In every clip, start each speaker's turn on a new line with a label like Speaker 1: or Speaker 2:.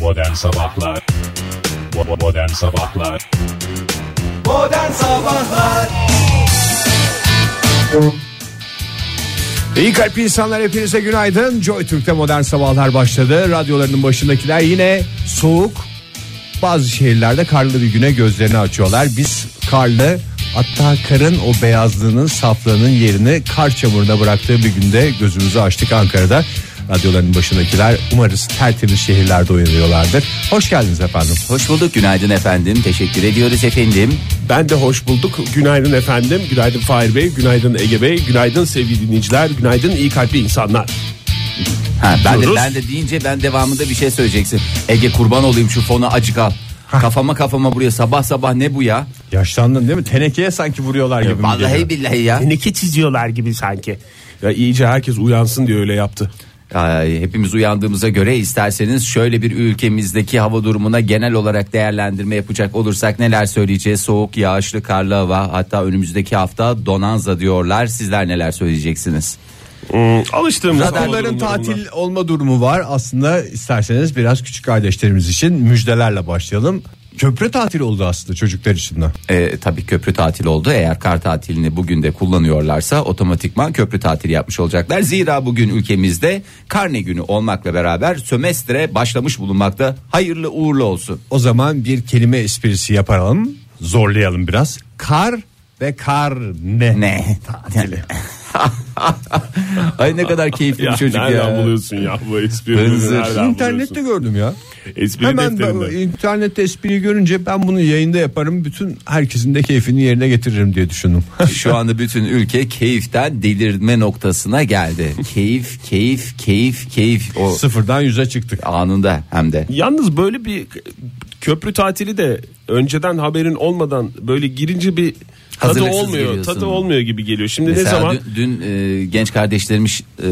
Speaker 1: Modern Sabahlar Bo- Modern Sabahlar
Speaker 2: Modern Sabahlar
Speaker 3: İyi kalpli insanlar hepinize günaydın. Joy Türk'te modern sabahlar başladı. Radyolarının başındakiler yine soğuk. Bazı şehirlerde karlı bir güne gözlerini açıyorlar. Biz karlı hatta karın o beyazlığının saflığının yerini kar çamuruna bıraktığı bir günde gözümüzü açtık Ankara'da. Radyoların başındakiler umarız tertemiz şehirlerde uyanıyorlardır. Hoş geldiniz efendim.
Speaker 4: Hoş bulduk günaydın efendim teşekkür ediyoruz efendim
Speaker 5: Ben de hoş bulduk. Günaydın efendim. Günaydın Fahir Bey. Günaydın Ege Bey. Günaydın sevgili dinleyiciler. Günaydın iyi kalpli insanlar.
Speaker 4: ha, ben, de,
Speaker 5: Diyoruz.
Speaker 4: ben de deyince ben devamında bir şey söyleyeceksin Ege kurban olayım şu fonu acık al Kafama kafama buraya sabah sabah ne bu ya
Speaker 3: Yaşlandın değil mi? Tenekeye sanki vuruyorlar gibi. mi geliyor?
Speaker 4: Vallahi billahi ya
Speaker 5: Teneke çiziyorlar gibi sanki. Ya iyice herkes uyansın diye öyle yaptı.
Speaker 4: Ay, Hepimiz uyandığımıza göre isterseniz şöyle bir ülkemizdeki hava durumuna genel olarak değerlendirme yapacak olursak neler söyleyeceğiz? Soğuk, yağışlı, karlı hava hatta önümüzdeki hafta donanza diyorlar. Sizler neler söyleyeceksiniz?
Speaker 5: Alıştığımız
Speaker 3: Okulların tatil olma durumu var. Aslında isterseniz biraz küçük kardeşlerimiz için müjdelerle başlayalım. Köprü tatil oldu aslında çocuklar için de.
Speaker 4: Ee, tabii köprü tatili oldu. Eğer kar tatilini bugün de kullanıyorlarsa otomatikman köprü tatili yapmış olacaklar. Zira bugün ülkemizde karne günü olmakla beraber sömestre başlamış bulunmakta. Hayırlı uğurlu olsun.
Speaker 3: O zaman bir kelime esprisi yapalım. Zorlayalım biraz. Kar ve kar ne?
Speaker 4: Ne?
Speaker 3: Tatili.
Speaker 4: Ay ne kadar keyifli bir çocuk
Speaker 5: nereden
Speaker 4: ya.
Speaker 5: buluyorsun ya bu espriyi?
Speaker 4: Hınzır.
Speaker 5: Nereden
Speaker 3: İnternette
Speaker 5: buluyorsun?
Speaker 3: gördüm ya.
Speaker 5: Espri
Speaker 3: Hemen
Speaker 5: defterinde.
Speaker 3: ben- internette espriyi görünce ben bunu yayında yaparım. Bütün herkesin de keyfini yerine getiririm diye düşündüm.
Speaker 4: Şu anda bütün ülke keyiften delirme noktasına geldi. keyif, keyif, keyif, keyif. O
Speaker 3: Sıfırdan yüze çıktık.
Speaker 4: anında hem de.
Speaker 5: Yalnız böyle bir köprü tatili de önceden haberin olmadan böyle girince bir tadı
Speaker 4: Hazırlıksız
Speaker 5: olmuyor.
Speaker 4: geliyorsun.
Speaker 5: Tadı olmuyor gibi geliyor. Şimdi
Speaker 4: Mesela
Speaker 5: ne zaman
Speaker 4: dün, dün, e, genç kardeşlerimiz e,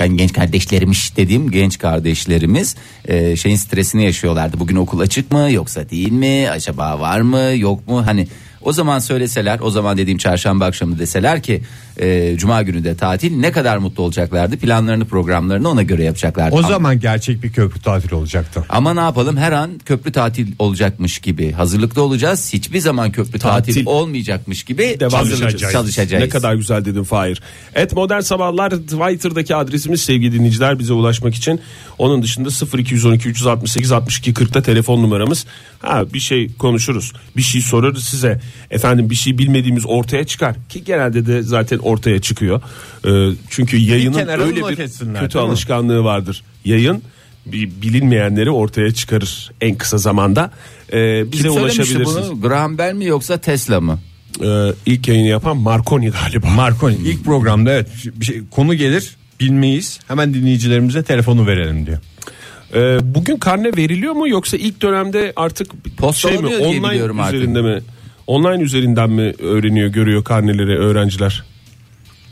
Speaker 4: yani genç kardeşlerimiz dediğim genç kardeşlerimiz e, şeyin stresini yaşıyorlardı. Bugün okul açık mı yoksa değil mi? Acaba var mı yok mu? Hani o zaman söyleseler o zaman dediğim çarşamba akşamı deseler ki e, cuma günü de tatil ne kadar mutlu olacaklardı. Planlarını programlarını ona göre yapacaklardı.
Speaker 3: O
Speaker 4: Ama-
Speaker 3: zaman gerçek bir köprü tatili olacaktı.
Speaker 4: Ama ne yapalım her an köprü tatil olacakmış gibi hazırlıklı olacağız. Hiçbir zaman köprü tatil,
Speaker 5: Tatil.
Speaker 4: olmayacakmış gibi
Speaker 5: Devam
Speaker 4: hazırlık-
Speaker 5: edeceğiz.
Speaker 4: çalışacağız.
Speaker 5: Ne kadar güzel dedin Fahir. Et Modern Sabahlar Twitter'daki adresimiz sevgili dinleyiciler bize ulaşmak için. Onun dışında 0212 368 62 40'ta telefon numaramız. Ha bir şey konuşuruz. Bir şey sorarız size. Efendim bir şey bilmediğimiz ortaya çıkar. Ki genelde de zaten ortaya çıkıyor. Ee, çünkü yayının
Speaker 3: kenara
Speaker 5: öyle
Speaker 3: not
Speaker 5: bir
Speaker 3: etsinler,
Speaker 5: kötü
Speaker 3: değil mi?
Speaker 5: alışkanlığı vardır. Yayın bir bilinmeyenleri ortaya çıkarır en kısa zamanda. Ee, bize
Speaker 4: Kim söylemişti
Speaker 5: ulaşabilirsiniz.
Speaker 4: bunu? Graham Bell mi yoksa Tesla mı?
Speaker 5: Ee, ilk yayını yapan Marconi galiba.
Speaker 3: Marconi ilk programda evet bir şey, konu gelir bilmeyiz hemen dinleyicilerimize telefonu verelim diyor.
Speaker 5: Ee, bugün karne veriliyor mu yoksa ilk dönemde artık şey mi
Speaker 4: Postalanıyor diye
Speaker 5: online
Speaker 4: biliyorum artık.
Speaker 5: üzerinde mi? Online üzerinden mi öğreniyor görüyor karneleri öğrenciler?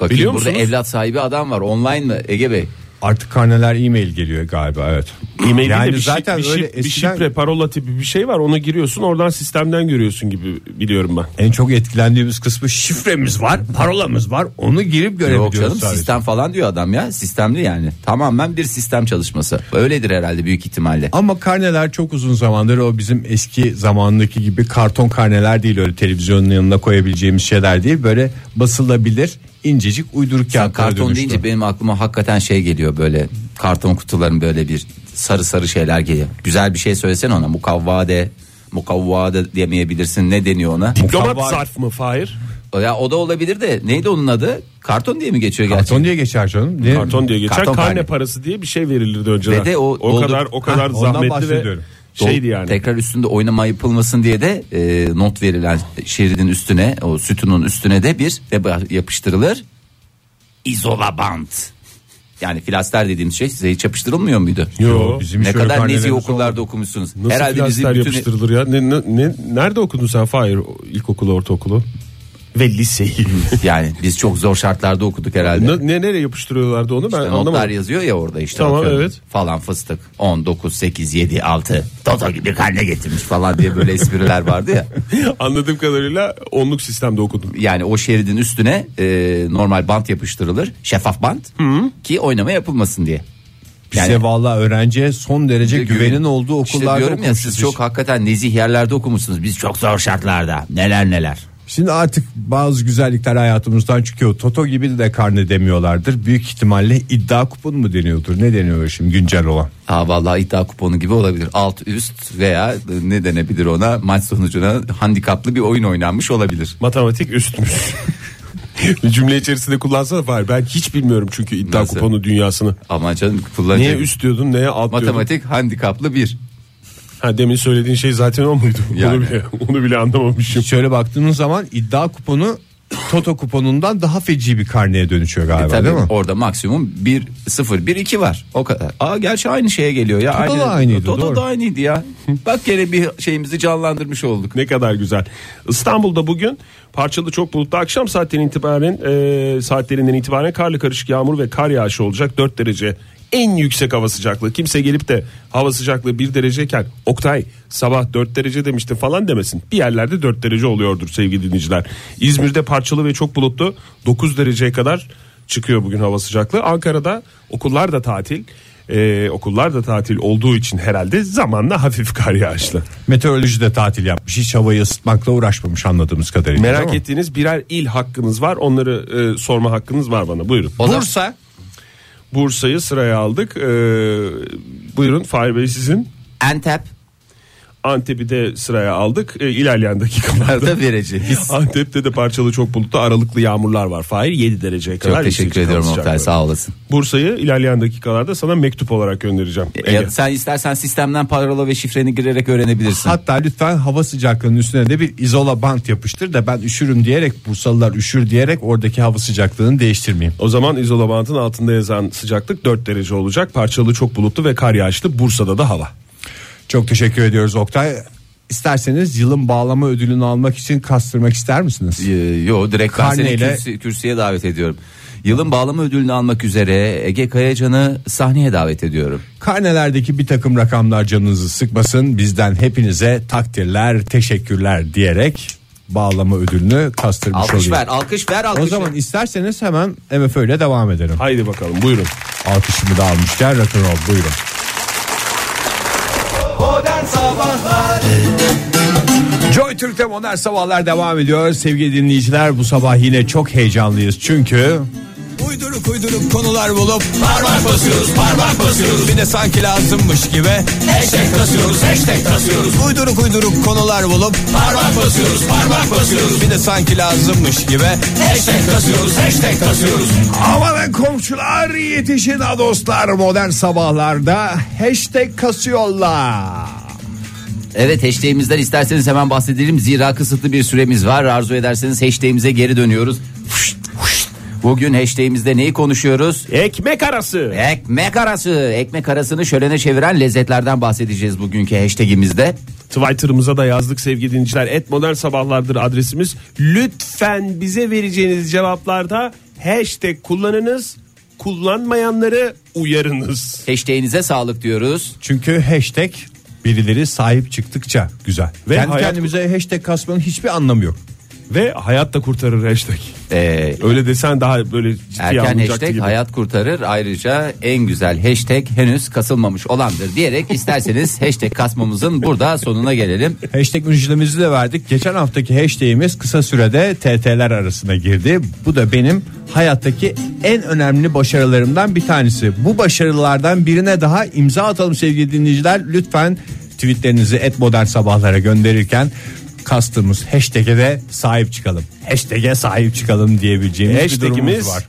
Speaker 4: Bakayım
Speaker 5: Biliyor
Speaker 4: burada
Speaker 5: musunuz?
Speaker 4: evlat sahibi adam var. Online mı Ege Bey?
Speaker 3: Artık karneler e-mail geliyor galiba evet.
Speaker 5: E-mailde de bir,
Speaker 3: zaten
Speaker 5: zaten bir, şif-
Speaker 3: öyle
Speaker 5: bir
Speaker 3: eskiden
Speaker 5: şifre parola tipi bir şey var ona giriyorsun oradan sistemden görüyorsun gibi biliyorum ben.
Speaker 3: en çok etkilendiğimiz kısmı şifremiz var parolamız var onu girip
Speaker 4: Yok
Speaker 3: görebiliyoruz
Speaker 4: canım
Speaker 3: sadece.
Speaker 4: sistem falan diyor adam ya. Sistemli yani. Tamamen bir sistem çalışması. Öyledir herhalde büyük ihtimalle.
Speaker 3: Ama karneler çok uzun zamandır o bizim eski zamandaki gibi karton karneler değil öyle televizyonun yanına koyabileceğimiz şeyler değil böyle basılabilir incecik uyduruk
Speaker 4: Ya
Speaker 3: kağıtlara
Speaker 4: karton
Speaker 3: dönüştü.
Speaker 4: deyince benim aklıma hakikaten şey geliyor böyle karton kutuların böyle bir sarı sarı şeyler geliyor. Güzel bir şey söylesene ona mukavvade mukavvade diyemeyebilirsin ne deniyor ona?
Speaker 5: Diplomat
Speaker 3: Mukavva-
Speaker 5: zarf mı Fahir?
Speaker 4: Ya o da olabilir de neydi onun adı? Karton diye mi geçiyor gerçekten?
Speaker 3: Karton diye geçer canım. Ne?
Speaker 5: Karton diye geçer
Speaker 4: Karton
Speaker 5: karne
Speaker 4: karne.
Speaker 5: parası diye bir şey verilirdi önceden.
Speaker 4: Ve de o-
Speaker 5: o
Speaker 4: doldur-
Speaker 5: kadar o
Speaker 3: Hah,
Speaker 5: kadar
Speaker 3: ondan
Speaker 5: zahmetli ve
Speaker 3: bahsediyorum.
Speaker 5: şeydi
Speaker 4: Dol-
Speaker 5: yani.
Speaker 4: Tekrar üstünde oynama yapılmasın diye de e, not verilen şeridin üstüne o sütunun üstüne de bir ve ba- yapıştırılır izola bant. Yani filaster dediğimiz şey size hiç yapıştırılmıyor muydu?
Speaker 5: Yo.
Speaker 3: Bizim
Speaker 4: ne
Speaker 3: hiç öyle
Speaker 4: kadar nezih
Speaker 3: karnelerimiz
Speaker 4: okullarda okumuşsunuz.
Speaker 5: şey Nasıl
Speaker 4: Herhalde bizim
Speaker 5: Herhalde
Speaker 4: bütün
Speaker 5: yapıştırılır ya? Ne, ne- ne- nerede okudun sen Fahir O ilkokulu ortaokulu? Ve liseyi.
Speaker 4: yani biz çok zor şartlarda okuduk herhalde.
Speaker 5: ne, ne- nereye yapıştırıyorlardı onu ben
Speaker 4: İşte notlar
Speaker 5: anlamadım.
Speaker 4: yazıyor ya orada işte
Speaker 5: Tamam,
Speaker 4: atıyorum.
Speaker 5: evet.
Speaker 4: falan fıstık 10 9 8 7 6 Toto gibi karne getirmiş falan diye böyle espriler vardı ya.
Speaker 5: Anladığım kadarıyla onluk sistemde okudum.
Speaker 4: yani o şeridin üstüne e, normal bant yapıştırılır şeffaf bant ki oynama yapılmasın diye.
Speaker 3: Bize
Speaker 4: Yani-
Speaker 3: valla öğrenciye son derece
Speaker 4: Bize
Speaker 3: güvenin
Speaker 4: güvenin.
Speaker 3: olduğu
Speaker 4: İşte
Speaker 3: okullarda
Speaker 4: diyorum ya siz
Speaker 3: okumuşuz.
Speaker 4: çok hakikaten nezih yerlerde okumuşsunuz. Biz çok zor şartlarda. Neler neler.
Speaker 3: Şimdi artık bazı güzellikler hayatımızdan çıkıyor. Toto gibi de karne demiyorlardır. Büyük ihtimalle iddia kuponu mu deniyordur? Ne deniyor şimdi güncel olan?
Speaker 4: Ha vallahi iddia kuponu gibi olabilir. Alt üst veya e, ne denebilir ona maç sonucuna handikaplı bir oyun oynanmış olabilir.
Speaker 5: Matematik üstmüş. Cümle içerisinde kullansana Fahir. Ben hiç bilmiyorum çünkü iddia
Speaker 4: Nasıl?
Speaker 5: kuponu dünyasını.
Speaker 4: Ama canım
Speaker 5: Neye
Speaker 4: kullanacak.
Speaker 5: üst diyordun neye alt diyordun?
Speaker 4: Matematik handikaplı bir.
Speaker 5: Ha, demin söylediğin şey zaten o muydu?
Speaker 4: Yani.
Speaker 5: Onu, bile, onu bile anlamamışım.
Speaker 3: Şöyle baktığınız zaman iddia kuponu Toto kuponundan daha feci bir karneye dönüşüyor galiba
Speaker 4: E, Tabii
Speaker 3: değil mi?
Speaker 4: orada maksimum 1 0 1 2 var. O kadar. Aa gerçi aynı şeye geliyor ya.
Speaker 3: Toto da aynıydı,
Speaker 4: Toto
Speaker 3: doğru.
Speaker 4: da aynıydı ya. Bak gene bir şeyimizi canlandırmış olduk.
Speaker 5: Ne kadar güzel. İstanbul'da bugün parçalı çok bulutlu akşam saatlerinden itibaren e, saatlerinden itibaren karlı karışık yağmur ve kar yağışı olacak. 4 derece en yüksek hava sıcaklığı. Kimse gelip de hava sıcaklığı 1 dereceyken Oktay sabah 4 derece demişti falan demesin. Bir yerlerde 4 derece oluyordur sevgili dinleyiciler. İzmir'de parçalı ve çok bulutlu 9 dereceye kadar çıkıyor bugün hava sıcaklığı. Ankara'da okullar da tatil. E, okullar da tatil olduğu için herhalde zamanla hafif kar yağışlı.
Speaker 3: Meteoroloji de tatil yapmış. Hiç havayı ısıtmakla uğraşmamış anladığımız kadarıyla.
Speaker 5: Merak
Speaker 3: değil mi?
Speaker 5: ettiğiniz birer il hakkınız var. Onları e, sorma hakkınız var bana. Buyurun.
Speaker 4: O zaman-
Speaker 3: Bursa
Speaker 5: Bursa'yı sıraya aldık. E, buyurun Fahir Bey sizin.
Speaker 4: Antep
Speaker 5: Antep'i de sıraya aldık. E, ilerleyen dakikalarda.
Speaker 4: da vereceğiz.
Speaker 5: Antep'te de parçalı çok bulutlu aralıklı yağmurlar var. Fahir 7 dereceye kadar.
Speaker 4: Çok teşekkür
Speaker 5: yükselecek
Speaker 4: ediyorum
Speaker 5: hava
Speaker 4: Oktay
Speaker 5: sıcaklığı.
Speaker 4: sağ olasın.
Speaker 5: Bursa'yı ilerleyen dakikalarda sana mektup olarak göndereceğim.
Speaker 4: Ya
Speaker 5: Ege.
Speaker 4: sen istersen sistemden parola ve şifreni girerek öğrenebilirsin.
Speaker 3: hatta lütfen hava sıcaklığının üstüne de bir izola bant yapıştır da ben üşürüm diyerek Bursalılar üşür diyerek oradaki hava sıcaklığını değiştirmeyeyim.
Speaker 5: O zaman izolabantın altında yazan sıcaklık 4 derece olacak. Parçalı çok bulutlu ve kar yağışlı. Bursa'da da hava.
Speaker 3: Çok teşekkür ediyoruz Oktay. İsterseniz yılın bağlama ödülünü almak için kastırmak ister misiniz?
Speaker 4: Ee, Yo direkt ben seni
Speaker 3: Karneyle-
Speaker 4: kürsü- kürsüye davet ediyorum. Yılın bağlama ödülünü almak üzere Ege Kayacan'ı sahneye davet ediyorum.
Speaker 3: Karnelerdeki bir takım rakamlar canınızı sıkmasın. Bizden hepinize takdirler, teşekkürler diyerek bağlama ödülünü kastırmış
Speaker 4: Alkış
Speaker 3: olayım.
Speaker 4: ver, alkış ver, alkış.
Speaker 3: O zaman
Speaker 4: ver.
Speaker 3: isterseniz hemen MFÖ ile devam edelim.
Speaker 5: Haydi bakalım buyurun.
Speaker 3: Alkışımı da almışken rock'n'roll buyurun.
Speaker 2: Modern Sabahlar
Speaker 3: Joy Türk'te modern sabahlar devam ediyor. Sevgili dinleyiciler bu sabah yine çok heyecanlıyız. Çünkü
Speaker 6: Uyduruk uyduruk konular bulup parmak basıyoruz parmak basıyoruz bir de sanki lazımmış gibi hashtag kasıyoruz hashtag kasıyoruz uyduruk uyduruk konular bulup parmak basıyoruz parmak basıyoruz bir de sanki lazımmış gibi hashtag kasıyoruz hashtag kasıyoruz
Speaker 3: Amanın komşular yetişin ha dostlar modern sabahlarda hashtag kasıyorlar.
Speaker 4: Evet hashtag'imizden isterseniz hemen bahsedelim. Zira kısıtlı bir süremiz var. Arzu ederseniz hashtag'imize geri dönüyoruz. Fışt, fışt. Bugün hashtag'imizde neyi konuşuyoruz?
Speaker 5: Ekmek arası.
Speaker 4: Ekmek arası. Ekmek arasını şölene çeviren lezzetlerden bahsedeceğiz bugünkü hashtag'imizde.
Speaker 5: Twitter'ımıza da yazdık sevgili dinleyiciler. Et modern sabahlardır adresimiz. Lütfen bize vereceğiniz cevaplarda hashtag kullanınız. Kullanmayanları uyarınız.
Speaker 4: Hashtag'inize sağlık diyoruz.
Speaker 3: Çünkü hashtag birileri sahip çıktıkça güzel. Ve Kendi
Speaker 5: hayat-
Speaker 3: kendimize hashtag kasmanın hiçbir anlamı yok.
Speaker 5: Ve hayat da kurtarır hashtag.
Speaker 4: Ee,
Speaker 5: Öyle desen daha böyle ciddiye
Speaker 4: Erken
Speaker 5: alınacaktı
Speaker 4: hashtag
Speaker 5: gibi.
Speaker 4: hayat kurtarır ayrıca en güzel hashtag henüz kasılmamış olandır diyerek isterseniz hashtag kasmamızın burada sonuna gelelim.
Speaker 3: Hashtag müjdemizi de verdik. Geçen haftaki hashtag'imiz kısa sürede TT'ler arasına girdi. Bu da benim hayattaki en önemli başarılarımdan bir tanesi. Bu başarılardan birine daha imza atalım sevgili dinleyiciler. Lütfen tweetlerinizi et modern sabahlara gönderirken kastığımız hashtag'e de sahip çıkalım. Hashtag'e sahip çıkalım diyebileceğimiz bir durumumuz
Speaker 5: Hashtag'imiz
Speaker 3: var.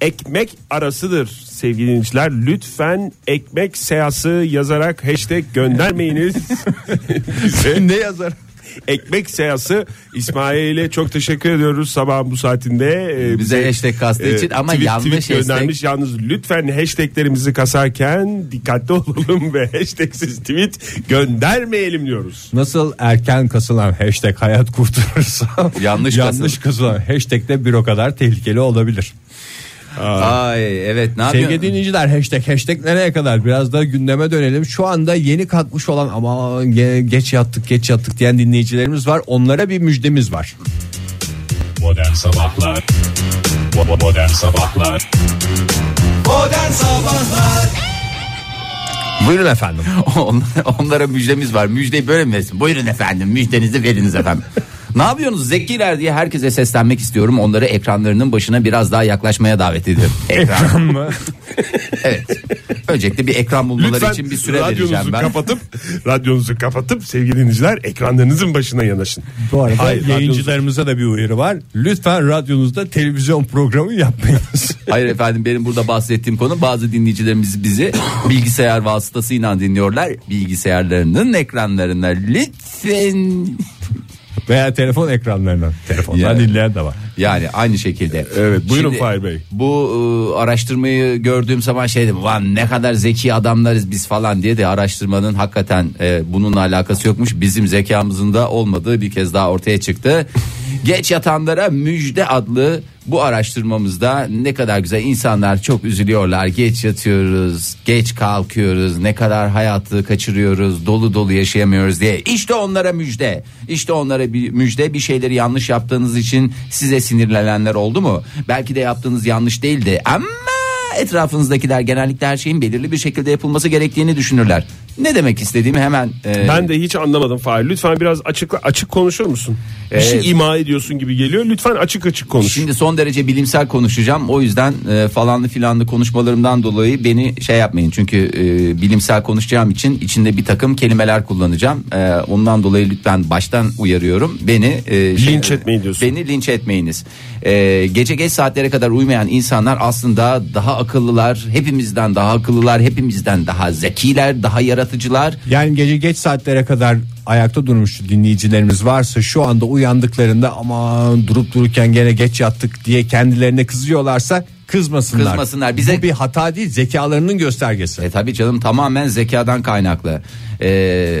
Speaker 5: ekmek arasıdır sevgili dinleyiciler. Lütfen ekmek seyası yazarak hashtag göndermeyiniz. Bize.
Speaker 3: ne yazar?
Speaker 5: Ekmek seyası İsmail'e çok teşekkür ediyoruz sabah bu saatinde. Ee,
Speaker 4: Bize hashtag kastığı için ama yanlış hashtag-
Speaker 5: göndermiş. Yalnız lütfen hashtaglerimizi kasarken dikkatli olalım ve hashtagsiz tweet göndermeyelim diyoruz.
Speaker 3: Nasıl erken kasılan hashtag hayat kurtarırsa
Speaker 4: Yanlış
Speaker 3: yanlış kasılan hashtag de bir o kadar tehlikeli olabilir.
Speaker 4: Ay evet ne
Speaker 3: Sevgili
Speaker 4: yapıyorsun?
Speaker 3: dinleyiciler hashtag hashtag nereye kadar biraz da gündeme dönelim. Şu anda yeni kalkmış olan ama geç yattık geç yattık diyen dinleyicilerimiz var. Onlara bir müjdemiz var.
Speaker 1: Modern Sabahlar Bo- bo- Modern Sabahlar
Speaker 2: Modern Sabahlar
Speaker 3: Buyurun efendim.
Speaker 4: Onlara, onlara müjdemiz var. Müjdeyi böyle mi versin? Buyurun efendim müjdenizi veriniz efendim. ne yapıyorsunuz zekiler diye herkese seslenmek istiyorum. Onları ekranlarının başına biraz daha yaklaşmaya davet ediyorum. Ekran mı? evet. Öncelikle bir ekran bulmaları
Speaker 7: Lütfen
Speaker 4: için bir süre vereceğim
Speaker 7: radyonuzu
Speaker 4: ben.
Speaker 7: kapatıp radyonuzu kapatıp sevgili dinleyiciler ekranlarınızın başına yanaşın.
Speaker 3: Bu arada
Speaker 7: Hayır,
Speaker 3: yayıncılarımıza da bir uyarı var. Lütfen radyonuzda televizyon programı yapmayınız.
Speaker 4: Hayır efendim benim burada bahsettiğim konu bazı dinleyicilerimiz bizi bilgisayar vasıtasıyla dinliyorlar. Bilgisayarlarının ekranlarına lütfen
Speaker 3: Veya telefon ekranlarından. Telefondan
Speaker 4: Ya.
Speaker 3: dinleyen de var.
Speaker 4: Yani aynı şekilde.
Speaker 7: Evet, buyurun Fahir Bey.
Speaker 4: Bu e, araştırmayı gördüğüm zaman şey dedim. Ulan ne kadar zeki adamlarız biz falan diye de araştırmanın hakikaten e, bununla alakası yokmuş. Bizim zekamızın da olmadığı bir kez daha ortaya çıktı. Geç yatanlara müjde adlı bu araştırmamızda ne kadar güzel insanlar çok üzülüyorlar. Geç yatıyoruz, geç kalkıyoruz, ne kadar hayatı kaçırıyoruz, dolu dolu yaşayamıyoruz diye. İşte onlara müjde. İşte onlara bir müjde. Bir şeyleri yanlış yaptığınız için size sinirlenenler oldu mu? Belki de yaptığınız yanlış değildi ama etrafınızdakiler genellikle her şeyin belirli bir şekilde yapılması gerektiğini düşünürler. Ne demek istediğimi hemen e,
Speaker 5: Ben de hiç anlamadım Fahir. Lütfen biraz açıkla, açık konuşur musun? Bir
Speaker 4: Evet.
Speaker 5: şey ima ediyorsun gibi geliyor. Lütfen açık açık konuş.
Speaker 4: Şimdi son derece bilimsel konuşacağım. O yüzden e, falanlı filanlı konuşmalarımdan dolayı beni şey yapmayın. Çünkü e, bilimsel konuşacağım için içinde bir takım kelimeler kullanacağım. E, ondan dolayı lütfen baştan uyarıyorum. Beni e,
Speaker 5: Linç etmeyin diyorsun.
Speaker 4: Beni linç etmeyiniz. E, gece geç saatlere kadar uyumayan insanlar aslında daha akıllılar. Hepimizden daha akıllılar. Hepimizden daha zekiler, daha yaratıcılar.
Speaker 3: Yani gece geç saatlere kadar ayakta durmuş dinleyicilerimiz varsa şu anda uyandıklarında aman durup dururken gene geç yattık diye kendilerine kızıyorlarsa kızmasınlar.
Speaker 4: Kızmasınlar. Bize-
Speaker 3: Bu bir hata değil zekalarının göstergesi.
Speaker 4: E tabi canım tamamen zekadan kaynaklı. E,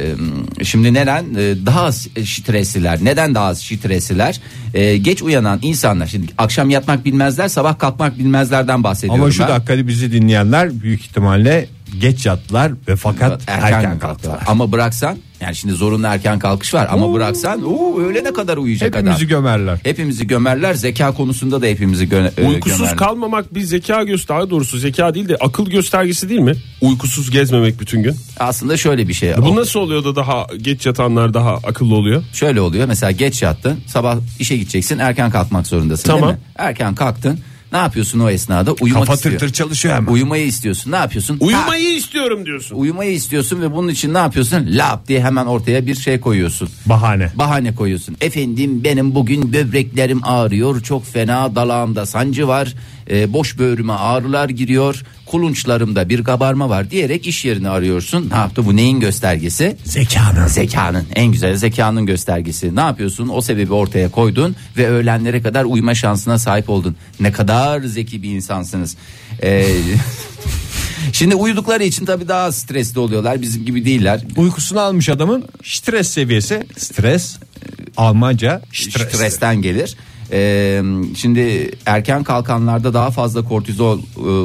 Speaker 4: şimdi neden E, daha az şitresiler? Neden daha az şitresiler? E, geç uyanan insanlar şimdi akşam yatmak bilmezler, sabah kalkmak bilmezlerden bahsediyorum.
Speaker 3: Ama şu
Speaker 4: ben.
Speaker 3: dakikada bizi dinleyenler büyük ihtimalle geç yattılar ve fakat
Speaker 4: erken,
Speaker 3: erken,
Speaker 4: kalktılar.
Speaker 3: kalktılar.
Speaker 4: Ama bıraksan yani şimdi zorunlu erken kalkış var ama bıraksan oo, öğlene kadar uyuyacak
Speaker 3: Hepimizi
Speaker 4: adam.
Speaker 3: gömerler.
Speaker 4: Hepimizi gömerler. Zeka konusunda da hepimizi gö- e,
Speaker 5: Uykusuz
Speaker 4: gömerler.
Speaker 5: kalmamak bir zeka göster daha doğrusu zeka değil de akıl göstergesi değil mi? Uykusuz gezmemek bütün gün.
Speaker 4: Aslında şöyle bir şey.
Speaker 5: Bu nasıl oluyor da daha geç yatanlar daha akıllı oluyor?
Speaker 4: Şöyle oluyor mesela geç yattın sabah işe gideceksin erken kalkmak zorundasın
Speaker 5: Tamam.
Speaker 4: değil mi? Erken kalktın ne yapıyorsun o esnada uyumak
Speaker 3: Kafa
Speaker 4: istiyor.
Speaker 3: tır tır çalışıyor hemen.
Speaker 4: Uyumayı istiyorsun ne yapıyorsun? Ha,
Speaker 5: Uyumayı istiyorum diyorsun.
Speaker 4: uyumayı istiyorsun ve bunun için ne yapıyorsun? Lap diye hemen ortaya bir şey koyuyorsun.
Speaker 3: Bahane.
Speaker 4: Bahane koyuyorsun. Efendim benim bugün böbreklerim ağrıyor. Çok fena dalağımda sancı var. e, boş böğrüme ağrılar giriyor. Kulunçlarımda bir kabarma var diyerek iş yerini arıyorsun. Ne yaptı bu neyin göstergesi?
Speaker 3: Zekanın.
Speaker 4: Zekanın en güzel zekanın göstergesi. Ne yapıyorsun? O sebebi ortaya koydun ve öğlenlere kadar uyuma şansına sahip oldun. Ne kadar zeki bir insansınız. Ee, şimdi uyudukları için tabii daha stresli oluyorlar. Bizim gibi değiller.
Speaker 3: Uykusunu almış adamın stres seviyesi stres Almanca stres.
Speaker 4: Stresten gelir. Ee, şimdi erken kalkanlarda daha fazla kortizol e,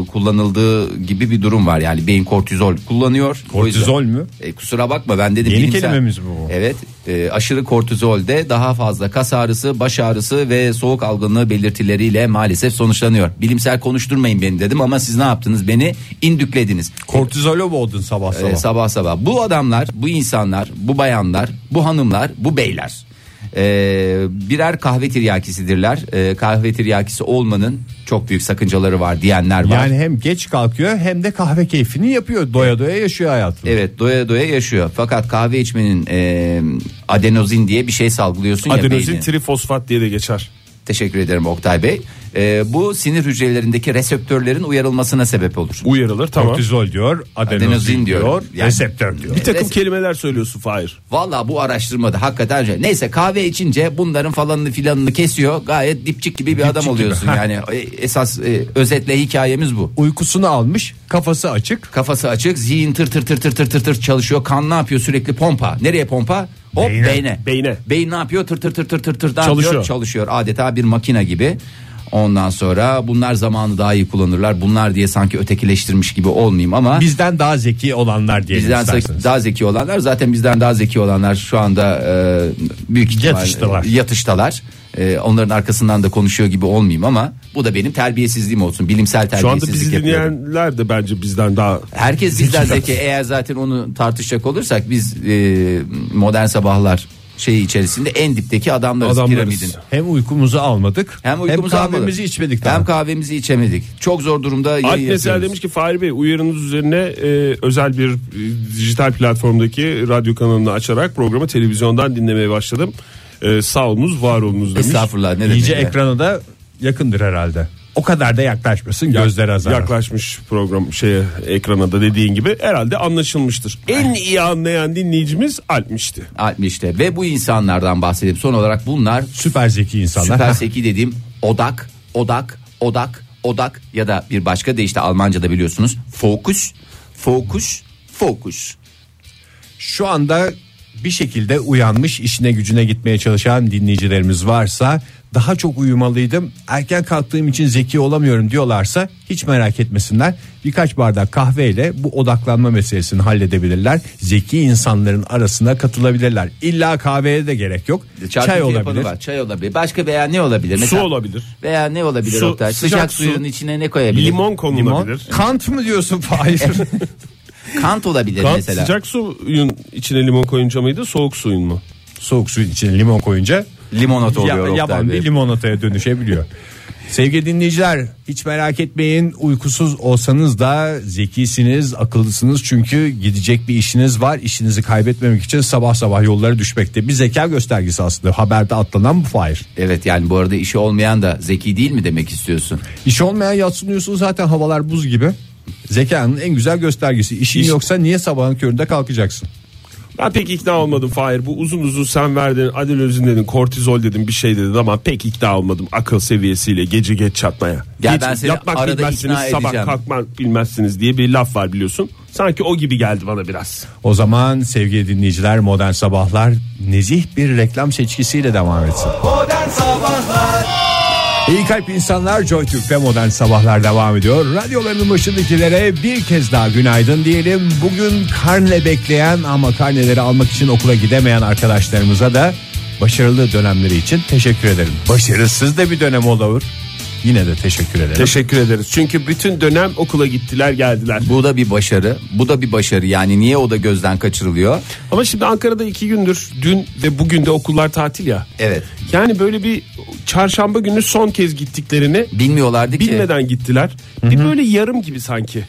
Speaker 4: kullanıldığı gibi bir durum var. Yani beyin kortizol kullanıyor. O yüzden-
Speaker 3: Kortizol mü?
Speaker 4: E, kusura bakma ben dedim.
Speaker 3: Yeni
Speaker 4: bilimsel-
Speaker 3: kelimemiz bu.
Speaker 4: Evet e, aşırı kortizolde daha fazla kas ağrısı, baş ağrısı ve soğuk algınlığı belirtileriyle maalesef sonuçlanıyor. Bilimsel konuşturmayın beni dedim ama siz ne yaptınız beni indüklediniz.
Speaker 3: Kortizolo boğdun sabah sabah.
Speaker 4: Ee, sabah sabah. Bu adamlar, bu insanlar, bu bayanlar, bu hanımlar, bu beyler ee, birer kahve tiryakisidirler. Ee, kahve tiryakisi olmanın çok büyük sakıncaları var diyenler var.
Speaker 3: Yani hem geç kalkıyor hem de kahve keyfini yapıyor. Doya doya yaşıyor hayatını.
Speaker 4: Evet doya doya yaşıyor. Fakat kahve içmenin ee, adenozin diye bir şey salgılıyorsun ya
Speaker 5: Adenozin
Speaker 4: beynine.
Speaker 5: trifosfat diye de geçer.
Speaker 4: Teşekkür ederim Oktay Bey. Ee, bu sinir hücrelerindeki reseptörlerin uyarılmasına sebep olur.
Speaker 5: Uyarılır tamam.
Speaker 3: Kortizol diyor, adenozin,
Speaker 4: Adenozin diyor.
Speaker 3: diyor,
Speaker 4: Yani-
Speaker 3: reseptör diyor.
Speaker 5: Bir takım
Speaker 4: Neyse.
Speaker 5: kelimeler söylüyorsun Fahir.
Speaker 4: Valla bu araştırmada hakikaten öyle. neyse kahve içince bunların falanını filanını kesiyor. Gayet dipçik gibi bir adam oluyorsun yani. E, Esas e, özetle hikayemiz bu.
Speaker 3: Uykusunu almış, kafası açık.
Speaker 4: Kafası açık, zihin tır tır tır tır tır tır tır çalışıyor. Kan ne yapıyor sürekli pompa. Nereye pompa? Hop beyne.
Speaker 5: Beyne.
Speaker 4: Beyin ne yapıyor? Tır tır tır tır tır tır ne
Speaker 5: Çalışıyor.
Speaker 4: yapıyor? Çalışıyor. Adeta bir makine gibi. Ondan sonra bunlar zamanı daha iyi kullanırlar. Bunlar diye sanki ötekileştirmiş gibi olmayayım ama
Speaker 3: Bizden daha zeki olanlar diyelim
Speaker 4: bizden
Speaker 3: isterseniz.
Speaker 4: zeki- daha zeki olanlar zaten bizden daha zeki olanlar şu anda e, büyük ihtimal
Speaker 3: Yatıştalar.
Speaker 4: yatıştalar. E, onların arkasından da konuşuyor gibi olmayayım ama bu da benim terbiyesizliğim olsun. Bilimsel
Speaker 5: Şu anda
Speaker 4: terbiyesizlik
Speaker 5: bizi
Speaker 4: yapıyorum.
Speaker 5: dinleyenler de bence bizden daha
Speaker 4: Herkes bizden zeki. Eğer zaten onu tartışacak olursak biz e, modern sabahlar şeyi içerisinde en dipteki adamlarız,
Speaker 5: Adamlarız.
Speaker 4: piramidin.
Speaker 3: Hem uykumuzu almadık
Speaker 4: Hem uykumuzu
Speaker 3: kahvemizi
Speaker 4: almadık.
Speaker 3: içmedik daha.
Speaker 4: Hem kahvemizi içemedik. Çok zor durumda yayın
Speaker 5: Alp mesela
Speaker 4: yapıyoruz.
Speaker 5: demiş ki Fahri Bey uyarınız üzerine e, özel bir e, dijital platformdaki radyo kanalını açarak programı televizyondan dinlemeye başladım. E, sağ olunuz var olunuz demiş.
Speaker 4: Estağfurullah ne demek.
Speaker 3: İyice
Speaker 4: ya.
Speaker 3: ekrana da yakındır herhalde. O kadar da yaklaşmasın
Speaker 5: Yak-
Speaker 3: gözler azar.
Speaker 5: Yaklaşmış program şeye ekrana da dediğin gibi herhalde anlaşılmıştır. En iyi anlayan dinleyicimiz Alp'mişti.
Speaker 4: 60'te ve bu insanlardan bahsedeyim. Son olarak bunlar
Speaker 3: Süper zeki insanlar.
Speaker 4: süper seki dediğim odak, odak, odak, odak ya da bir başka de işte Almanca'da biliyorsunuz fokus, fokus, fokus.
Speaker 3: Şu anda bir şekilde uyanmış işine gücüne gitmeye çalışan dinleyicilerimiz varsa daha çok uyumalıydım erken kalktığım için zeki olamıyorum diyorlarsa hiç merak etmesinler birkaç bardak kahveyle bu odaklanma meselesini halledebilirler zeki insanların arasına katılabilirler İlla kahveye de gerek yok
Speaker 4: Çarpıntı
Speaker 3: çay
Speaker 4: yapanı
Speaker 3: olabilir
Speaker 4: var, çay olabilir. Başka veya ne olabilir?
Speaker 5: Su
Speaker 4: Mesela-
Speaker 5: olabilir.
Speaker 4: Veya ne olabilir
Speaker 5: Su,
Speaker 4: Oktay? Sıcak,
Speaker 5: sıcak su,
Speaker 4: suyun içine ne koyabilir?
Speaker 5: Limon
Speaker 3: Limon.
Speaker 5: konulabilir.
Speaker 3: Kant mı diyorsun Fahir?
Speaker 4: Kant olabilir
Speaker 5: Kant
Speaker 4: mesela.
Speaker 5: sıcak suyun içine limon koyunca mıydı soğuk suyun mu?
Speaker 3: Soğuk suyun içine limon koyunca
Speaker 4: Limonata oluyor
Speaker 3: Ya-
Speaker 4: Oktay
Speaker 3: yaban
Speaker 4: Bey.
Speaker 3: bir limonataya dönüşebiliyor. Sevgili dinleyiciler hiç merak etmeyin uykusuz olsanız da zekisiniz akıllısınız çünkü gidecek bir işiniz var işinizi kaybetmemek için sabah sabah yollara düşmekte bir zeka göstergesi aslında haberde atlanan bu fail.
Speaker 4: Evet yani bu arada işi olmayan da zeki değil mi demek istiyorsun?
Speaker 3: İş olmayan yatsınıyorsun zaten havalar buz gibi zekanın en güzel göstergesi işin yoksa niye sabahın köründe kalkacaksın?
Speaker 5: Ben pek ikna olmadım Fahir. Bu uzun uzun sen verdin, adil özün dedin, kortizol dedin bir şey dedin ama pek ikna olmadım akıl seviyesiyle gece geç çatmaya.
Speaker 4: Ya
Speaker 5: Geç-
Speaker 4: ben seni
Speaker 5: yatmak
Speaker 4: arada
Speaker 5: bilmezsiniz,
Speaker 4: ikna
Speaker 5: sabah
Speaker 4: edeceğim.
Speaker 5: kalkmak bilmezsiniz diye bir laf var biliyorsun. Sanki o gibi geldi bana biraz.
Speaker 3: O zaman sevgili dinleyiciler modern sabahlar nezih bir reklam seçkisiyle devam etsin.
Speaker 2: Modern Sabahlar
Speaker 3: İyi kalp insanlar Joy Türk'te modern sabahlar devam ediyor. Radyolarının başındakilere bir kez daha günaydın diyelim. Bugün karne bekleyen ama karneleri almak için okula gidemeyen arkadaşlarımıza da başarılı dönemleri için teşekkür ederim. Başarısız da bir dönem olur. Yine de teşekkür ederim.
Speaker 5: Teşekkür ederiz. Çünkü bütün dönem okula gittiler geldiler.
Speaker 4: Bu da bir başarı. Bu da bir başarı. Yani niye o da gözden kaçırılıyor?
Speaker 5: Ama şimdi Ankara'da iki gündür dün ve bugün de okullar tatil ya.
Speaker 4: Evet.
Speaker 5: Yani böyle bir çarşamba günü son kez gittiklerini
Speaker 4: Bilmiyorlardı ki.
Speaker 5: bilmeden gittiler. Bir böyle yarım gibi sanki.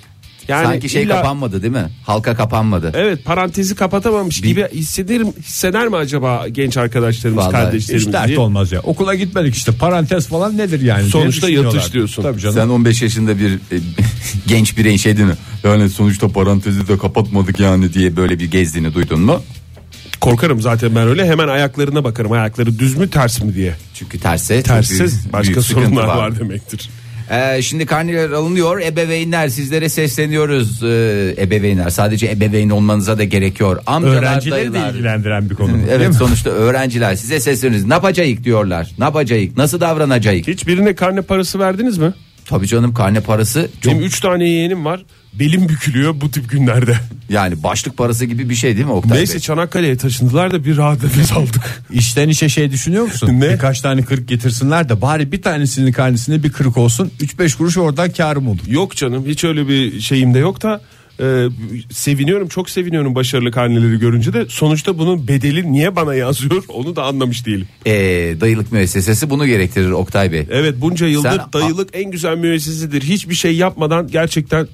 Speaker 5: Yani
Speaker 4: Sanki şey
Speaker 5: illa-
Speaker 4: kapanmadı değil mi? Halka kapanmadı.
Speaker 5: Evet parantezi kapatamamış gibi hisseder, hisseder mi acaba genç arkadaşlarımız
Speaker 4: Vallahi
Speaker 5: kardeşlerimiz
Speaker 3: Hiç dert
Speaker 5: diye?
Speaker 3: olmaz ya. Okula gitmedik işte parantez falan nedir yani? diye
Speaker 5: Sonuçta
Speaker 3: düşünüyorlar.
Speaker 5: yatış diyorsun.
Speaker 3: Tabii canım.
Speaker 4: Sen 15 yaşında bir e, genç bireyin şey değil mi? Yani sonuçta parantezi de kapatmadık yani diye böyle bir gezdiğini duydun mu?
Speaker 5: Korkarım zaten ben öyle hemen ayaklarına bakarım ayakları düz mü ters mi diye.
Speaker 4: Çünkü terse çok
Speaker 5: Tersiz
Speaker 4: büyük-
Speaker 5: başka
Speaker 4: büyük sıkıntı
Speaker 5: sorunlar var. demektir.
Speaker 4: Ee, şimdi karneler alınıyor. Ebeveynler sizlere sesleniyoruz. Ee, ebeveynler sadece ebeveyn olmanıza da gerekiyor. Amcalar,
Speaker 3: Öğrencileri de
Speaker 4: dayılar.
Speaker 3: ilgilendiren bir konu. bu, değil mi?
Speaker 4: Evet sonuçta öğrenciler size sesleniyoruz. Ne yapacağız diyorlar. Ne yapacağız? Nasıl davranacağız?
Speaker 5: Hiç birine karne parası verdiniz mi?
Speaker 4: Tabii canım karne parası çok
Speaker 5: Benim 3 tane yeğenim var. Belim bükülüyor bu tip günlerde.
Speaker 4: yani başlık parası gibi bir şey değil mi Oktay
Speaker 5: Neyse
Speaker 4: Bey?
Speaker 5: Çanakkale'ye taşındılar da bir rahat nefes aldık.
Speaker 3: İşten işe şey düşünüyor musun?
Speaker 5: Ne?
Speaker 3: Birkaç tane kırık getirsinler de bari bir tanesinin karnesinde bir kırık olsun. 3-5 kuruş oradan karım olur.
Speaker 5: Yok canım hiç öyle bir şeyim de yok da e, seviniyorum çok seviniyorum başarılı karneleri görünce de sonuçta bunun bedeli niye bana yazıyor onu da anlamış değilim.
Speaker 4: Ee, dayılık müessesesi bunu gerektirir Oktay Bey.
Speaker 5: Evet bunca yıldır
Speaker 4: Sen-
Speaker 5: dayılık en güzel müessesidir. Hiçbir şey yapmadan gerçekten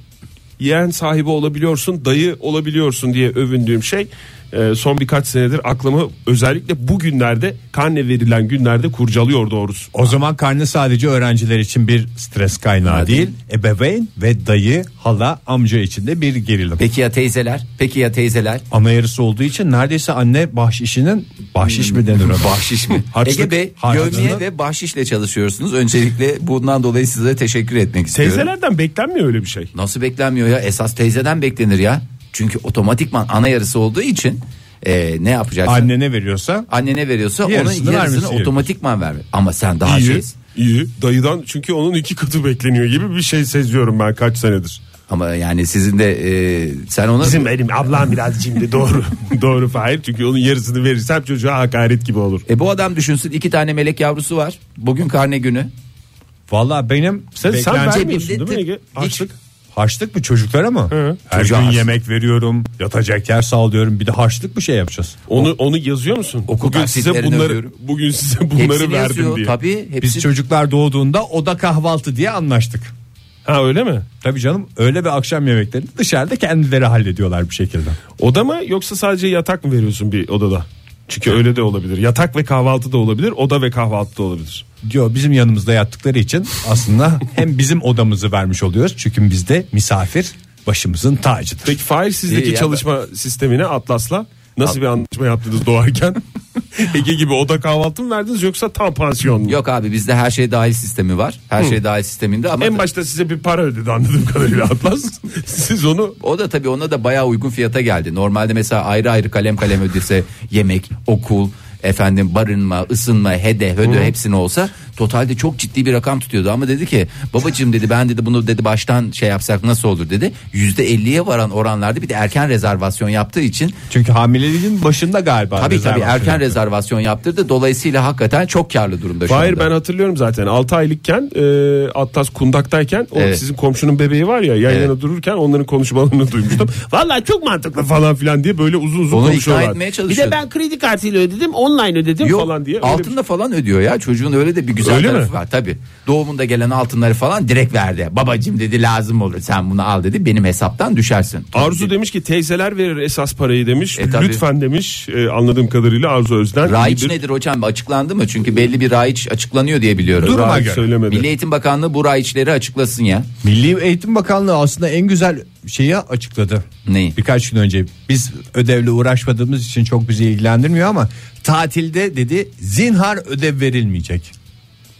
Speaker 5: yeğen sahibi olabiliyorsun, dayı olabiliyorsun diye övündüğüm şey e, son birkaç senedir aklımı özellikle bugünlerde karne verilen günlerde kurcalıyor doğrusu.
Speaker 3: O zaman karne sadece öğrenciler için bir stres kaynağı değil. Ebeveyn ve dayı, hala, amca için de bir gerilim.
Speaker 4: Peki ya teyzeler? Peki ya teyzeler?
Speaker 3: Ana yarısı olduğu için neredeyse anne bahşişinin bahşiş mi denir? ona?
Speaker 4: Bahşiş mi?
Speaker 3: Harçlık
Speaker 4: Ege Bey
Speaker 3: harcadığını-
Speaker 4: gövmeye ve bahşişle çalışıyorsunuz. Öncelikle bundan dolayı size teşekkür etmek istiyorum.
Speaker 5: Teyzelerden beklenmiyor öyle bir şey.
Speaker 4: Nasıl beklenmiyor ya? Esas teyzeden beklenir ya. Çünkü otomatikman ana yarısı olduğu için e, ne yapacaksın?
Speaker 3: annene veriyorsa
Speaker 4: Annene veriyorsa
Speaker 3: Yarısını
Speaker 4: onun
Speaker 3: vermesi
Speaker 4: yarısını
Speaker 3: gerekiyor.
Speaker 4: otomatikman verme. Ama sen daha
Speaker 3: İyi.
Speaker 4: şeysin.
Speaker 5: İyi. Dayıdan çünkü onun iki katı bekleniyor gibi bir şey seziyorum ben kaç senedir.
Speaker 4: Ama yani sizin de e, sen ona
Speaker 5: Bizim benim ablam biraz şimdi doğru. doğru Fahir çünkü onun yarısını verirsem çocuğa hakaret gibi olur.
Speaker 4: E bu adam düşünsün iki tane melek yavrusu var. Bugün karne günü.
Speaker 3: Valla benim
Speaker 5: Sen, sen
Speaker 3: beklentim-
Speaker 5: vermiyorsun değil mi
Speaker 4: Cebimde
Speaker 5: Ege?
Speaker 4: tık-
Speaker 5: Açlık.
Speaker 3: harçlık mı çocuklara mı? Her
Speaker 4: Çocuğa
Speaker 3: gün
Speaker 4: harçlık.
Speaker 3: yemek veriyorum, yatacak yer sağlıyorum. Bir de harçlık mı şey yapacağız?
Speaker 5: Onu onu yazıyor musun?
Speaker 4: Okul
Speaker 5: bugün size
Speaker 4: taksitlerini
Speaker 5: bunları
Speaker 4: ödüyorum.
Speaker 5: bugün size bunları
Speaker 4: Hepsini
Speaker 5: verdim
Speaker 4: yazıyor.
Speaker 5: diye.
Speaker 4: Tabii hepsi.
Speaker 3: Biz çocuklar doğduğunda oda kahvaltı diye anlaştık.
Speaker 5: Ha öyle mi?
Speaker 3: Tabii canım öğle ve akşam yemeklerini dışarıda kendileri hallediyorlar bir şekilde.
Speaker 5: Oda mı yoksa sadece yatak mı veriyorsun bir odada? Çünkü öyle de olabilir. Yatak ve kahvaltı da olabilir, oda ve kahvaltı da olabilir.
Speaker 3: Diyor bizim yanımızda yattıkları için aslında hem bizim odamızı vermiş oluyoruz. Çünkü bizde misafir başımızın tacıdır.
Speaker 5: Peki Fahir sizdeki
Speaker 4: İyi ya.
Speaker 5: çalışma sistemine Atlas'la nasıl bir anlaşma yaptınız doğarken? Ege gibi oda kahvaltı mı verdiniz yoksa tam pansiyon mu?
Speaker 4: Yok abi bizde her şey dahil sistemi var. Her şey dahil sisteminde ama
Speaker 5: En başta size bir para ödedi anladığım kadarıyla Atlas. Siz onu
Speaker 4: o da tabii ona da bayağı uygun fiyata geldi. Normalde mesela ayrı ayrı kalem kalem ödese yemek, okul, efendim barınma, ısınma, hede, höde hepsini olsa totalde çok ciddi bir rakam tutuyordu ama dedi ki babacığım dedi ben dedi bunu dedi baştan şey yapsak nasıl olur dedi. %50'ye varan oranlarda bir de erken rezervasyon yaptığı için
Speaker 3: Çünkü hamileliğin başında galiba.
Speaker 4: Tabii tabii
Speaker 3: rezervasyon
Speaker 4: erken
Speaker 3: yapıyor.
Speaker 4: rezervasyon yaptırdı. Dolayısıyla hakikaten çok karlı durumda şu
Speaker 5: Hayır
Speaker 4: anda.
Speaker 5: ben hatırlıyorum zaten 6 aylıkken e, Atlas kundaktayken o
Speaker 4: Evet.
Speaker 5: sizin komşunun bebeği var ya yan
Speaker 4: Evet.
Speaker 5: yana dururken onların konuşmalarını duymuştum. Vallahi çok mantıklı falan filan diye böyle uzun uzun
Speaker 4: Onu ikna
Speaker 5: konuşuyorlar.
Speaker 4: etmeye çalışıyordu.
Speaker 5: kredi kartıyla ödedim online ödedim
Speaker 4: Yok,
Speaker 5: falan diye. Öyle bir- şey.
Speaker 4: altında falan ödüyor ya çocuğun öyle de bir güzel
Speaker 5: Öyle
Speaker 4: tarafı
Speaker 5: mi?
Speaker 4: var tabi doğumunda gelen altınları falan direkt verdi babacım dedi lazım olur sen bunu al dedi benim hesaptan düşersin
Speaker 5: Arzu demiş ki teyzeler verir esas parayı demiş.
Speaker 4: E, tabii.
Speaker 5: Lütfen demiş e, anladığım kadarıyla Arzu Özden.
Speaker 4: Raiç
Speaker 5: İyidir.
Speaker 4: nedir hocam açıklandı mı çünkü belli bir raiç açıklanıyor diye biliyorum
Speaker 3: Duruma
Speaker 5: Raiç
Speaker 3: göre.
Speaker 5: söylemedi.
Speaker 4: Milli Eğitim Bakanlığı bu raiçleri açıklasın ya
Speaker 3: Milli Eğitim Bakanlığı aslında en güzel şeyi açıkladı.
Speaker 4: Neyi?
Speaker 3: Birkaç gün önce biz ödevle uğraşmadığımız için çok bizi ilgilendirmiyor ama tatilde dedi zinhar ödev verilmeyecek.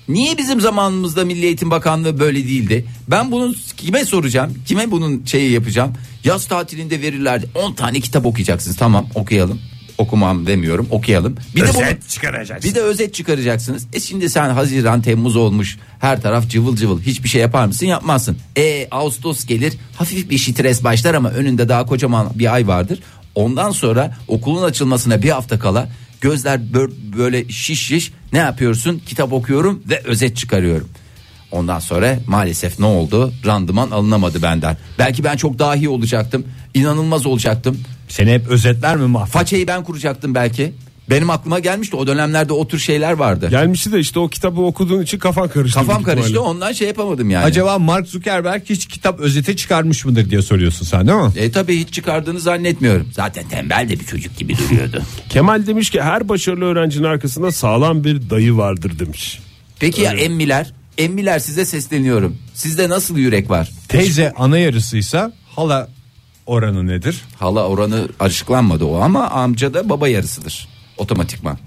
Speaker 4: Niye bizim zamanımızda Milli Eğitim Bakanlığı böyle değildi? Ben bunu kime soracağım? Kime bunun şeyi yapacağım? Yaz tatilinde verirlerdi. 10 tane kitap okuyacaksınız. Tamam okuyalım. Okumam demiyorum. Okuyalım. Bir de bunu-
Speaker 5: çıkaracaksın.
Speaker 4: bir de özet çıkaracaksınız. E şimdi sen Haziran Temmuz olmuş. Her taraf cıvıl cıvıl. Hiçbir şey yapar mısın? Yapmazsın. E Ağustos gelir. Hafif bir stres başlar ama önünde daha kocaman bir ay vardır. Ondan sonra okulun açılmasına bir hafta kala gözler bö- böyle şiş şiş ne yapıyorsun? Kitap okuyorum ve özet çıkarıyorum. Ondan sonra maalesef ne oldu? Randıman alınamadı benden. Belki ben çok dahi olacaktım. inanılmaz olacaktım.
Speaker 3: Seni hep özetler mi mahvet?
Speaker 4: Façeyi ben kuracaktım belki. Benim aklıma gelmişti o dönemlerde o tür şeyler vardı.
Speaker 5: Gelmişti de işte o kitabı okuduğun için kafan karıştı.
Speaker 4: Kafam
Speaker 5: büyük ihtimalle.
Speaker 4: karıştı ondan şey yapamadım yani.
Speaker 3: Acaba Mark Zuckerberg hiç kitap özeti çıkarmış mıdır diye soruyorsun sen değil mi?
Speaker 4: E tabi hiç çıkardığını zannetmiyorum. Zaten tembel de bir çocuk gibi duruyordu.
Speaker 5: Kemal demiş ki her başarılı öğrencinin arkasında sağlam bir dayı vardır demiş.
Speaker 4: Peki ya emmiler? Emmiler size sesleniyorum. Sizde nasıl yürek var?
Speaker 3: Teyze ana yarısıysa hala oranı nedir?
Speaker 4: Hala oranı açıklanmadı o ama amca da baba yarısıdır. Otomatikman.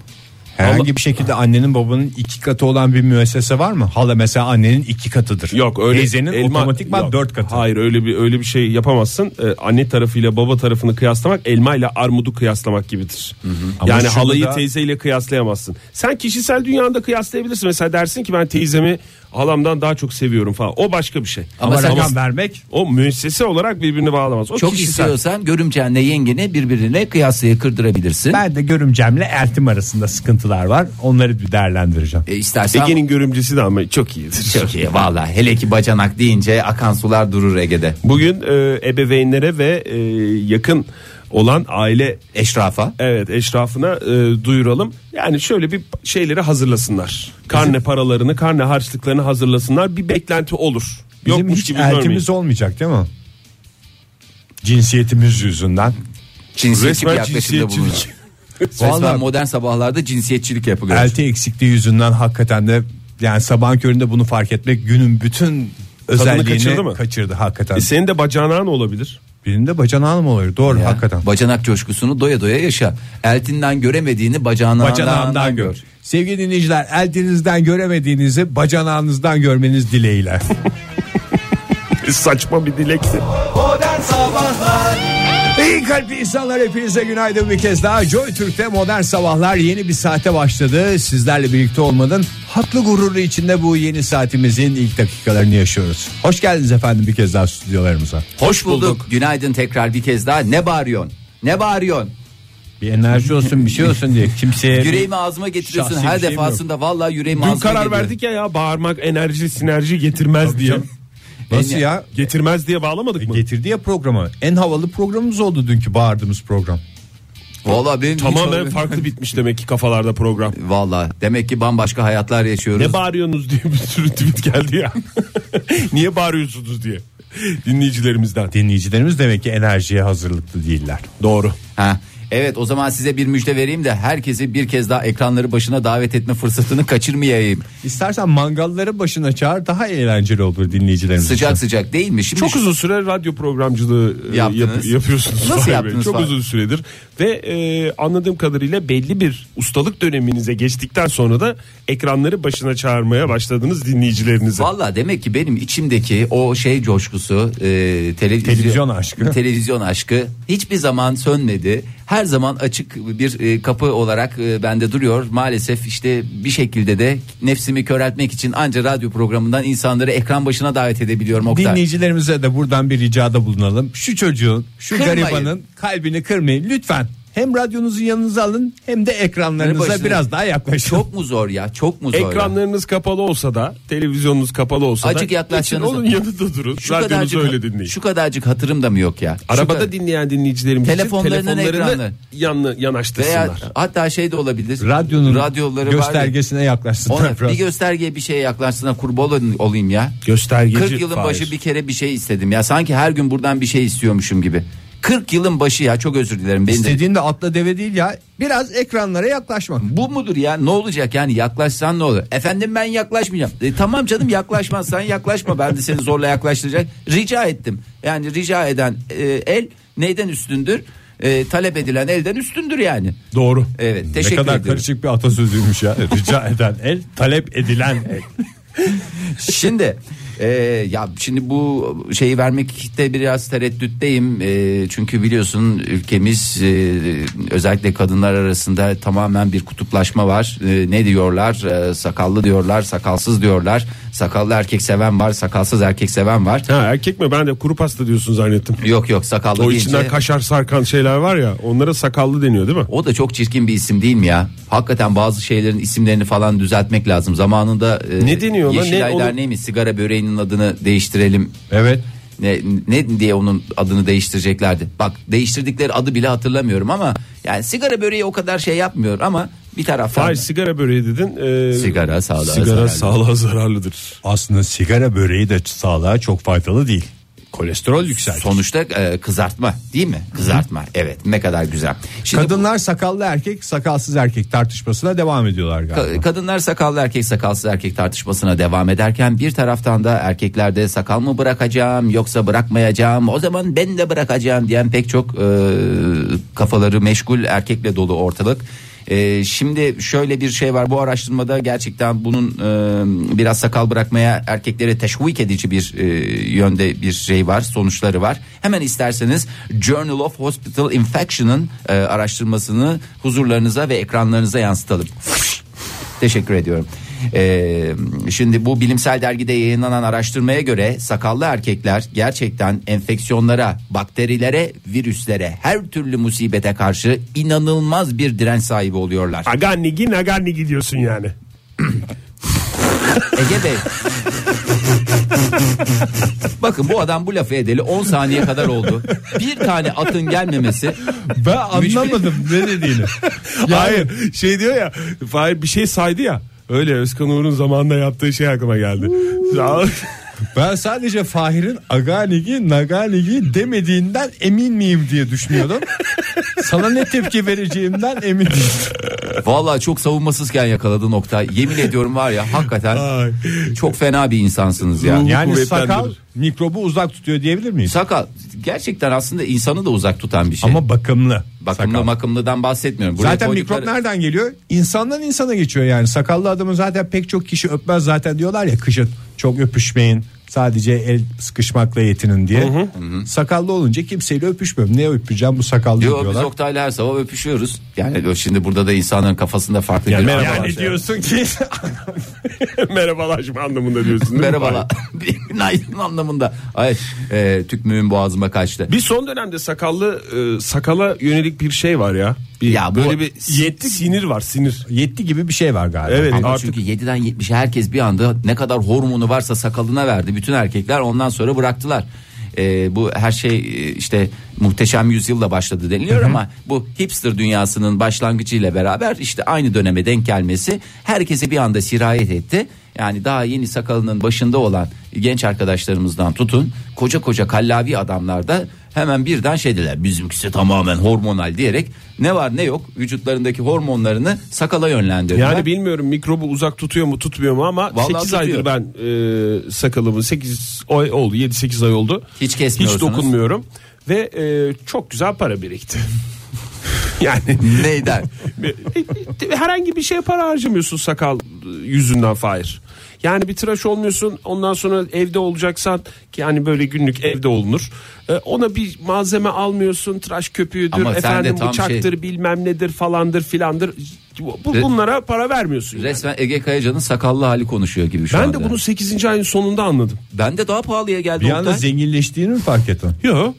Speaker 3: Herhangi bir şekilde annenin babanın iki katı olan bir müessese var mı? Hala mesela annenin iki katıdır.
Speaker 5: Yok öyle
Speaker 3: Teyzenin
Speaker 5: elma-
Speaker 3: otomatikman
Speaker 5: Yok,
Speaker 3: dört katı.
Speaker 5: Hayır öyle bir öyle bir şey yapamazsın. Ee, anne tarafıyla baba tarafını kıyaslamak elma ile armudu kıyaslamak gibidir.
Speaker 3: Ama
Speaker 5: Yani
Speaker 3: şunu
Speaker 5: halayı
Speaker 3: da-
Speaker 5: teyzeyle kıyaslayamazsın. Sen kişisel dünyanda kıyaslayabilirsin. Mesela dersin ki ben teyzemi halamdan daha çok seviyorum falan. O başka bir şey.
Speaker 4: Ama
Speaker 3: Ama
Speaker 4: sen-
Speaker 3: rakam vermek
Speaker 5: O müessese olarak birbirini bağlamaz. O
Speaker 4: Çok
Speaker 5: kişisel.
Speaker 4: istiyorsan görümcenle yengene birbirine kıyaslayı kırdırabilirsin.
Speaker 3: ben de görümcemle eltim arasında sıkıntılar var. Onları bir değerlendireceğim.
Speaker 4: E, istersen
Speaker 5: Ege'nin görümcesi de ama çok iyidir.
Speaker 4: Çok iyi valla hele ki bacanak deyince akan sular durur Ege'de.
Speaker 5: Bugün e, ebeveynlere ve e, yakın olan aile
Speaker 4: Eşrafa.
Speaker 5: Evet eşrafına e, duyuralım. Yani şöyle bir şeyleri hazırlasınlar. Karne paralarını, karne harçlıklarını hazırlasınlar. Bir beklenti olur.
Speaker 3: Bizim
Speaker 5: Yokmuş
Speaker 3: hiç
Speaker 5: gibi görmeyin.
Speaker 3: eltimiz olmayacak değil mi? Cinsiyetimiz yüzünden.
Speaker 4: Cinsiyetçi bir
Speaker 5: Resmen
Speaker 4: yaklaşımda bulunuyor.
Speaker 5: cinsiyetçilik.
Speaker 4: Resmen
Speaker 3: Vallahi-
Speaker 4: modern sabahlarda cinsiyetçilik yapılıyor.
Speaker 3: Elti eksikliği yüzünden hakikaten de yani sabahın köründe bunu fark etmek günün bütün özelliğini
Speaker 5: kaçırdı
Speaker 3: kaçırdı,
Speaker 5: mı?
Speaker 3: hakikaten.
Speaker 5: E, senin de bacanağın olabilir.
Speaker 3: Benim de bacanağım oluyor doğru
Speaker 4: Ya,
Speaker 3: hakikaten.
Speaker 4: Bacanak coşkusunu doya doya yaşa. Eltinden göremediğini bacanağından,
Speaker 3: Bacanağımdan gör.
Speaker 4: gör.
Speaker 3: Sevgili dinleyiciler eltinizden göremediğinizi bacanağınızdan görmeniz dileğiyle.
Speaker 5: E, saçma bir dilekti.
Speaker 8: Modern Sabahlar
Speaker 3: İyi kalpli insanlar hepinize günaydın bir kez daha. Joy Türk'te modern sabahlar yeni bir saate başladı. Sizlerle birlikte olmanın haklı gururu içinde bu yeni saatimizin ilk dakikalarını yaşıyoruz. Hoş geldiniz efendim bir kez daha stüdyolarımıza.
Speaker 4: Hoş bulduk. Günaydın tekrar bir kez daha. Ne bağırıyorsun? Ne bağırıyorsun?
Speaker 3: Bir enerji olsun bir şey olsun diye kimseye...
Speaker 4: Yüreğimi ağzıma getiriyorsun
Speaker 3: Şahsi bir
Speaker 4: her
Speaker 3: şeyim yok.
Speaker 4: defasında. Vallahi yüreğimi
Speaker 5: Dün
Speaker 4: ağzıma
Speaker 5: karar
Speaker 4: getiriyorum.
Speaker 5: verdik ya ya bağırmak enerji sinerji getirmez diye.
Speaker 3: Nasıl ya?
Speaker 5: Getirmez diye bağlamadık mı?
Speaker 3: Getirdi ya programı. En havalı programımız oldu dünkü bağırdığımız program.
Speaker 4: Vallahi benim hiç
Speaker 5: Tamamen
Speaker 4: haberim-
Speaker 5: farklı bitmiş demek ki kafalarda program.
Speaker 4: Vallahi demek ki bambaşka hayatlar yaşıyoruz.
Speaker 5: Ne bağırıyorsunuz diye bir sürü tweet geldi ya. Niye bağırıyorsunuz diye dinleyicilerimizden.
Speaker 3: Dinleyicilerimiz demek ki enerjiye hazırlıklı değiller. Doğru.
Speaker 4: Ha. Evet o zaman size bir müjde vereyim de herkesi bir kez daha ekranları başına davet etme fırsatını kaçırmayayım.
Speaker 3: İstersen mangalları başına çağır daha eğlenceli olur dinleyicilerimiz.
Speaker 4: Sıcak sıcak değil mi? Şimdi
Speaker 5: Çok uzun süre radyo programcılığı e, yap-
Speaker 4: Yaptınız.
Speaker 5: yapıyorsunuz.
Speaker 4: Nasıl
Speaker 5: Vay be,
Speaker 4: yaptınız
Speaker 5: Çok
Speaker 4: Fahir?
Speaker 5: uzun süredir ve e, anladığım kadarıyla belli bir ustalık döneminize geçtikten sonra da ekranları başına çağırmaya başladınız dinleyicilerinizi.
Speaker 4: Valla demek ki benim içimdeki o şey coşkusu e, televizyon,
Speaker 3: Televizyon aşkı.
Speaker 4: televizyon aşkı hiçbir zaman sönmedi. Her zaman açık bir e, kapı olarak e, bende duruyor. Maalesef işte bir şekilde de nefsimi köreltmek için anca radyo programından insanları ekran başına davet edebiliyorum Oktay.
Speaker 3: Dinleyicilerimize de buradan bir ricada bulunalım. Şu çocuğun, şu
Speaker 4: Kırmayın.
Speaker 3: garibanın kalbini kırmayın lütfen. Hem radyonuzu yanınıza alın hem de ekranlarınıza
Speaker 4: Başına-
Speaker 3: biraz daha yaklaşın.
Speaker 4: Çok mu zor ya? Çok mu zor? ya?
Speaker 5: Ekranlarınız kapalı olsa da, televizyonunuz kapalı olsa da
Speaker 4: Acık yaklaşsanıza.
Speaker 5: geçin Onun yanında durun. Radyonuzu öyle dinleyin.
Speaker 4: şu kadarcık hatırım da mı yok ya? Şu
Speaker 5: Arabada
Speaker 4: kadar-
Speaker 5: dinleyen dinleyicilerimiz
Speaker 4: Telefonlarının
Speaker 5: için telefonlarını
Speaker 4: ekranı.
Speaker 5: yanlı, yanaştırsınlar.
Speaker 4: veya hatta şey de olabilir.
Speaker 3: Radyonun
Speaker 4: radyoları var ya.
Speaker 3: göstergesine yaklaşsınlar
Speaker 4: Ona
Speaker 3: biraz.
Speaker 4: bir göstergeye bir şeye yaklaşsana kurban olun- olayım ya.
Speaker 5: Göstergeci
Speaker 4: 40 yılın
Speaker 5: Fahir.
Speaker 4: başı bir kere bir şey istedim ya. Sanki her gün buradan bir şey istiyormuşum gibi. 40 yılın başı ya çok özür dilerim. Benim de-
Speaker 3: İstediğin de atla deve değil ya. Biraz ekranlara yaklaşmak.
Speaker 4: Bu mudur ya ne olacak yani yaklaşsan ne olur? Efendim ben yaklaşmayacağım. E, tamam canım yaklaşmazsan yaklaşma ben de seni zorla yaklaştıracak. Rica ettim. Yani rica eden e, el neyden üstündür? E, talep edilen elden üstündür yani.
Speaker 3: Doğru.
Speaker 4: Evet, teşekkür
Speaker 3: Ne kadar
Speaker 4: ederim.
Speaker 3: karışık bir atasözüymüş ya. Rica eden el, talep edilen el.
Speaker 4: Şimdi e, ya şimdi bu şeyi vermekte biraz tereddütteyim E, çünkü biliyorsun ülkemiz e, özellikle kadınlar arasında tamamen bir kutuplaşma var. E, ne diyorlar E, sakallı diyorlar sakalsız diyorlar sakallı erkek seven var sakalsız erkek seven var.
Speaker 5: Ha, erkek mi? Ben de kuru pasta diyorsun zannettim.
Speaker 4: Yok yok sakallı
Speaker 5: O
Speaker 4: deyince-
Speaker 5: içinden kaşar sarkan şeyler var ya onlara sakallı deniyor değil mi?
Speaker 4: O da çok çirkin bir isim değil mi ya? Hakikaten bazı şeylerin isimlerini falan düzeltmek lazım. Zamanında e,
Speaker 5: Ne deniyor lan?
Speaker 4: Yeşilay
Speaker 5: Ne- onu-
Speaker 4: Derneği mi sigara böreğinin adını değiştirelim.
Speaker 3: Evet.
Speaker 4: Ne, ne diye onun adını değiştireceklerdi. Bak değiştirdikleri adı bile hatırlamıyorum ama yani sigara böreği o kadar şey yapmıyor ama bir taraftan
Speaker 5: Hayır sigara böreği dedin. Ee,
Speaker 4: Sigara sağlığa
Speaker 5: sigara
Speaker 4: zararlı.
Speaker 5: sağlığa zararlıdır.
Speaker 3: Aslında sigara böreği de sağlığa çok faydalı değil. Kolesterol yükseltir.
Speaker 4: sonuçta e, kızartma değil mi? Kızartma. Evet. Ne kadar güzel. Şimdi
Speaker 3: Kadınlar sakallı erkek sakalsız erkek tartışmasına devam ediyorlar galiba.
Speaker 4: Ka- Kadınlar sakallı erkek sakalsız erkek tartışmasına devam ederken bir taraftan da erkeklerde sakal mı bırakacağım yoksa bırakmayacağım o zaman ben de bırakacağım diyen pek çok e, kafaları meşgul erkekle dolu ortalık. E, şimdi şöyle bir şey var bu araştırmada gerçekten bunun e, biraz sakal bırakmaya erkeklere teşvik edici bir e, yönde bir şey var sonuçları var. Hemen isterseniz Journal of Hospital Infection'ın e, araştırmasını huzurlarınıza ve ekranlarınıza yansıtalım. Teşekkür ediyorum. Ee, şimdi bu bilimsel dergide yayınlanan araştırmaya göre sakallı erkekler gerçekten enfeksiyonlara, bakterilere, virüslere, her türlü musibete karşı inanılmaz bir direnç sahibi oluyorlar.
Speaker 5: Agannigi nagannigi diyorsun yani.
Speaker 4: Ege Bey. Bakın bu adam bu lafı edeli 10 saniye kadar oldu. Bir tane atın gelmemesi
Speaker 3: Ben anlamadım ne dediğini.
Speaker 5: Hayır şey diyor ya Fahir bir şey saydı ya. Öyle Özkan Uğur'un zamanında yaptığı şey aklıma geldi.
Speaker 3: Ben sadece Fahir'in Aganigi Naganigi demediğinden emin miyim diye düşünüyordum. Sana ne tepki vereceğimden emin değilim.
Speaker 4: vallahi çok savunmasızken yakaladı nokta. Yemin ediyorum var ya hakikaten
Speaker 5: Ay.
Speaker 4: çok fena bir insansınız ya.
Speaker 3: Yani
Speaker 5: kuvvetlendirir.
Speaker 3: sakal mikrobu uzak tutuyor diyebilir miyiz?
Speaker 4: Sakal gerçekten aslında insanı da uzak tutan bir şey.
Speaker 3: Ama bakımlı.
Speaker 4: bakımlı
Speaker 3: sakal.
Speaker 4: makımlıdan bahsetmiyorum. Buraya
Speaker 3: Zaten
Speaker 4: koydukları-
Speaker 3: mikrop nereden geliyor? İnsandan insana geçiyor yani. Sakallı adamı zaten pek çok kişi öpmez zaten diyorlar ya kışın. Çok öpüşmeyin, Sadece el sıkışmakla yetinin diye. Sakallı olunca kimseyle öpüşmüyorum. Ne öpeceğim bu sakallı
Speaker 4: Yok biz
Speaker 3: diyorlar.
Speaker 4: Oktay'la her sabah öpüşüyoruz. Yani şimdi burada da insanların kafasında farklı bir
Speaker 3: merhaba.
Speaker 5: Yani diyorsun ki merhabalaşma anlamında diyorsun. değil mi?
Speaker 4: Merhabalar. Günaydın anlamında. Ay, e, tükmüğüm boğazıma kaçtı.
Speaker 5: Bir son dönemde sakallı e, sakala yönelik bir şey var ya. Bir,
Speaker 4: Ya bu-
Speaker 5: böyle bir yetti sinir var sinir.
Speaker 3: Yetti gibi bir şey var galiba.
Speaker 5: Evet
Speaker 4: Ama
Speaker 5: artık
Speaker 4: çünkü 7'den 70'e herkes bir anda ne kadar hormonu varsa sakalına verdi. Bütün erkekler ondan sonra bıraktılar. Ee, bu her şey e, işte muhteşem yüzyılla başladı deniliyor ama bu hipster dünyasının başlangıcıyla beraber işte aynı döneme denk gelmesi herkese bir anda sirayet etti. Yani daha yeni sakalının başında olan genç arkadaşlarımızdan tutun koca koca kallavi adamlar da hemen birden şey dediler bizimkisi tamamen hormonal diyerek ne var ne yok vücutlarındaki hormonlarını sakala yönlendirdiler.
Speaker 5: yani bilmiyorum mikrobu uzak tutuyor mu tutmuyor mu ama
Speaker 4: Vallahi
Speaker 5: 8
Speaker 4: tutuyor.
Speaker 5: aydır ben e, sakalımı 8 ay oldu 7-8 ay oldu.
Speaker 4: Hiç kesmiyorsunuz.
Speaker 5: Hiç dokunmuyorum ve e, çok güzel para birikti. yani
Speaker 4: Neyden?
Speaker 5: E, herhangi bir şeye para harcamıyorsun sakal yüzünden Fahir. Yani bir tıraş olmuyorsun ondan sonra evde olacaksan ki yani böyle günlük evde olunur. Ee, Ona bir malzeme almıyorsun tıraş köpüğüdür
Speaker 4: Ama sen de
Speaker 5: efendim
Speaker 4: tam şey-
Speaker 5: bıçaktır bilmem nedir falandır filandır. Bu,
Speaker 4: Re-
Speaker 5: bunlara para vermiyorsun. yani.
Speaker 4: Resmen Ege Kayacan'ın sakallı hali konuşuyor gibi şu
Speaker 5: Ben
Speaker 4: anda.
Speaker 5: de bunu 8. ayın sonunda anladım.
Speaker 4: Ben de daha pahalıya geldi
Speaker 3: Bir
Speaker 4: Oktay.
Speaker 3: anda zenginleştiğini mi fark ettin?
Speaker 5: Yo.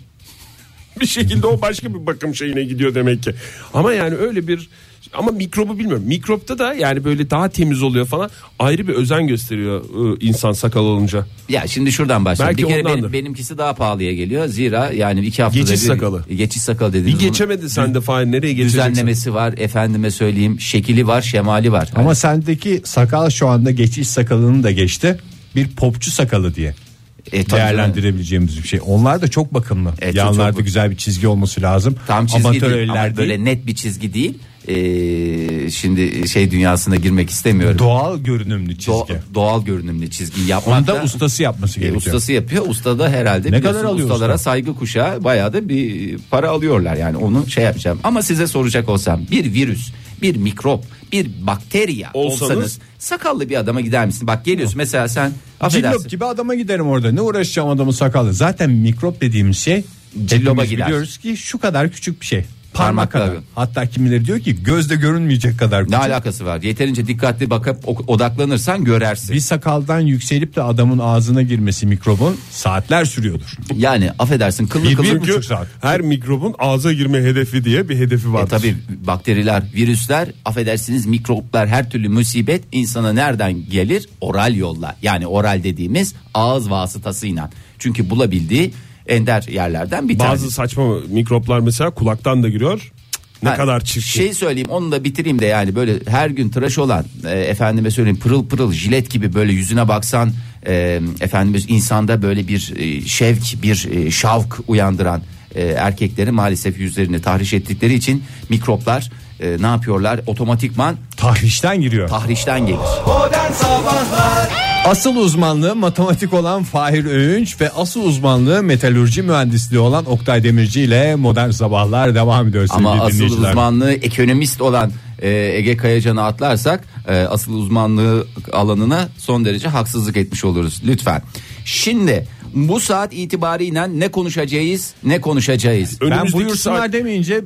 Speaker 5: Bir şekilde o başka bir bakım şeyine gidiyor demek ki. Ama yani öyle bir ama mikrobu bilmiyorum. Mikropta da yani böyle daha temiz oluyor falan. Ayrı bir özen gösteriyor e, insan sakal olunca.
Speaker 4: Ya şimdi şuradan başlayalım.
Speaker 5: Belki
Speaker 4: bir kere
Speaker 5: ondandır.
Speaker 4: benim, benimkisi daha pahalıya geliyor. Zira yani iki haftada
Speaker 5: Geçiş
Speaker 4: bir- E,
Speaker 5: sakalı.
Speaker 4: Geçiş sakalı dediniz.
Speaker 5: Bir geçemedin sen de Fahir nereye
Speaker 4: Bunun
Speaker 5: geçeceksin?
Speaker 4: düzenlemesi var. Efendime söyleyeyim. Şekili var. Şemali var. Hani,
Speaker 3: Ama sendeki sakal şu anda geçiş sakalını da geçti. Bir popçu sakalı diye
Speaker 4: E, tabii canım.
Speaker 3: değerlendirebileceğimiz bir şey. Onlar da çok bakımlı.
Speaker 4: Evet, çok-
Speaker 3: Yanlarda
Speaker 4: çok-
Speaker 3: güzel bir çizgi olması lazım.
Speaker 4: Tam çizgi
Speaker 3: Amatör
Speaker 4: değil.
Speaker 3: eller
Speaker 4: Ama
Speaker 3: değil.
Speaker 4: böyle net bir çizgi değil. Ee, şimdi şey dünyasına girmek istemiyorum.
Speaker 3: Doğal görünümlü çizgi.
Speaker 4: Do- doğal görünümlü çizgi yapmak
Speaker 3: Onu da ustası yapması
Speaker 4: E,
Speaker 3: gerekiyor.
Speaker 4: ustası yapıyor. Usta da herhalde
Speaker 3: Ne
Speaker 4: biliyorsun,
Speaker 3: kadar alıyor
Speaker 4: ustalara
Speaker 3: usta?
Speaker 4: saygı kuşağı bayağı da bir para alıyorlar yani onu şey yapacağım. Ama size soracak olsam bir virüs, bir mikrop, bir bakteriya
Speaker 5: Olsanız-
Speaker 4: olsanız, sakallı bir adama gider misin? Bak geliyorsun mesela sen affedersin.
Speaker 3: Cillop gibi adama giderim orada. Ne uğraşacağım adamın sakalı. Zaten mikrop dediğimiz şey
Speaker 4: Cilloba
Speaker 3: hepimiz
Speaker 4: gider.
Speaker 3: Biliyoruz ki şu kadar küçük bir şey. Parmak
Speaker 4: Parmak
Speaker 3: kadar.
Speaker 4: kadar.
Speaker 3: Hatta kimileri diyor ki gözde görünmeyecek kadar
Speaker 4: Ne
Speaker 3: küçük.
Speaker 4: alakası var? Yeterince dikkatli bakıp ok- odaklanırsan görersin.
Speaker 3: Bir sakaldan yükselip de adamın ağzına girmesi mikrobun saatler sürüyordur.
Speaker 4: Yani affedersin kıllı
Speaker 3: Bir-
Speaker 4: kıllı.
Speaker 3: bir-
Speaker 5: Çünkü
Speaker 3: Buçuk saat.
Speaker 5: her mikrobun ağza girme hedefi diye bir hedefi
Speaker 4: E
Speaker 5: var.
Speaker 4: tabi bakteriler, virüsler, affedersiniz mikroplar her türlü musibet insana nereden gelir? Oral yolla. Yani oral dediğimiz ağız vasıtasıyla. Çünkü bulabildiği ender yerlerden bir tanesi.
Speaker 5: Bazı saçma mikroplar mesela kulaktan da giriyor. Cık, Ne
Speaker 4: Ha,
Speaker 5: kadar çirkin.
Speaker 4: Şey söyleyeyim onu da bitireyim de yani böyle her gün tıraş olan e, efendime söyleyeyim pırıl pırıl jilet gibi böyle yüzüne baksan e, efendime insanda böyle bir e, şevk bir e, şavk uyandıran e, erkekleri maalesef yüzlerini tahriş ettikleri için mikroplar e, ne yapıyorlar otomatikman
Speaker 3: Tahrişten giriyor.
Speaker 4: tahrişten gelir.
Speaker 2: Modern Sabahlar
Speaker 3: Asıl uzmanlığı matematik olan Fahir Öğünç ve asıl uzmanlığı metalürji mühendisliği olan Oktay Demirci ile modern sabahlar devam ediyor sevgili
Speaker 4: Ama asıl
Speaker 3: dinleyiciler.
Speaker 4: uzmanlığı ekonomist olan e, Ege Kayacan'ı atlarsak e, asıl uzmanlığı alanına son derece haksızlık etmiş oluruz lütfen. Şimdi bu saat itibariyle ne konuşacağız ne konuşacağız. E,
Speaker 3: ben
Speaker 5: Önümüzdeki
Speaker 3: buyursunlar
Speaker 5: saat-
Speaker 3: demeyince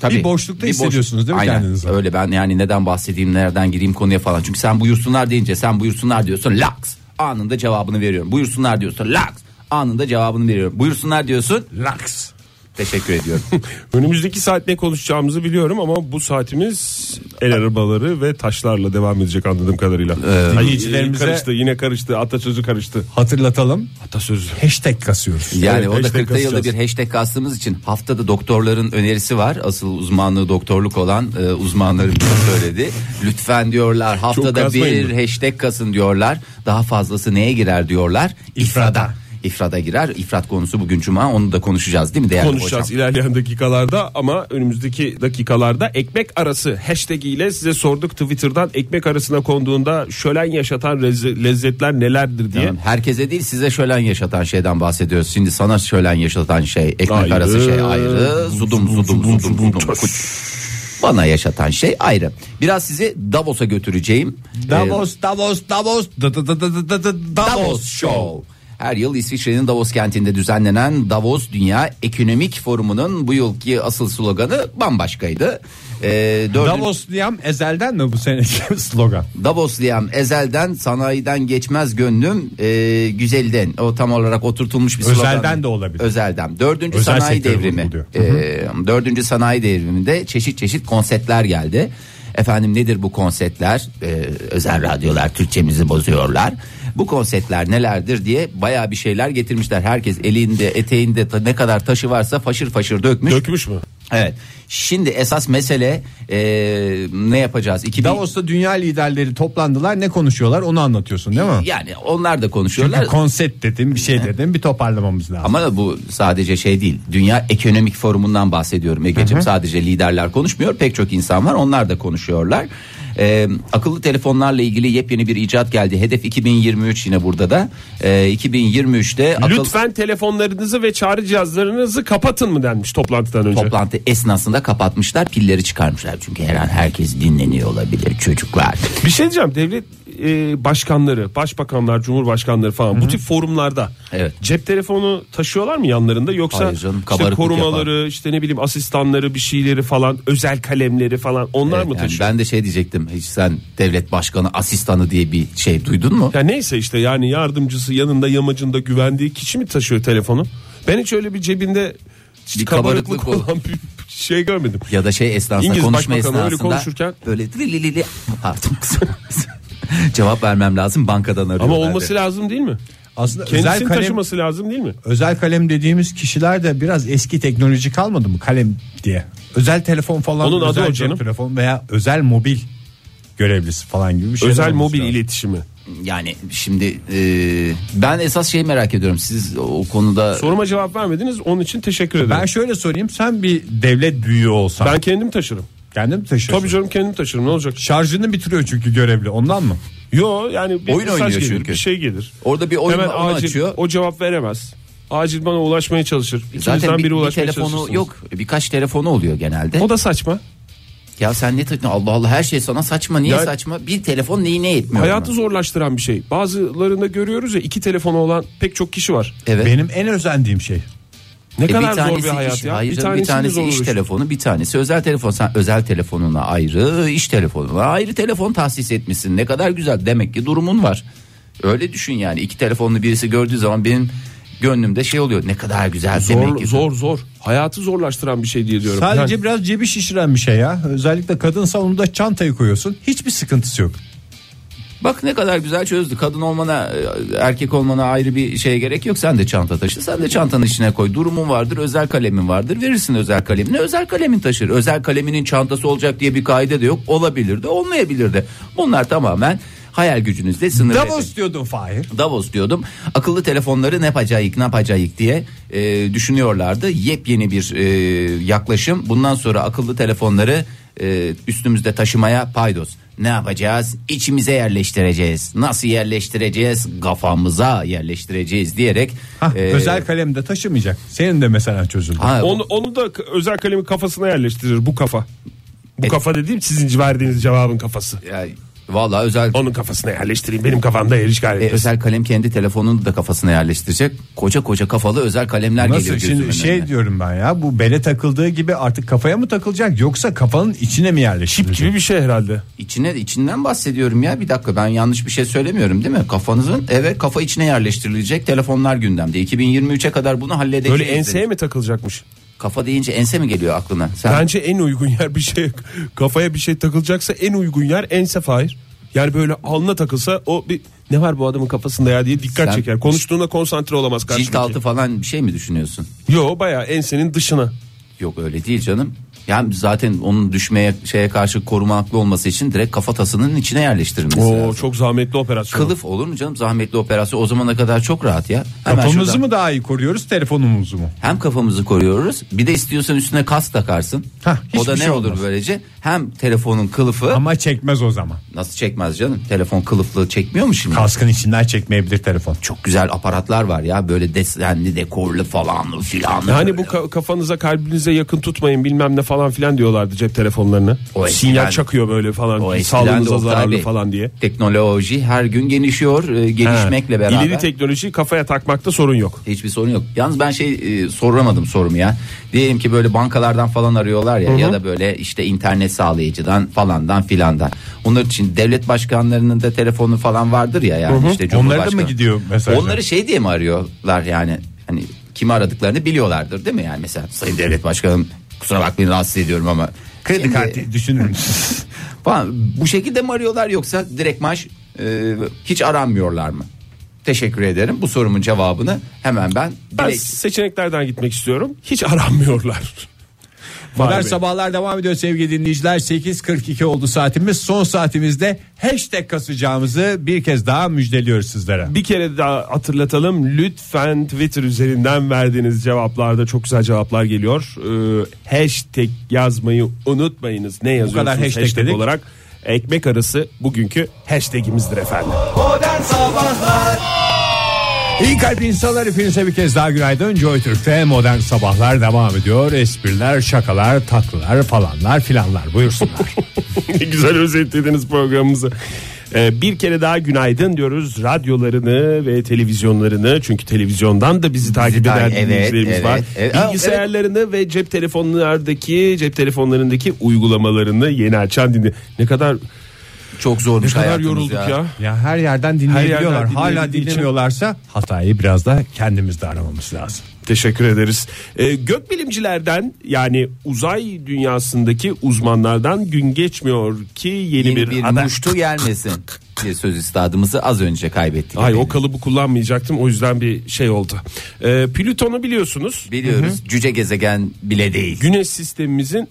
Speaker 4: Tabii,
Speaker 3: bir boşlukta
Speaker 4: bir boş-
Speaker 3: hissediyorsunuz değil mi
Speaker 4: Aynen,
Speaker 3: kendinizi?
Speaker 4: Öyle ben yani neden bahsedeyim nereden gireyim konuya falan. Çünkü sen buyursunlar deyince sen buyursunlar diyorsun laks anında cevabını veriyorum. Buyursunlar diyorsun laks anında cevabını veriyorum. Buyursunlar diyorsun
Speaker 5: Laks.
Speaker 4: teşekkür ediyorum.
Speaker 5: Önümüzdeki saat ne konuşacağımızı biliyorum ama bu saatimiz el arabaları ve taşlarla devam edecek anladığım kadarıyla.
Speaker 3: Dinleyicilerimize-
Speaker 5: karıştı yine karıştı atasözü karıştı.
Speaker 3: Hatırlatalım.
Speaker 5: Atasözü.
Speaker 3: Hashtag kasıyoruz.
Speaker 4: Yani
Speaker 5: Evet,
Speaker 4: o da
Speaker 5: hashtag
Speaker 4: 40 yılda
Speaker 5: kasacağız.
Speaker 4: bir hashtag kastığımız için haftada doktorların önerisi var. Asıl uzmanlığı doktorluk olan e, uzmanlarımız söyledi. Lütfen diyorlar haftada
Speaker 5: kasmayın
Speaker 4: bir hashtag kasın diyorlar. Daha fazlası neye girer diyorlar? İfrada. İfrada girer. İfrat konusu bugün cuma onu da konuşacağız değil mi değerli
Speaker 5: Konuşacağız
Speaker 4: hocam?
Speaker 5: ilerleyen dakikalarda ama önümüzdeki dakikalarda ekmek arası hashtag ile size sorduk Twitter'dan ekmek arasına konduğunda şölen yaşatan rez- lezzetler nelerdir diye.
Speaker 4: Tamam, herkese değil size şölen yaşatan şeyden bahsediyoruz. Şimdi sana şölen yaşatan şey ekmek
Speaker 5: Ayrı.
Speaker 4: arası şey ayrı. Zudum zudum zudum zudum. kuç. Bana yaşatan şey ayrı. Biraz sizi Davos'a götüreceğim. Ee,
Speaker 3: Davos, Davos, Davos, da- da- da- da- da- da- da- Davos Show.
Speaker 4: Her yıl İsviçre'nin Davos kentinde düzenlenen Davos Dünya Ekonomik Forumu'nun bu yılki asıl sloganı bambaşkaydı. E, dördüncü-
Speaker 3: Davos diyem ezelden mi bu seneki slogan?
Speaker 4: Davosluyam ezelden sanayiden geçmez gönlüm e, güzelden o tam olarak oturtulmuş bir slogan.
Speaker 3: Özelden de olabilir.
Speaker 4: Özelden. Dördüncü
Speaker 3: Özel
Speaker 4: sanayi
Speaker 3: sektör
Speaker 4: devrimi.
Speaker 3: vurguluyor.
Speaker 4: E, dördüncü sanayi devriminde çeşit çeşit konseptler geldi. Efendim nedir bu konseptler? E, özel radyolar Türkçemizi bozuyorlar. Bu konseptler nelerdir diye bayağı bir şeyler getirmişler. Herkes elinde eteğinde ta- ne kadar taşı varsa faşır faşır dökmüş.
Speaker 5: Dökmüş mü?
Speaker 4: evet. Şimdi esas mesele e, ne yapacağız? 2000...
Speaker 3: Davos'ta dünya liderleri toplandılar ne konuşuyorlar onu anlatıyorsun değil mi?
Speaker 4: Yani onlar da konuşuyorlar.
Speaker 3: Çünkü konsept dedim bir şey dedim bir toparlamamız lazım.
Speaker 4: Ama bu sadece şey değil. Dünya Ekonomik Forumu'ndan bahsediyorum Ege'ciğim. Sadece liderler konuşmuyor. Pek çok insan var. Onlar da konuşuyorlar. Ee, akıllı telefonlarla ilgili yepyeni bir icat geldi. Hedef 2023 yine burada da. Ee, 2023'te akıl
Speaker 5: Lütfen telefonlarınızı ve çağrı cihazlarınızı kapatın mı denmiş toplantıdan önce.
Speaker 4: toplantı esnasında kapatmışlar. Pilleri çıkarmışlar. Çünkü her an herkes dinleniyor olabilir çocuklar.
Speaker 5: Bir şey diyeceğim devlet e, başkanları, başbakanlar, cumhurbaşkanları falan bu tip forumlarda
Speaker 4: Evet.
Speaker 5: cep telefonu taşıyorlar mı yanlarında yoksa
Speaker 4: Hayır canım,
Speaker 5: işte
Speaker 4: kabarıklık
Speaker 5: korumaları, işte ne bileyim asistanları bir şeyleri falan, özel kalemleri falan onlar mı
Speaker 4: Yani
Speaker 5: taşıyor?
Speaker 4: ben de şey diyecektim. Hiç sen devlet başkanı asistanı diye bir şey duydun mu?
Speaker 5: Ya neyse işte yani yardımcısı yanında yamacında güvendiği kişi mi taşıyor telefonu? Ben hiç öyle bir cebinde
Speaker 4: Bir
Speaker 5: kabarıklık,
Speaker 4: kabarıklık
Speaker 5: olan bir şey görmedim.
Speaker 4: ya da şey esnasında
Speaker 5: İngiliz
Speaker 4: konuşma
Speaker 5: Başbakanı
Speaker 4: esnasında
Speaker 5: öyle konuşurken-
Speaker 4: böyle li li li li- pardon cevap vermem lazım bankadan arıyorlar.
Speaker 5: Ama olması lazım değil mi?
Speaker 3: Aslında
Speaker 5: Kendisinin
Speaker 3: özel kalem,
Speaker 5: taşıması lazım değil mi?
Speaker 3: özel kalem dediğimiz kişiler de biraz eski teknoloji kalmadı mı kalem diye. Özel telefon falan
Speaker 5: Onun adı
Speaker 3: özel
Speaker 5: o
Speaker 3: cep
Speaker 5: canım.
Speaker 3: telefon veya özel mobil görevlisi falan gibi bir şeyler
Speaker 5: Özel
Speaker 3: olması
Speaker 5: mobil
Speaker 3: lazım.
Speaker 5: iletişimi.
Speaker 4: Yani şimdi e, ben esas şeyi merak ediyorum siz o konuda
Speaker 5: Soruma cevap vermediniz onun için teşekkür ederim.
Speaker 3: Ben
Speaker 5: Ben,
Speaker 3: şöyle sorayım sen bir devlet büyüğü olsan
Speaker 5: kendim taşırım.
Speaker 3: kendim taşıyorsun.
Speaker 5: Tabii canım kendim taşırım ne olacak?
Speaker 3: Şarjını bitiriyor çünkü görevli ondan mı?
Speaker 5: Yo yani bir
Speaker 4: Oyun
Speaker 5: mesaj
Speaker 4: oynuyor
Speaker 5: gelir,
Speaker 4: çünkü.
Speaker 5: bir şey gelir.
Speaker 4: orada bir oyun
Speaker 5: Hemen
Speaker 4: onu
Speaker 5: acil
Speaker 4: açıyor.
Speaker 5: o cevap veremez. Acil bana ulaşmaya çalışır.
Speaker 4: Zaten
Speaker 5: İkinizden
Speaker 4: bir,
Speaker 5: biri
Speaker 4: bir
Speaker 5: ulaşmaya
Speaker 4: telefonu
Speaker 5: çalışırsınız.
Speaker 4: yok birkaç telefonu oluyor genelde.
Speaker 5: O da saçma.
Speaker 4: Ya sen ne takıyorsun Allah Allah her şey sana saçma niye
Speaker 5: Ya-
Speaker 4: saçma bir telefon neyine yetmiyor.
Speaker 5: Hayatı
Speaker 4: ona?
Speaker 5: zorlaştıran bir şey. Bazılarında görüyoruz ya iki telefonu olan pek çok kişi var.
Speaker 4: Evet.
Speaker 3: Benim en özendiğim şey.
Speaker 5: Ne
Speaker 4: E,
Speaker 5: kadar
Speaker 4: bir tanesi
Speaker 5: zor bir hayat
Speaker 4: iş,
Speaker 5: ya.
Speaker 4: hayır
Speaker 5: bir
Speaker 4: canım,
Speaker 5: tanesi,
Speaker 4: bir tanesi
Speaker 5: zor
Speaker 4: iş
Speaker 5: olur.
Speaker 4: telefonu, bir tanesi özel telefon. Sen özel telefonuna ayrı, iş telefonuna ayrı telefon tahsis etmişsin. Ne kadar güzel. Demek ki durumun var. Öyle düşün yani. iki telefonlu birisi gördüğü zaman benim gönlümde şey oluyor. Ne kadar güzel demek
Speaker 5: Zor,
Speaker 4: ki.
Speaker 5: zor zor. Hayatı zorlaştıran bir şey diye diyorum.
Speaker 3: Sadece
Speaker 5: Yani
Speaker 3: biraz cebi şişiren bir şey ya. Özellikle kadınsa onu da çantaya koyuyorsun. Hiçbir sıkıntısı yok.
Speaker 4: Bak ne kadar güzel çözdü. Kadın olmana, e, erkek olmana ayrı bir şeye gerek yok. Sen de çanta taşı. Sen de çantanın içine koy. Durumun vardır, özel kalemin vardır. Verirsin özel kalemini. Özel kalemin taşır. Özel kaleminin çantası olacak diye bir kaide de yok. Olabilir de, olmayabilir de. Bunlar tamamen hayal gücünüzle sınırlı.
Speaker 3: Davos diyordun Fahir.
Speaker 4: Davos diyordum. Akıllı telefonları ne yapacağız, ne yapacağız diye e, düşünüyorlardı. Yepyeni bir e, yaklaşım. Bundan sonra akıllı telefonları e, üstümüzde taşımaya paydos. Ne yapacağız? İçimize yerleştireceğiz. Nasıl yerleştireceğiz? Kafamıza yerleştireceğiz diyerek.
Speaker 3: Hah,
Speaker 4: e,
Speaker 3: özel Ee, kalem de taşımayacak. Senin de mesela çözüldü.
Speaker 4: ha,
Speaker 5: onu, onu da k- özel kalemin kafasına yerleştirir bu kafa. Bu
Speaker 4: E-
Speaker 5: kafa dediğim sizin verdiğiniz cevabın kafası.
Speaker 4: ya, vallahi özel
Speaker 5: Onun kafasına yerleştireyim. Benim kafamda erişgal
Speaker 4: e,
Speaker 5: etmesin.
Speaker 4: özel kalem kendi telefonunu da kafasına yerleştirecek. Koca koca kafalı özel kalemler
Speaker 3: Nasıl
Speaker 4: geliyor
Speaker 3: şimdi
Speaker 4: gözümün
Speaker 3: şey
Speaker 4: önüne.
Speaker 3: diyorum ben ya bu bele takıldığı gibi artık kafaya mı takılacak yoksa kafanın içine mi yerleştirecek?
Speaker 5: gibi bir şey herhalde.
Speaker 4: İçine içinden bahsediyorum ya bir dakika ben yanlış bir şey söylemiyorum değil mi? Kafanızın evet kafa içine yerleştirilecek telefonlar gündemde. 2023'e kadar bunu halledeceğiz.
Speaker 5: Böyle enseye
Speaker 4: dedik.
Speaker 5: mi takılacakmış?
Speaker 4: Kafa deyince ense mi geliyor aklına? Sen
Speaker 5: Bence en uygun yer bir şey kafaya bir şey takılacaksa en uygun yer ense fahir. Yani böyle alnına takılsa o bir ne var bu adamın kafasında ya diye dikkat
Speaker 4: Sen-
Speaker 5: çeker. Konuştuğuna konsantre olamaz
Speaker 4: cilt
Speaker 5: karşıdaki.
Speaker 4: altı falan bir şey mi düşünüyorsun?
Speaker 5: Yo bayağı ensenin dışına.
Speaker 4: Yok öyle değil canım. Yani zaten onun düşmeye şeye karşı korunaklı olması için direkt kafatasının içine yerleştirilmesi
Speaker 5: Oo
Speaker 4: lazım.
Speaker 5: çok zahmetli operasyon.
Speaker 4: Kılıf olur mu canım zahmetli operasyon o zamana kadar çok rahat ya. Hemen
Speaker 3: Kafamızı
Speaker 4: şuradan-
Speaker 3: mı daha iyi koruyoruz telefonumuzu mu?
Speaker 4: Hem kafamızı koruyoruz bir de istiyorsan üstüne kas takarsın.
Speaker 3: Hah,
Speaker 4: o da
Speaker 3: hiçbir
Speaker 4: ne
Speaker 3: şey
Speaker 4: olur
Speaker 3: olmaz.
Speaker 4: böylece hem telefonun kılıfı
Speaker 3: Ama çekmez o zaman.
Speaker 4: Nasıl çekmez canım? Telefon kılıflı çekmiyor mu şimdi?
Speaker 3: Kaskın içinden çekmeyebilir telefon. Çok
Speaker 4: Çok güzel aparatlar var ya böyle desenli dekorlu falanlı filanlı.
Speaker 5: Hani bu
Speaker 4: böyle.
Speaker 5: ka- kafanıza kalbinize yakın tutmayın bilmem ne falan filan diyorlardı cep telefonlarını.
Speaker 4: O eskiden-
Speaker 5: Sinyal çakıyor böyle
Speaker 4: O
Speaker 5: falan.
Speaker 4: eskiden de
Speaker 5: Sağlığınıza
Speaker 4: Oktay
Speaker 5: zararlı
Speaker 4: Bey,
Speaker 5: falan diye.
Speaker 4: Teknoloji her gün gelişiyor, e, gelişmekle
Speaker 5: Ha,
Speaker 4: beraber.
Speaker 5: İleri teknolojiyi kafaya takmakta sorun yok.
Speaker 4: Hiçbir sorun yok. Yalnız ben şey e, soramadım sorumu ya. Diyelim ki böyle bankalardan falan arıyorlar ya ya da böyle işte internet sağlayıcıdan falandan filandan. Onlar için devlet başkanlarının da telefonu falan vardır ya yani işte Cumhurbaşkanı.
Speaker 3: Onlara da mı gidiyor mesajlar?
Speaker 4: Onları şey diye mi arıyorlar yani? Hani kimi aradıklarını biliyorlardır değil mi yani mesela Sayın Devlet Başkanım kusura bakmayın rahatsız ediyorum ama
Speaker 3: kredi
Speaker 4: Şimdi-
Speaker 3: kartı düşünür müsün?
Speaker 4: falan bu şekilde mi arıyorlar yoksa direkt maç e, hiç aranmıyorlar mı? Teşekkür ederim. Bu sorumun cevabını hemen ben
Speaker 5: Ben
Speaker 4: direkt
Speaker 5: seçeneklerden gitmek istiyorum. Hiç aranmıyorlar.
Speaker 3: Modern
Speaker 5: Vay be.
Speaker 3: sabahlar devam ediyor sevgili dinleyiciler. 8.42 oldu saatimiz. Son saatimizde hashtag kasacağımızı bir kez daha müjdeliyoruz sizlere.
Speaker 5: Bir kere daha hatırlatalım. Lütfen Twitter üzerinden verdiğiniz cevaplarda çok güzel cevaplar geliyor. Ee, hashtag yazmayı unutmayınız. Ne yazıyorsunuz
Speaker 3: kadar hashtag dedik.
Speaker 5: olarak? Ekmek arası bugünkü hashtagimizdir efendim.
Speaker 6: Modern Sabahlar
Speaker 3: İyi kalp insanlar hepinize bir kez daha günaydın. Joy Türk'te modern sabahlar devam ediyor. Espriler, şakalar, tatlılar falanlar filanlar buyursunlar.
Speaker 5: Ne güzel özetlediniz programımızı. Ee, bir kere daha günaydın diyoruz radyolarını ve televizyonlarını çünkü televizyondan da bizi takip
Speaker 4: takip-
Speaker 5: eden
Speaker 4: evet,
Speaker 5: dinleyicilerimiz
Speaker 4: evet,
Speaker 5: var.
Speaker 4: evet. Aa,
Speaker 5: Bilgisayarlarını ve cep telefonlardaki cep telefonlarındaki uygulamalarını yeni açan dinle. Ne kadar
Speaker 4: çok
Speaker 5: ne
Speaker 4: zormuş
Speaker 5: kadar
Speaker 4: hayatımız
Speaker 5: yorulduk ya.
Speaker 3: ya her yerden dinleyebiliyorlar.
Speaker 5: Her yerden
Speaker 3: Hala
Speaker 5: dinleyebildiği için-
Speaker 3: dinlemiyorlarsa hatayı biraz da kendimizde aramamız lazım.
Speaker 5: Teşekkür ederiz. Ee, gökbilimcilerden yani uzay dünyasındaki uzmanlardan gün geçmiyor ki yeni,
Speaker 4: Yeni bir,
Speaker 5: bir, haber.
Speaker 4: muştu gelmesin diye söz istadımızı az önce kaybettik.
Speaker 5: Ay o kalıbı kullanmayacaktım o yüzden bir şey oldu. Ee, Plüton'u biliyorsunuz.
Speaker 4: Biliyoruz cüce gezegen bile değil.
Speaker 5: Güneş sistemimizin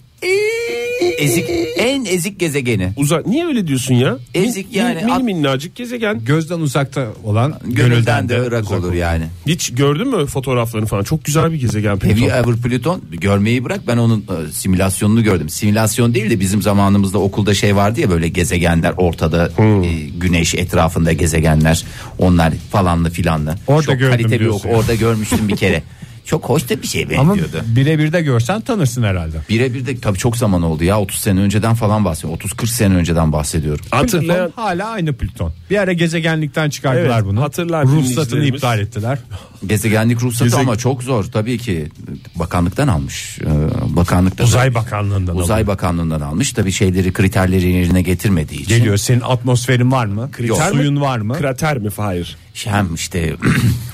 Speaker 4: Ezik en ezik gezegeni.
Speaker 5: uzak niye öyle diyorsun ya?
Speaker 4: Ezik
Speaker 5: Min-
Speaker 4: yani.
Speaker 5: min-
Speaker 4: At-
Speaker 5: mini minnacık gezegen.
Speaker 3: Gözden uzakta olan
Speaker 4: Gönülden de ırak olur yani.
Speaker 5: Hiç gördün mü fotoğraflarını falan? Çok güzel bir gezegen
Speaker 4: Have you
Speaker 5: Plüton.
Speaker 4: ever Plüton? Görmeyi bırak ben onun e, simülasyonunu gördüm. Simülasyon değil de bizim zamanımızda okulda şey vardı ya böyle gezegenler ortada e, güneş etrafında gezegenler onlar falanlı filanlı.
Speaker 3: Orada
Speaker 4: Çok
Speaker 3: gördüm
Speaker 4: kalite bir
Speaker 3: diyorsun.
Speaker 4: oku- orada görmüştüm bir kere. Çok hoş da bir şey
Speaker 3: Ama
Speaker 4: benziyordu.
Speaker 3: birebir de görsen tanırsın herhalde.
Speaker 4: Birebir de tabii çok zaman oldu ya 30 sene önceden falan bahsediyorum. 30-40 sene önceden bahsediyorum.
Speaker 5: Hatırlayan
Speaker 3: Plüton hala aynı Plüton. Bir ara gezegenlikten çıkardılar
Speaker 5: Evet,
Speaker 3: bunu.
Speaker 5: hatırlar
Speaker 3: Ruhsatını
Speaker 5: dinleyicilerimiz.
Speaker 3: iptal ettiler.
Speaker 4: Gezegenlik ruhsatı
Speaker 5: Gezeg-
Speaker 4: ama çok zor tabii ki bakanlıktan almış. Ee, Bakanlıkta
Speaker 3: Uzay Bakanlığı'ndan
Speaker 4: Uzay
Speaker 3: alındı.
Speaker 4: Bakanlığından almış. Tabii şeyleri kriterleri yerine getirmediği için.
Speaker 3: Geliyor senin atmosferin var mı?
Speaker 4: Yok.
Speaker 3: Suyun var mı?
Speaker 5: krater mi Fahir?
Speaker 4: Hem işte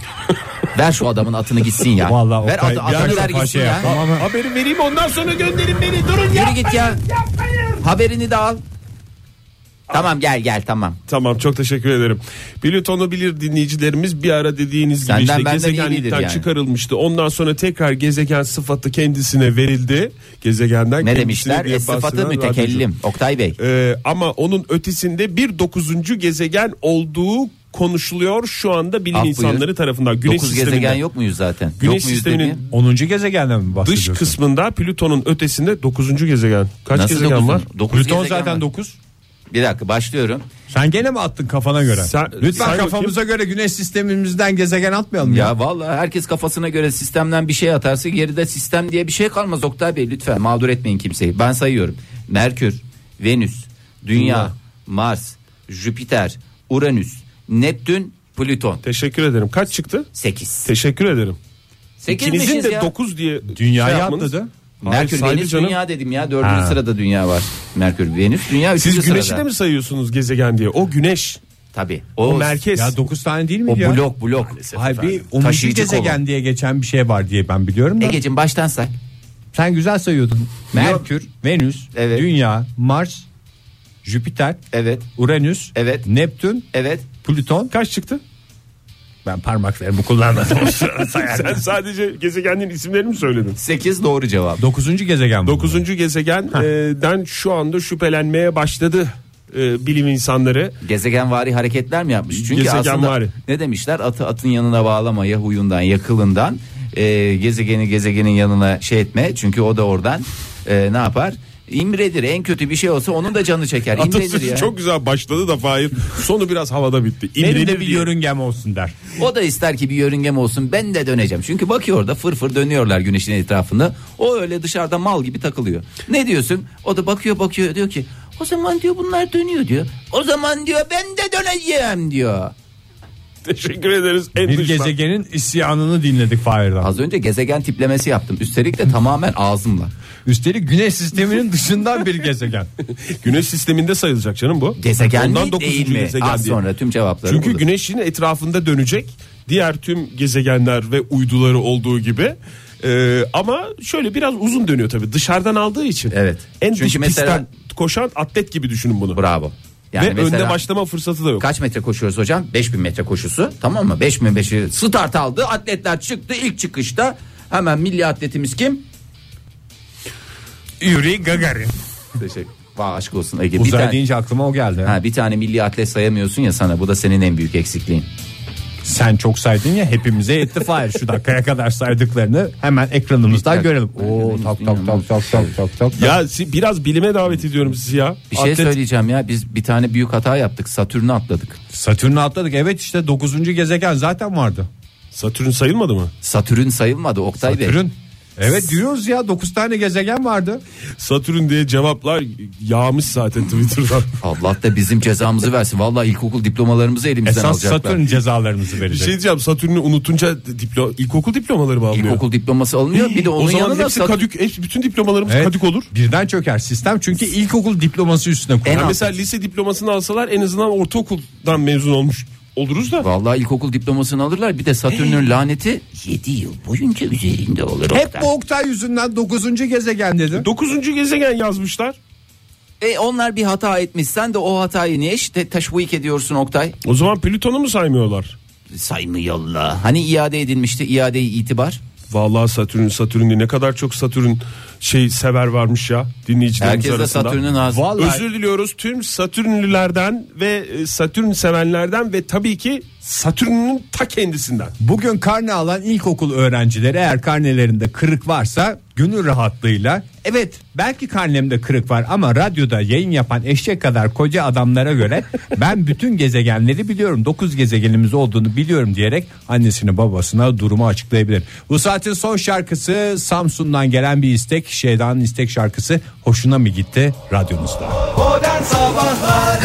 Speaker 4: ver şu adamın atını gitsin ya.
Speaker 3: Vallahi
Speaker 4: ver
Speaker 3: Oktay,
Speaker 4: adı-
Speaker 3: bir
Speaker 4: atını
Speaker 3: an
Speaker 4: ver
Speaker 3: kafa
Speaker 4: gitsin
Speaker 3: şey
Speaker 4: ya.
Speaker 3: yaptı.
Speaker 5: Haberi vereyim ondan sonra gönderin beni. Durun
Speaker 4: Yürü git ya. Haberini de al. Tamam gel gel tamam.
Speaker 5: Tamam çok teşekkür ederim. Plüton'u bilir dinleyicilerimiz bir ara dediğiniz gibi
Speaker 4: Senden
Speaker 5: işte
Speaker 4: benden iyi bilir
Speaker 5: gezegenlikten
Speaker 4: yani.
Speaker 5: çıkarılmıştı. Ondan sonra tekrar gezegen sıfatı kendisine verildi. Gezegenden
Speaker 4: Ne
Speaker 5: kendisine
Speaker 4: demişler?
Speaker 5: diye
Speaker 4: Es sıfatı
Speaker 5: bahseden radyocu.
Speaker 4: mütekellim. Oktay Bey.
Speaker 5: Ee, ama onun ötesinde bir dokuzuncu gezegen olduğu konuşuluyor şu anda bilim
Speaker 4: Ah, buyur.
Speaker 5: insanları tarafından. Güneş
Speaker 4: Dokuz gezegen
Speaker 5: sisteminden.
Speaker 4: yok muyuz zaten?
Speaker 5: Güneş
Speaker 4: yok muyuz
Speaker 5: sisteminin
Speaker 4: dediğin-
Speaker 3: 10. gezegenden mi
Speaker 5: Dış
Speaker 3: bahsediyorsun?
Speaker 5: kısmında Plüton'un ötesinde dokuzuncu gezegen. Kaç
Speaker 4: Nasıl
Speaker 5: gezegen
Speaker 4: dokuzun-
Speaker 5: var?
Speaker 4: dokuz
Speaker 3: Plüton
Speaker 4: gezegen
Speaker 3: zaten
Speaker 4: var.
Speaker 3: 9.
Speaker 4: Bir dakika başlıyorum.
Speaker 3: Sen gene mi attın kafana göre?
Speaker 5: Sen-
Speaker 3: Lütfen
Speaker 5: say
Speaker 3: kafamıza göre güneş sistemimizden gezegen atmayalım ya.
Speaker 4: Ya vallahi herkes kafasına göre sistemden bir şey atarsa geride sistem diye bir şey kalmaz Oktay Bey lütfen mağdur etmeyin kimseyi. Ben sayıyorum. Merkür, Venüs, Dünya, Mars, Jüpiter, Uranüs, Neptün, Plüton.
Speaker 5: Teşekkür ederim. Kaç çıktı?
Speaker 4: 8.
Speaker 5: Teşekkür ederim. İkinizin
Speaker 4: Sekizmişiz
Speaker 5: de
Speaker 4: ya.
Speaker 5: 9 diye
Speaker 3: Dünyayı
Speaker 5: şey yapmanız-
Speaker 3: atladı.
Speaker 5: Hayır,
Speaker 4: Merkür,
Speaker 5: saygı
Speaker 4: Venüs,
Speaker 5: canım.
Speaker 4: Dünya dedim ya. Dördüncü sırada Dünya var. Merkür, Venüs, Dünya üçüncü
Speaker 5: Siz güneşi
Speaker 4: sırada.
Speaker 5: de mi sayıyorsunuz gezegen diye? O güneş.
Speaker 4: Tabii.
Speaker 5: O
Speaker 4: O,
Speaker 5: merkez.
Speaker 3: Ya 9 tane değil mi
Speaker 4: o
Speaker 3: ya?
Speaker 4: blok blok.
Speaker 3: Hayır bir
Speaker 4: Efendim,
Speaker 3: 10.
Speaker 4: taşıyıcı kolu.
Speaker 3: gezegen diye geçen bir şey var diye ben biliyorum da.
Speaker 4: Egeciğim baştan say.
Speaker 3: Sen güzel sayıyordun. Merkür, Venüs,
Speaker 4: Evet.
Speaker 3: Dünya, Mars, Jüpiter,
Speaker 4: Evet.
Speaker 3: Uranüs,
Speaker 4: Evet.
Speaker 3: Neptün,
Speaker 4: Evet.
Speaker 3: Plüton.
Speaker 5: Kaç çıktı?
Speaker 3: Ben parmaklarımı kullanmadım.
Speaker 5: Sen sadece gezegenlerin isimlerini mi söyledin?
Speaker 4: 8 doğru cevap.
Speaker 3: 9. gezegen bu.
Speaker 5: Dokuzuncu gezegenden şu anda şüphelenmeye başladı e, bilim insanları.
Speaker 4: Gezegenvari hareketler mi yapmış? Çünkü aslında
Speaker 5: Gezegenvari.
Speaker 4: ne demişler? Atı atın yanına bağlama ya huyundan ya kılından. Ee, gezegeni gezegenin yanına şey etme. Çünkü o da oradan e, ne yapar? İmredir en kötü bir şey olsa onun da canı çeker. İmredir
Speaker 5: Atasözü
Speaker 4: ya.
Speaker 5: çok güzel başladı da Fahir. Sonu biraz havada bitti.
Speaker 3: Benim
Speaker 5: İmrenir
Speaker 3: de bir
Speaker 5: diye.
Speaker 3: yörüngem olsun der.
Speaker 4: O da ister ki bir yörüngem olsun ben de döneceğim. Çünkü bakıyor orada fır fır dönüyorlar güneşin etrafında. O öyle dışarıda mal gibi takılıyor. Ne diyorsun? O da bakıyor bakıyor diyor ki o zaman diyor bunlar dönüyor diyor. O zaman diyor ben de döneceğim diyor.
Speaker 5: Teşekkür ederiz. En
Speaker 3: Bir
Speaker 5: dıştan.
Speaker 3: gezegenin isyanını dinledik Fahir'den.
Speaker 4: Az önce gezegen tiplemesi yaptım. Üstelik de tamamen ağzımla.
Speaker 3: Üstelik güneş sisteminin dışından bir gezegen.
Speaker 5: Güneş sisteminde sayılacak canım bu.
Speaker 4: Gezegen
Speaker 5: Ondan
Speaker 4: mi
Speaker 5: dokuzuncu
Speaker 4: değil mi?
Speaker 5: gezegen
Speaker 4: Az
Speaker 5: diye.
Speaker 4: sonra tüm cevapları
Speaker 5: Çünkü
Speaker 4: bulur.
Speaker 5: güneşin etrafında dönecek diğer tüm gezegenler ve uyduları olduğu gibi. Ee, ama şöyle biraz uzun dönüyor tabii dışarıdan aldığı için.
Speaker 4: Evet.
Speaker 5: En
Speaker 4: Çünkü
Speaker 5: dış
Speaker 4: mesela-
Speaker 5: pistten koşan atlet gibi düşünün bunu.
Speaker 4: Bravo. Yani
Speaker 5: ve
Speaker 4: mesela-
Speaker 5: önde başlama fırsatı da yok.
Speaker 4: Kaç metre koşuyoruz hocam? 5000 metre koşusu. Tamam mı? 5000 metre start aldı. Atletler çıktı. İlk çıkışta hemen milli atletimiz kim?
Speaker 3: Yuri Gagarin.
Speaker 4: Teşekkür. Vay aşk olsun Ege. Bir
Speaker 3: Uzay
Speaker 4: tane-
Speaker 3: deyince aklıma o geldi.
Speaker 4: Ha, bir tane milli atlet sayamıyorsun ya sana. Bu da senin en büyük eksikliğin.
Speaker 3: Sen çok saydın ya hepimize yetti Fahir. Şu dakikaya kadar saydıklarını hemen ekranımızdan görelim. Oo tak tak tak tak tak tak tak.
Speaker 5: Ya si- biraz bilime davet ediyorum sizi ya.
Speaker 4: Bir şey
Speaker 5: Atlet-
Speaker 4: söyleyeceğim ya. Biz bir tane büyük hata yaptık. Satürn'ü atladık.
Speaker 3: Satürn'ü atladık. Evet işte 9. gezegen zaten vardı.
Speaker 5: Satürn sayılmadı mı?
Speaker 4: Satürn sayılmadı Oktay Bey.
Speaker 3: Satürn. Evet diyoruz ya 9 tane gezegen vardı.
Speaker 5: Satürn diye cevaplar yağmış zaten Twitter'dan.
Speaker 4: Allah da bizim cezamızı versin. Vallahi ilkokul diplomalarımızı elimizden
Speaker 3: Esas
Speaker 4: alacaklar.
Speaker 3: Satürn cezalarımızı
Speaker 5: bir
Speaker 3: verecek.
Speaker 5: şey diyeceğim Satürn'ü unutunca diplo ilkokul diplomaları mı alınıyor?
Speaker 4: İlkokul diploması alınıyor. Bir de onun
Speaker 5: o zaman
Speaker 4: yanına
Speaker 5: hepsi
Speaker 4: Satürn-
Speaker 5: kadük, hepsi- bütün diplomalarımız
Speaker 3: Evet.
Speaker 5: kadük olur.
Speaker 3: Birden çöker sistem çünkü ilkokul diploması üstüne
Speaker 4: En
Speaker 3: kurulur.
Speaker 5: Ya
Speaker 4: alt-
Speaker 5: mesela lise diplomasını alsalar en azından ortaokuldan mezun olmuş oluruz da.
Speaker 4: Vallahi ilkokul diplomasını alırlar. Bir de Satürn'ün laneti 7 yıl boyunca üzerinde olur.
Speaker 3: Hep
Speaker 4: Oktay.
Speaker 3: bu Oktay yüzünden 9. gezegen dedim.
Speaker 5: Dokuzuncu gezegen yazmışlar.
Speaker 4: E onlar bir hata etmiş. Sen de o hatayı niye işte teşvik ediyorsun Oktay?
Speaker 5: O zaman Plüton'u mu saymıyorlar?
Speaker 4: Saymıyorlar. Hani iade edilmişti iade itibar.
Speaker 5: Vallahi Satürn, Satürn'ü ne kadar çok Satürn şey sever varmış ya dinleyicilerimiz
Speaker 4: Herkes de
Speaker 5: arasında.
Speaker 4: Satürn'ün ağzı.
Speaker 3: Vallahi-
Speaker 5: Özür diliyoruz tüm Satürnlülerden ve e, Satürn sevenlerden ve tabii ki Satürn'ün ta kendisinden.
Speaker 3: Bugün karne alan ilkokul öğrencileri eğer karnelerinde kırık varsa gönül rahatlığıyla evet belki karnemde kırık var ama radyoda yayın yapan eşek kadar koca adamlara göre ben bütün gezegenleri biliyorum 9 gezegenimiz olduğunu biliyorum diyerek annesine babasına durumu açıklayabilir. Bu saatin son şarkısı Samsun'dan gelen bir istek Şeyda'nın istek şarkısı hoşuna mı gitti radyomuzda.
Speaker 6: Modern Sabahlar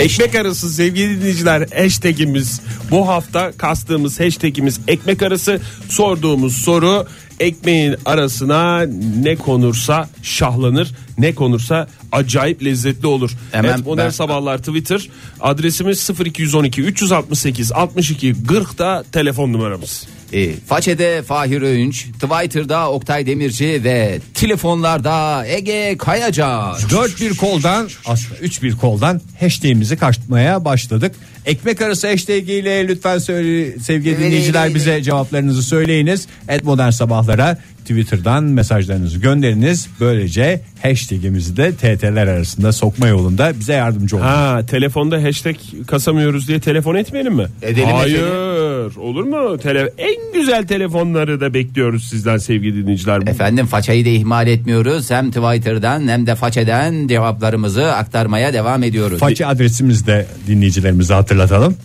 Speaker 5: Ekmek arası sevgili dinleyiciler hashtagimiz bu hafta kastığımız hashtagimiz ekmek arası sorduğumuz soru ekmeğin arasına ne konursa şahlanır ne konursa acayip lezzetli olur.
Speaker 4: Hemen
Speaker 5: evet, modern
Speaker 4: ben-
Speaker 5: sabahlar Twitter adresimiz 0212 368 62 40 da telefon numaramız.
Speaker 4: E, Façede Fahir Öğünç, Twitter'da Oktay Demirci ve telefonlarda Ege Kayaca.
Speaker 3: Dört bir koldan aslında üç bir koldan hashtag'imizi kaçmaya başladık. Ekmek arası hashtag ile lütfen söyle, sevgili dinleyiciler bize cevaplarınızı söyleyiniz. Et modern sabahlara Twitter'dan mesajlarınızı gönderiniz. Böylece hashtag'imizi de TT'ler arasında sokma yolunda bize yardımcı olun.
Speaker 5: Ha telefonda hashtag kasamıyoruz diye telefon etmeyelim mi?
Speaker 4: Edelim,
Speaker 5: Hayır
Speaker 4: edelim.
Speaker 5: olur mu? Tele en güzel telefonları da bekliyoruz sizden sevgili dinleyiciler.
Speaker 4: Efendim façayı da ihmal etmiyoruz. Hem Twitter'dan hem de façeden cevaplarımızı aktarmaya devam ediyoruz.
Speaker 3: Façe adresimizi de dinleyicilerimize hatırlatalım.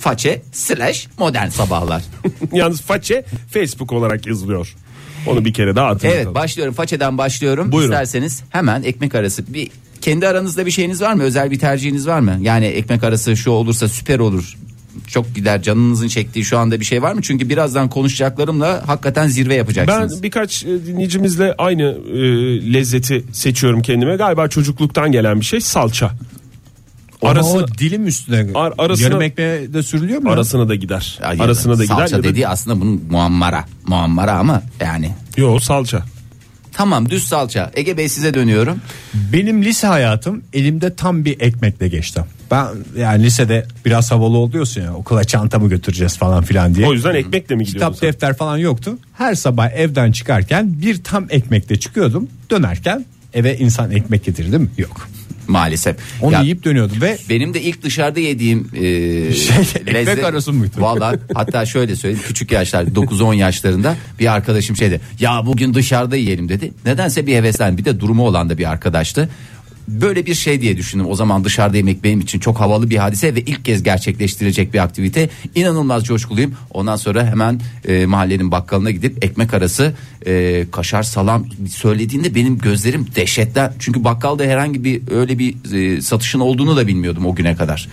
Speaker 4: Façe slash modern sabahlar.
Speaker 5: Yalnız façe Facebook olarak yazılıyor. Onu bir kere daha hatırlatalım.
Speaker 4: evet başlıyorum façeden başlıyorum.
Speaker 5: Buyurun.
Speaker 4: İsterseniz hemen ekmek arası bir kendi aranızda bir şeyiniz var mı? Özel bir tercihiniz var mı? Yani ekmek arası şu olursa süper olur. Çok gider canınızın çektiği şu anda bir şey var mı? Çünkü birazdan konuşacaklarımla hakikaten zirve
Speaker 5: ben
Speaker 4: yapacaksınız.
Speaker 5: birkaç e, dinleyicimizle aynı e, lezzeti seçiyorum kendime. Galiba çocukluktan gelen bir şey salça.
Speaker 3: Ama
Speaker 5: Arasına,
Speaker 3: o dilim üstüne
Speaker 5: Ar- arasına-
Speaker 3: yarım ekmeğe de sürülüyor mu? ya?
Speaker 5: arasına da gider.
Speaker 4: Ay,
Speaker 5: arasına da gider.
Speaker 4: Salça
Speaker 5: ya da-
Speaker 4: dediği aslında bunun muammara. Muammara ama yani.
Speaker 5: Yo salça.
Speaker 4: Tamam düz salça. Ege Bey size dönüyorum.
Speaker 3: Benim lise hayatım elimde tam bir ekmekle geçti. Ben yani lisede biraz havalı oluyorsun ya okula çantamı götüreceğiz falan filan diye.
Speaker 5: O yüzden ekmekle mi gidiyorsun?
Speaker 3: Kitap
Speaker 5: sen?
Speaker 3: defter falan yoktu. Her sabah evden çıkarken bir tam ekmekle çıkıyordum. Dönerken eve insan ekmek getirdim yok.
Speaker 4: maalesef.
Speaker 3: Onu
Speaker 4: Ya,
Speaker 3: yiyip Şey- dönüyordum ve
Speaker 4: benim de ilk dışarıda yediğim e,
Speaker 3: ekmek arası mıydı?
Speaker 4: Valla hatta şöyle söyleyeyim küçük yaşlar 9-10 yaşlarında bir arkadaşım şeydi ya bugün dışarıda yiyelim dedi. Nedense bir heveslen bir de durumu olan da bir arkadaştı. Böyle bir şey diye düşündüm. O zaman dışarıda yemek benim için çok havalı bir hadise ve ilk kez gerçekleştirecek bir aktivite. İnanılmaz coşkuluyum. Ondan sonra hemen e, mahallenin bakkalına gidip ekmek arası e, kaşar salam söylediğinde benim gözlerim dehşetten. Çünkü bakkalda herhangi bir öyle bir e, satışın olduğunu da bilmiyordum o güne kadar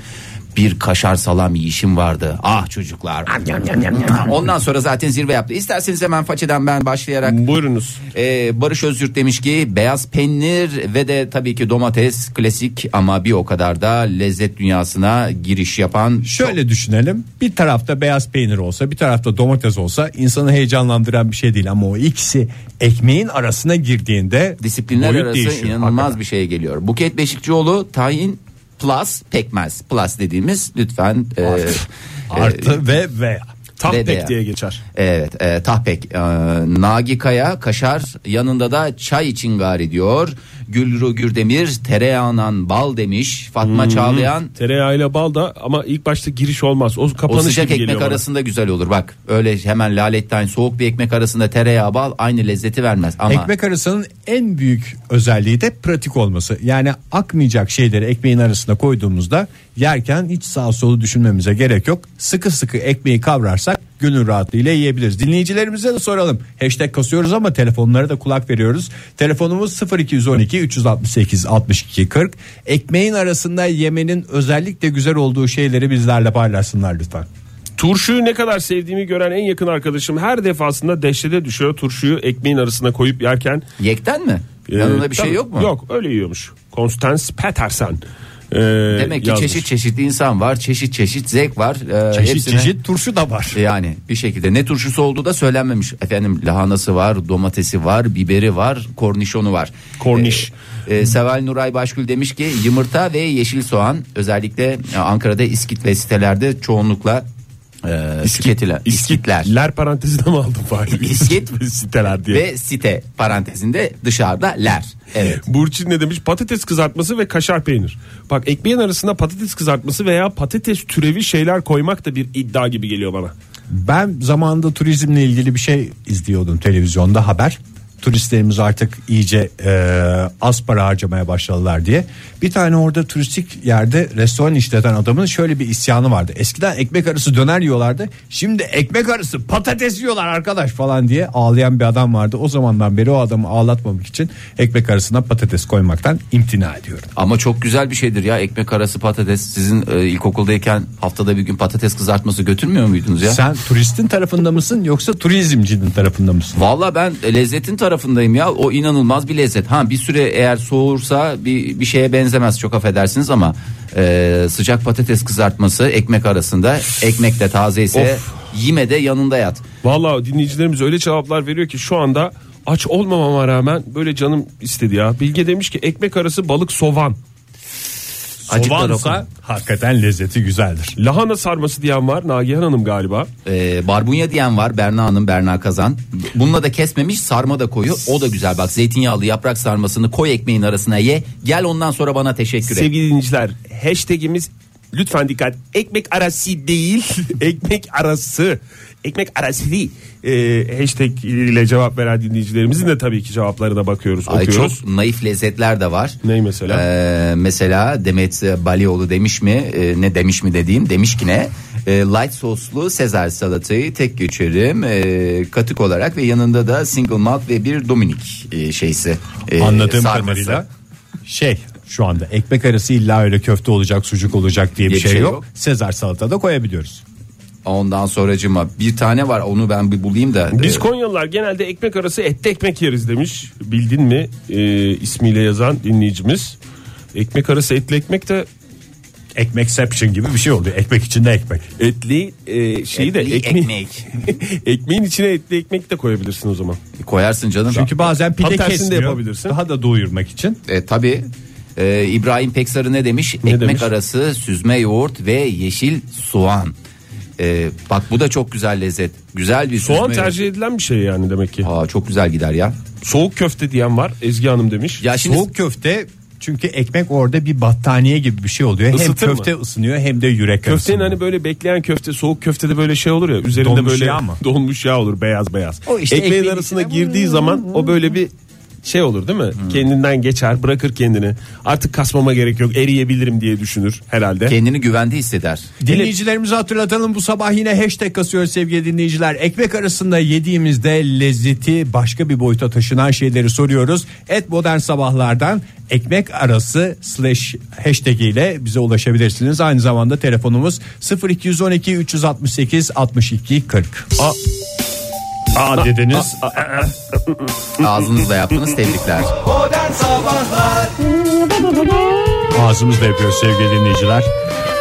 Speaker 4: bir kaşar salam yiyişim vardı. Ah çocuklar. Ah, Ondan sonra zaten zirve yaptı. İsterseniz hemen façeden ben başlayarak.
Speaker 5: Buyurunuz.
Speaker 4: Ee, Barış Özgürt demiş ki beyaz peynir ve de tabii ki domates klasik ama bir o kadar da lezzet dünyasına giriş yapan.
Speaker 3: Şöyle düşünelim. Bir tarafta beyaz peynir olsa, bir tarafta domates olsa insanı heyecanlandıran bir şey değil ama o ikisi ekmeğin arasına girdiğinde
Speaker 4: disiplinler
Speaker 3: boyut
Speaker 4: arası
Speaker 3: değişiyor.
Speaker 4: inanılmaz bir şey geliyor. Buket Beşikçioğlu tayin plus pekmez. Plus dediğimiz lütfen e, şey.
Speaker 3: artı ve ve
Speaker 4: Ve de-
Speaker 5: Tapbek diye geçer.
Speaker 4: Evet e, Tahpek e, Nagi Kaya Kaşar yanında da çay için gari diyor Gülru Gürdemir tereyağından bal demiş Fatma Çağlayan
Speaker 5: Tereyağıyla bal da ama ilk başta giriş olmaz. O
Speaker 4: o
Speaker 5: kapanış
Speaker 4: sıcak
Speaker 5: gibi geliyor
Speaker 4: ekmek
Speaker 5: bana.
Speaker 4: arasında güzel olur bak öyle hemen laletten soğuk bir ekmek arasında tereyağı bal aynı lezzeti vermez ama
Speaker 3: Ekmek arasının en büyük özelliği de pratik olması. Yani akmayacak şeyleri ekmeğin arasına koyduğumuzda yerken hiç sağ solu düşünmemize gerek yok. Sıkı sıkı ekmeği kavrarsak gönül rahatlığıyla yiyebiliriz. Dinleyicilerimize de soralım. Hashtag kasıyoruz ama telefonlara da kulak veriyoruz. Telefonumuz 0212 368 62 40. Ekmeğin arasında yemenin özellikle güzel olduğu şeyleri bizlerle paylaşsınlar lütfen.
Speaker 5: Turşuyu ne kadar sevdiğimi gören en yakın arkadaşım her defasında dehşete düşüyor. Turşuyu ekmeğin arasına koyup yerken
Speaker 4: yekten mi?
Speaker 5: Ee,
Speaker 4: Yanında bir şey
Speaker 5: tabii,
Speaker 4: yok mu?
Speaker 5: Yok öyle yiyormuş. Constance Petersen. ee,
Speaker 4: Demek ki
Speaker 5: yazmış.
Speaker 4: çeşit çeşit insan var çeşit çeşit zevk var. Ee,
Speaker 3: Çeşit
Speaker 4: hepsine-
Speaker 3: çeşit turşu da var.
Speaker 4: E, Yani bir şekilde ne turşusu olduğu da söylenmemiş. Efendim lahanası var, domatesi var, biberi var, kornişonu var.
Speaker 5: Korniş.
Speaker 4: Ee, e, Seval Nuray Başgül demiş ki yumurta ve yeşil soğan özellikle e, Ankara'da iskit ve sitelerde çoğunlukla e, tüketilen- iskitler.
Speaker 5: Ler parantezine mi aldın Fahir?
Speaker 4: İskit.
Speaker 5: ve siteler diye.
Speaker 4: Ve site parantezinde dışarıda ler. Evet.
Speaker 5: Burçin ne demiş? Patates kızartması ve kaşar peynir. Bak ekmeğin arasına patates kızartması veya patates türevi şeyler koymak da bir iddia gibi geliyor bana.
Speaker 3: Ben zamanında turizmle ilgili bir şey izliyordum televizyonda haber. Turistlerimiz artık iyice e, az para harcamaya başladılar diye. Bir tane orada turistik yerde restoran işleten adamın şöyle bir isyanı vardı. Eskiden ekmek arası döner yiyorlardı. Şimdi ekmek arası patates yiyorlar arkadaş falan diye ağlayan bir adam vardı. O zamandan beri o adamı ağlatmamak için ekmek arasına patates koymaktan imtina ediyorum.
Speaker 4: Ama çok güzel bir şeydir ya ekmek arası patates. Sizin e, ilkokuldayken haftada bir gün patates kızartması götürmüyor muydunuz ya?
Speaker 3: Sen turistin tarafında mısın yoksa turizmcinin tarafında mısın?
Speaker 4: Valla ben lezzetin tarafındayım ya. O inanılmaz bir lezzet. Ha bir süre eğer soğursa bir, bir şeye benzemez çok affedersiniz ama e, sıcak patates kızartması ekmek arasında ekmek de taze ise yeme de yanında yat.
Speaker 5: Vallahi dinleyicilerimiz öyle cevaplar veriyor ki şu anda aç olmamama rağmen böyle canım istedi ya. Bilge demiş ki ekmek arası balık sovan.
Speaker 3: Sovansa hakikaten lezzeti güzeldir.
Speaker 5: Lahana sarması diyen var Nagihan Hanım galiba.
Speaker 4: E, barbunya diyen var Berna Hanım Berna Kazan. Bununla da kesmemiş sarma da koyu. O da güzel bak zeytinyağlı yaprak sarmasını koy ekmeğin arasına ye. Gel ondan sonra bana teşekkür et.
Speaker 5: Sevgili dinleyiciler hashtagimiz lütfen dikkat ekmek arası değil ekmek arası ekmek arası değil Ee, hashtag ile cevap veren dinleyicilerimizin de tabii ki cevaplarına bakıyoruz
Speaker 4: Ay
Speaker 5: okuyoruz.
Speaker 4: çok naif lezzetler de var.
Speaker 5: Ney mesela?
Speaker 4: Ee, mesela Demet Balioğlu demiş mi? Ee, ne demiş mi dediğim demiş ki ne? Ee, light soslu Sezar salatayı tek geçerim ee, katık olarak ve yanında da single malt ve bir Dominik e, şeysi. e,
Speaker 3: Anladığım
Speaker 4: sarması.
Speaker 3: kadarıyla şey şu anda ekmek arası illa öyle köfte olacak sucuk olacak diye bir, şey, yok. Sezar salata da koyabiliyoruz.
Speaker 4: Ondan sonracıma bir tane var onu ben bir bulayım da.
Speaker 5: Biz
Speaker 4: Ee,
Speaker 5: Konyalılar genelde ekmek arası etli ekmek yeriz demiş. Bildin mi Ee, ismiyle yazan dinleyicimiz. Ekmek arası etli ekmek de
Speaker 3: Ekmekception gibi bir şey oluyor. Ekmek içinde ekmek.
Speaker 5: etli e, şeyi de
Speaker 4: etli
Speaker 5: ekmeği-
Speaker 4: ekmek.
Speaker 5: ekmeğin içine etli ekmek de koyabilirsin o zaman.
Speaker 4: Koyarsın canım.
Speaker 3: Çünkü bazen pide
Speaker 5: Tam tersini de
Speaker 3: kesmiyor.
Speaker 5: yapabilirsin.
Speaker 3: Daha da doyurmak için.
Speaker 4: E, tabii. E, İbrahim Peksarı ne demiş? Ekmek
Speaker 5: demiş?
Speaker 4: arası süzme yoğurt ve yeşil soğan. E, bak bu da çok güzel lezzet. Güzel bir
Speaker 5: Soğan
Speaker 4: süzme
Speaker 5: tercih edilen bir şey yani demek ki.
Speaker 4: yoğurt. Aa, çok güzel gider ya.
Speaker 5: Soğuk köfte diyen var Ezgi Hanım demiş.
Speaker 4: Ya şimdi
Speaker 3: Soğuk köfte Çünkü ekmek orada bir battaniye gibi bir şey oluyor.
Speaker 5: Isıtır
Speaker 3: hem
Speaker 5: mı?
Speaker 3: köfte ısınıyor hem de yürek
Speaker 5: Köftenin
Speaker 3: arasında.
Speaker 5: hani böyle bekleyen köfte soğuk köftede böyle şey olur ya üzerinde
Speaker 3: Donmuş
Speaker 5: böyle
Speaker 3: yağ mı?
Speaker 5: donmuş yağ olur beyaz beyaz.
Speaker 3: O işte
Speaker 5: Ekmeğin
Speaker 3: ekmeğin
Speaker 5: arasına
Speaker 3: içine-
Speaker 5: girdiği zaman o böyle bir şey olur değil mi? Kendinden geçer bırakır kendini artık kasmama gerek yok eriyebilirim diye düşünür herhalde.
Speaker 4: Kendini güvende hisseder.
Speaker 3: Dinleyicilerimizi hatırlatalım bu sabah yine hashtag kasıyor sevgili dinleyiciler. Ekmek arasında yediğimizde lezzeti başka bir boyuta taşınan şeyleri soruyoruz. Et modern sabahlardan ekmek arası slash hashtag ile bize ulaşabilirsiniz. Aynı zamanda telefonumuz 0212 368 62 40. Aa dediniz.
Speaker 4: Ağzınızla yaptığınız tebrikler.
Speaker 6: Modern Sabahlar
Speaker 3: Ağzımızla yapıyoruz sevgili dinleyiciler.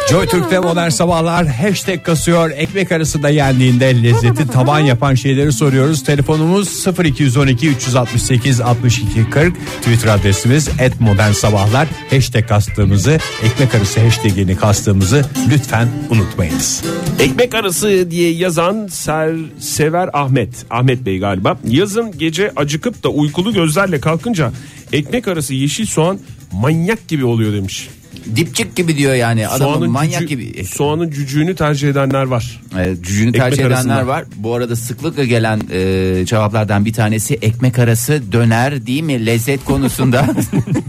Speaker 3: Joy Türk'te modern sabahlar hashtag kasıyor. Ekmek arasında yendiğinde lezzeti taban yapan şeyleri soruyoruz. Telefonumuz 0212 368 62 40. Twitter adresimiz et modern sabahlar. Hashtag kastığımızı ekmek arası hashtagini kastığımızı lütfen unutmayınız.
Speaker 5: Ekmek arası diye yazan Ser, Sever Ahmet. Ahmet Bey galiba. Yazın gece acıkıp da uykulu gözlerle kalkınca ekmek arası yeşil soğan manyak gibi oluyor demiş.
Speaker 4: Dipçik gibi diyor yani adamın
Speaker 5: Soğanın
Speaker 4: manyak
Speaker 5: cücü-
Speaker 4: gibi.
Speaker 5: Soğanın cücüğünü tercih edenler var.
Speaker 4: E, cücüğünü
Speaker 5: Ekmek
Speaker 4: tercih edenler
Speaker 5: arasında.
Speaker 4: var. Bu arada sıklıkla gelen e, cevaplardan bir tanesi ekmek arası döner değil mi? Lezzet konusunda.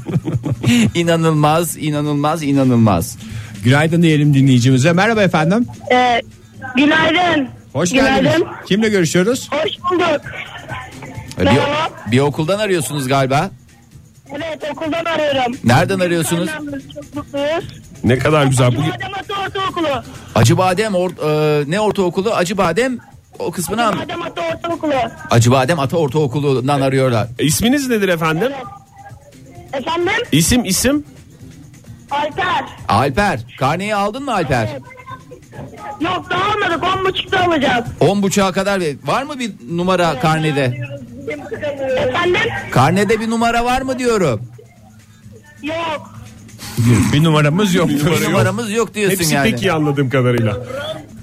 Speaker 4: inanılmaz, inanılmaz, inanılmaz.
Speaker 3: Günaydın diyelim dinleyicimize. Merhaba efendim.
Speaker 9: Ee, günaydın.
Speaker 3: Hoş
Speaker 9: günaydın.
Speaker 3: geldiniz. Kimle görüşüyoruz?
Speaker 9: Hoş bulduk.
Speaker 4: E, Bir,
Speaker 9: Merhaba.
Speaker 4: bir okuldan arıyorsunuz galiba.
Speaker 9: Evet okuldan arıyorum.
Speaker 4: Nereden arıyorsunuz?
Speaker 9: Annemle Çok mutluyuz.
Speaker 5: Ne kadar güzel. Bu
Speaker 9: Badem Atı Ortaokulu.
Speaker 4: Acıbadem or, e, ne ortaokulu? Acıbadem o kısmına mı?
Speaker 9: Badem Atı Ortaokulu.
Speaker 4: Acıbadem Ata Ortaokulu'ndan arıyorlar.
Speaker 5: isminiz nedir efendim?
Speaker 9: Efendim?
Speaker 5: İsim isim.
Speaker 9: Alper.
Speaker 4: Alper, karneyi aldın mı Alper?
Speaker 9: Yok daha almadık. On buçukta alacağız.
Speaker 4: On buçuğa kadar ver- var mı bir numara karnede?
Speaker 9: Efendim?
Speaker 4: Karnede bir numara var mı diyorum.
Speaker 9: Yok.
Speaker 3: Bir numaramız yoktur.
Speaker 4: Numaramız yok diyorsun
Speaker 5: Hepsi
Speaker 4: yani.
Speaker 5: pek iyi anladığım kadarıyla.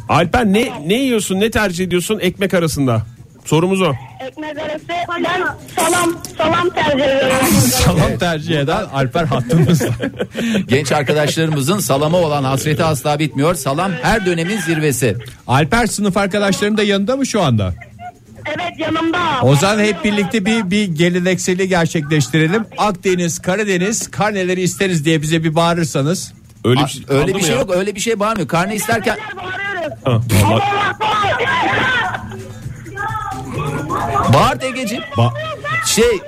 Speaker 5: Alper ne ne yiyorsun? Ne tercih ediyorsun ekmek arasında? Sorumuz o.
Speaker 9: Ekmek arası. Ben salam. Salam tercih ediyorum.
Speaker 3: Salam tercih eden Alper hattımızda.
Speaker 4: Genç arkadaşlarımızın salama olan hasreti asla bitmiyor. Salam her dönemin zirvesi.
Speaker 3: Alper sınıf arkadaşlarının da yanında mı şu anda?
Speaker 9: evet yanımda.
Speaker 3: Ozan hep birlikte bir bir gelenekseli gerçekleştirelim. Akdeniz, Karadeniz karneleri isteriz diye bize bir bağırırsanız.
Speaker 5: Öyle
Speaker 4: Aa,
Speaker 5: bir şey,
Speaker 4: Öyle
Speaker 5: Oldu
Speaker 4: bir
Speaker 5: mu
Speaker 4: şey
Speaker 5: ya?
Speaker 4: yok, öyle bir şey bağırmıyor. Karne isterken
Speaker 9: Bağırıyoruz.
Speaker 5: Ha, vallahi-
Speaker 9: Allah Allah.
Speaker 4: bağır Egeciğim.
Speaker 3: Ba-
Speaker 4: Şey,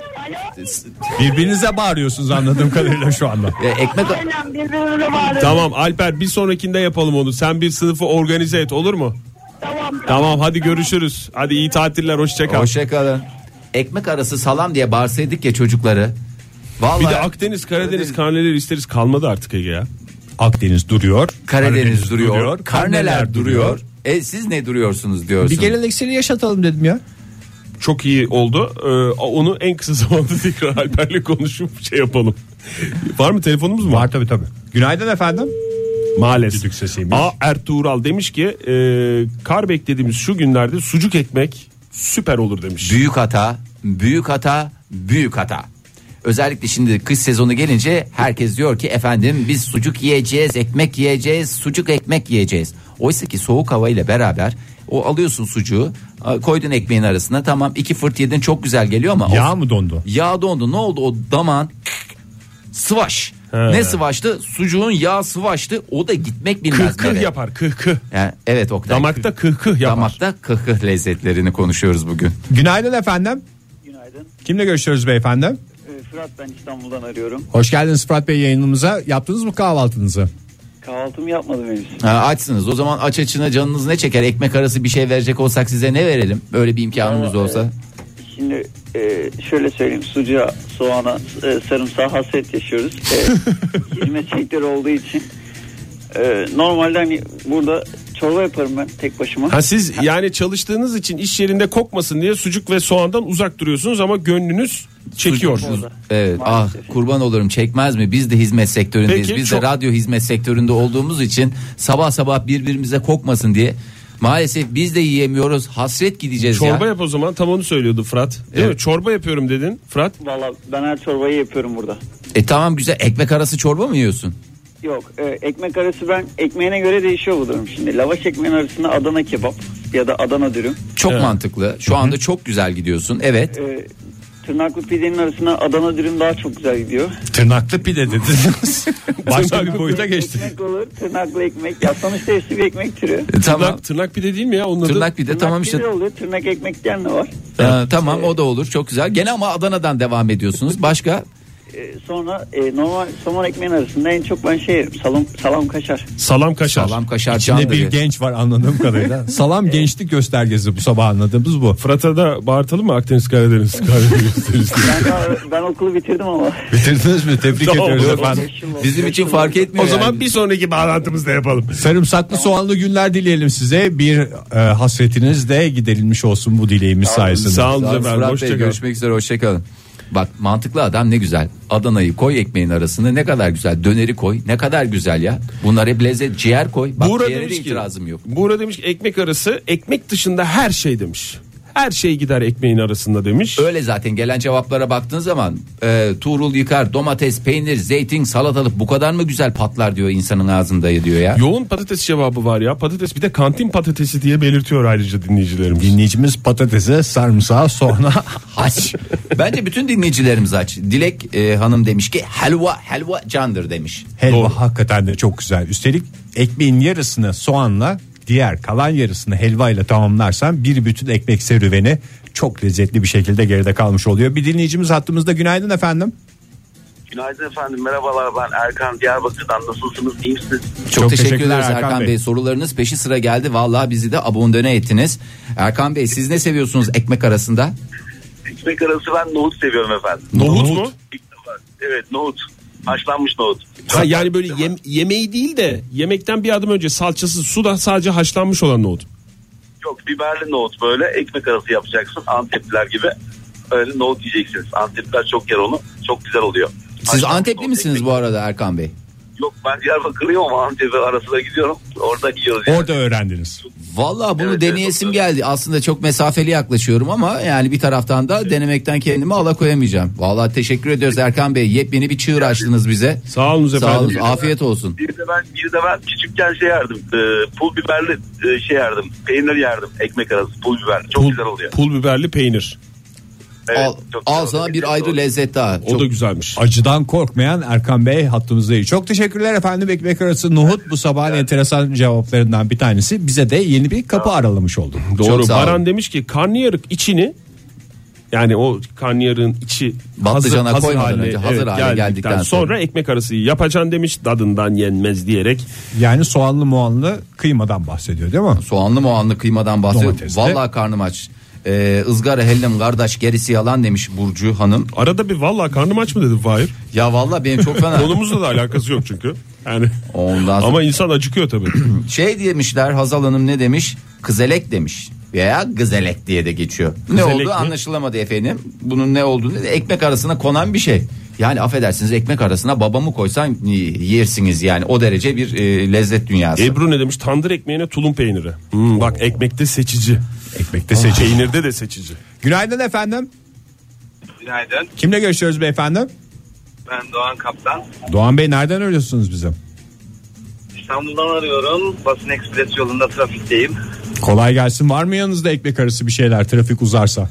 Speaker 3: birbirinize bağırıyorsunuz anladığım kadarıyla şu anda.
Speaker 4: e, ekmek
Speaker 9: Aynen birbirimize bağırıyoruz.
Speaker 5: Tamam Alper bir sonrakinde yapalım onu. Sen bir sınıfı organize et olur mu?
Speaker 9: Tamam.
Speaker 5: Tamam hadi görüşürüz. Hadi iyi tatiller hoşça kal.
Speaker 4: hoşça kalın. Ekmek arası salam diye bağırsaydık ya çocukları. Vallahi
Speaker 5: Bir de Akdeniz Karadeniz karneleri isteriz kalmadı artık Ege ya.
Speaker 3: Akdeniz duruyor.
Speaker 4: Karadeniz, duruyor,
Speaker 3: duruyor,
Speaker 4: karneler duruyor. E siz ne duruyorsunuz diyorsun.
Speaker 3: Bir gelenekseli yaşatalım dedim ya.
Speaker 5: Çok iyi oldu. Ee, onu en kısa zamanda tekrar Alper'le konuşup şey yapalım. Var mı telefonumuz mu?
Speaker 3: Var tabii tabii. Günaydın efendim.
Speaker 5: Maalesef.
Speaker 3: Düdük sesiymiş.
Speaker 5: A Ertuğral demiş ki e, kar beklediğimiz şu günlerde sucuk ekmek süper olur demiş.
Speaker 4: Büyük hata, büyük hata, büyük hata. Özellikle şimdi kış sezonu gelince herkes diyor ki efendim biz sucuk yiyeceğiz, ekmek yiyeceğiz, sucuk ekmek yiyeceğiz. Oysa ki soğuk hava ile beraber o alıyorsun sucuğu, a- koydun ekmeğin arasına. Tamam iki fırt yedin çok güzel geliyor ama
Speaker 3: Yağ
Speaker 4: o,
Speaker 3: mı dondu?
Speaker 4: yağ dondu. Ne oldu o daman? Sıvaş. Ne sıvaştı? Sucuğun yağı sıvaştı. O da gitmek bilmez.
Speaker 5: Kıh kıh
Speaker 4: nereye.
Speaker 5: yapar kıh kıh.
Speaker 4: Yani, evet Oktay.
Speaker 5: Damakta kıh kıh yapar.
Speaker 4: Damakta kıhkıh lezzetlerini konuşuyoruz bugün.
Speaker 3: Günaydın efendim.
Speaker 10: Günaydın.
Speaker 3: Kimle görüşüyoruz beyefendi?
Speaker 10: Ee, Fırat ben İstanbul'dan arıyorum.
Speaker 3: Hoş geldiniz Fırat Bey yayınımıza. Yaptınız mı kahvaltınızı?
Speaker 10: Kahvaltımı yapmadım henüz.
Speaker 4: Ha, açsınız. O zaman aç açına canınız ne çeker? Ekmek arası bir şey verecek olsak size ne verelim? Böyle bir imkanımız
Speaker 10: Aa,
Speaker 4: olsa.
Speaker 10: Şimdi e, şöyle söyleyeyim. Sucuğa, soğana, e, sarımsağa hasret yaşıyoruz. E, hizmet sektörü olduğu için. E, normalde hani burada çorba yaparım ben tek başıma.
Speaker 5: Ha siz yani çalıştığınız için iş yerinde kokmasın diye sucuk ve soğandan uzak duruyorsunuz ama gönlünüz çekiyor.
Speaker 10: Sucuk orada.
Speaker 4: Evet.
Speaker 10: Maalesef.
Speaker 4: Ah kurban olurum çekmez mi? Biz de hizmet sektöründeyiz.
Speaker 5: Peki,
Speaker 4: Biz
Speaker 5: çok-
Speaker 4: de radyo hizmet sektöründe olduğumuz için sabah sabah birbirimize kokmasın diye Maalesef biz de yiyemiyoruz. Hasret gideceğiz
Speaker 5: Çorba
Speaker 4: ya.
Speaker 5: yap o zaman tam onu söylüyordu Fırat. Değil mi? Çorba yapıyorum dedin Fırat.
Speaker 11: Valla ben her çorbayı yapıyorum burada.
Speaker 4: E tamam güzel ekmek arası çorba mı yiyorsun?
Speaker 11: Yok e, ekmek arası ben ekmeğine göre değişiyor bu durum şimdi. Lavaş ekmeğin arasında Adana kebap ya da Adana dürüm.
Speaker 4: Çok mantıklı. Şu anda çok güzel gidiyorsun. Evet.
Speaker 11: E, tırnaklı pidenin arasına Adana dürüm daha çok güzel gidiyor.
Speaker 3: Tırnaklı pide dediniz. Başka bir boyuta geçti.
Speaker 11: Ekmek olur tırnaklı ekmek. Ya sonuçta hepsi bir ekmek türü.
Speaker 4: E, tamam.
Speaker 5: Tırnak, tırnak pide değil mi ya? Onun adı-
Speaker 4: Tırnak bir de tamam
Speaker 11: Tırnak
Speaker 4: işte.
Speaker 11: pide oluyor tırnak ekmek diyen de var.
Speaker 4: Ee, tamam o da olur. Çok güzel. Gene ama Adana'dan devam ediyorsunuz. Başka?
Speaker 11: E, sonra e, normal somon ekmeğin arasında en çok ben şey yerim salam, salam kaşar.
Speaker 5: Salam kaşar.
Speaker 4: Salam kaşar
Speaker 3: İçinde bir
Speaker 4: candır.
Speaker 3: genç var anladığım kadarıyla. Salam gençlik göstergesi bu sabah anladığımız bu.
Speaker 5: Fırat'a da bağırtalım mı Akdeniz Karadeniz Karadeniz
Speaker 11: Ben, daha- ben okulu bitirdim ama.
Speaker 3: Bitirdiniz mi? Tebrik
Speaker 5: Tamam,
Speaker 3: ediyoruz
Speaker 5: tamam.
Speaker 3: efendim.
Speaker 4: Bizim için fark etmiyor.
Speaker 5: O zaman
Speaker 4: yani.
Speaker 5: bir sonraki bağlantımızda yapalım.
Speaker 3: Sarımsaklı soğanlı günler dileyelim size. Bir e, hasretiniz de giderilmiş olsun bu dileğimiz sayesinde.
Speaker 5: Sağ olun
Speaker 4: Sağ olun
Speaker 5: efendim.
Speaker 4: Fırat Bey,
Speaker 5: Hoşçakalın.
Speaker 4: görüşmek üzere hoşçakalın. Bak mantıklı adam ne güzel. Adana'yı koy ekmeğin arasına ne kadar güzel. Döneri koy ne kadar güzel ya. Bunlar hep lezzet. Ciğer koy. Bak
Speaker 5: Buğra
Speaker 4: ciğere de
Speaker 5: demiş ki,
Speaker 4: itirazım yok.
Speaker 5: Buğra demiş ki ekmek arası ekmek dışında her şey demiş. Her şey gider ekmeğin arasında demiş.
Speaker 4: Öyle zaten gelen cevaplara baktığın zaman e, Tuğrul yıkar domates peynir zeytin salatalık bu kadar mı güzel patlar diyor insanın ağzında diyor ya.
Speaker 5: Yoğun patates cevabı var ya. Patates bir de kantin patatesi diye belirtiyor ayrıca dinleyicilerimiz.
Speaker 3: Dinleyicimiz patatese, sarımsağa, soğana
Speaker 4: Aç. Bence bütün dinleyicilerimiz aç. Dilek e, hanım demiş ki helva helva candır demiş.
Speaker 3: helva hakikaten de çok güzel. Üstelik ekmeğin yarısını soğanla diğer kalan yarısını helvayla tamamlarsan bir bütün ekmek serüveni çok lezzetli bir şekilde geride kalmış oluyor. Bir dinleyicimiz hattımızda günaydın efendim.
Speaker 11: Günaydın efendim merhabalar ben Erkan Diyarbakır'dan nasılsınız iyi misiniz?
Speaker 4: Çok,
Speaker 3: Çok
Speaker 4: teşekkür
Speaker 3: teşekkürler
Speaker 4: ederiz Erkan
Speaker 3: Erkan
Speaker 4: Bey.
Speaker 3: Bey.
Speaker 4: Sorularınız peşi sıra geldi. Vallahi bizi de abondöne ettiniz. Erkan Bey siz ne seviyorsunuz ekmek arasında?
Speaker 11: Ekmek arası ben nohut seviyorum efendim.
Speaker 5: Nohut mu?
Speaker 11: İlk defa. Evet nohut. Haşlanmış nohut.
Speaker 5: Ha, yani böyle yem- yemeği değil de yemekten bir adım önce salçası suda sadece haşlanmış olan nohut.
Speaker 11: Yok biberli nohut böyle ekmek arası yapacaksın Antepliler gibi. Öyle nohut yiyeceksiniz. Antepliler çok yer onu. Çok güzel oluyor.
Speaker 4: Siz
Speaker 11: Haşlanmış
Speaker 4: Antepli
Speaker 11: nohut,
Speaker 4: misiniz
Speaker 11: ekmek-
Speaker 4: bu arada Erkan Bey?
Speaker 11: Yok ben Diyarbakırlıyım ama Antep'e arasına gidiyorum. Orada yiyoruz. yani.
Speaker 3: Orada öğrendiniz.
Speaker 4: Vallahi bunu
Speaker 11: Evet, evet,
Speaker 4: deneyesim
Speaker 11: doğru.
Speaker 4: geldi. Aslında çok mesafeli yaklaşıyorum ama yani bir taraftan da denemekten kendimi alakoyamayacağım. Vallahi teşekkür ediyoruz Erkan Bey. Yepyeni bir çığır açtınız bize.
Speaker 5: Sağ olun efendim.
Speaker 4: Sağ olun. Afiyet olsun.
Speaker 11: Bir de ben bir de ben küçükken şey yerdim. E, pul biberli e, şey yerdim. Peynir yerdim. Ekmek arası pul biber. Çok
Speaker 5: Pul,
Speaker 11: güzel oluyor.
Speaker 5: pul biberli peynir.
Speaker 11: Evet,
Speaker 4: al,
Speaker 11: çok güzel
Speaker 4: al sana
Speaker 11: oluyor.
Speaker 4: bir ayrı lezzet daha.
Speaker 5: O da güzelmiş.
Speaker 3: Acıdan korkmayan Erkan Bey hattımızda iyi. Çok teşekkürler efendim ekmek arası nohut bu sabahın enteresan cevaplarından bir tanesi. Bize de yeni bir kapı aralamış oldu.
Speaker 5: Doğru.
Speaker 4: sağ olun.
Speaker 5: Baran demiş ki karnıyarık içini yani o karnıyarığın içi
Speaker 4: Patlıcana
Speaker 5: hazır, hazır
Speaker 4: koymadan
Speaker 5: haline,
Speaker 4: önce, hazır hale geldikten sonra.
Speaker 5: sonra ekmek arası yapacaksın demiş tadından yenmez diyerek
Speaker 3: Yani soğanlı muanlı kıymadan bahsediyor değil mi?
Speaker 4: Soğanlı moğanlı kıymadan bahsediyorum.
Speaker 3: Domatesli.
Speaker 4: Vallahi karnım aç. Ee, ızgara hellim kardeş gerisi yalan demiş Burcu Hanım.
Speaker 5: Arada bir vallahi karnım aç mı dedim Fahir.
Speaker 4: Ya vallahi benim çok fena.
Speaker 5: Konumuzla da alakası yok çünkü. Yani
Speaker 4: Ondan sonra-
Speaker 5: ama insan acıkıyor tabii.
Speaker 4: Şey demişler Hazal Hanım ne demiş? Kızelek demiş veya gızelek diye de geçiyor. ne
Speaker 5: Kızelek
Speaker 4: oldu
Speaker 5: mi?
Speaker 4: anlaşılamadı efendim. Bunun ne olduğunu ekmek arasına konan bir şey. Yani affedersiniz ekmek arasına babamı koysan y- yersiniz yani o derece bir e, lezzet dünyası.
Speaker 5: Ebru ne demiş? Tandır ekmeğine tulum peyniri. Hmm, bak ekmekte seçici. Ekmekte
Speaker 4: Ah.
Speaker 5: seçici. Peynirde de seçici.
Speaker 3: Günaydın efendim.
Speaker 11: Günaydın.
Speaker 3: Kimle görüşüyoruz beyefendi?
Speaker 11: Ben Doğan Kaptan.
Speaker 3: Doğan Bey nereden arıyorsunuz bize?
Speaker 11: İstanbul'dan arıyorum. Basın Ekspres yolunda trafikteyim.
Speaker 3: Kolay gelsin var mı yanınızda ekmek arası bir şeyler trafik uzarsa?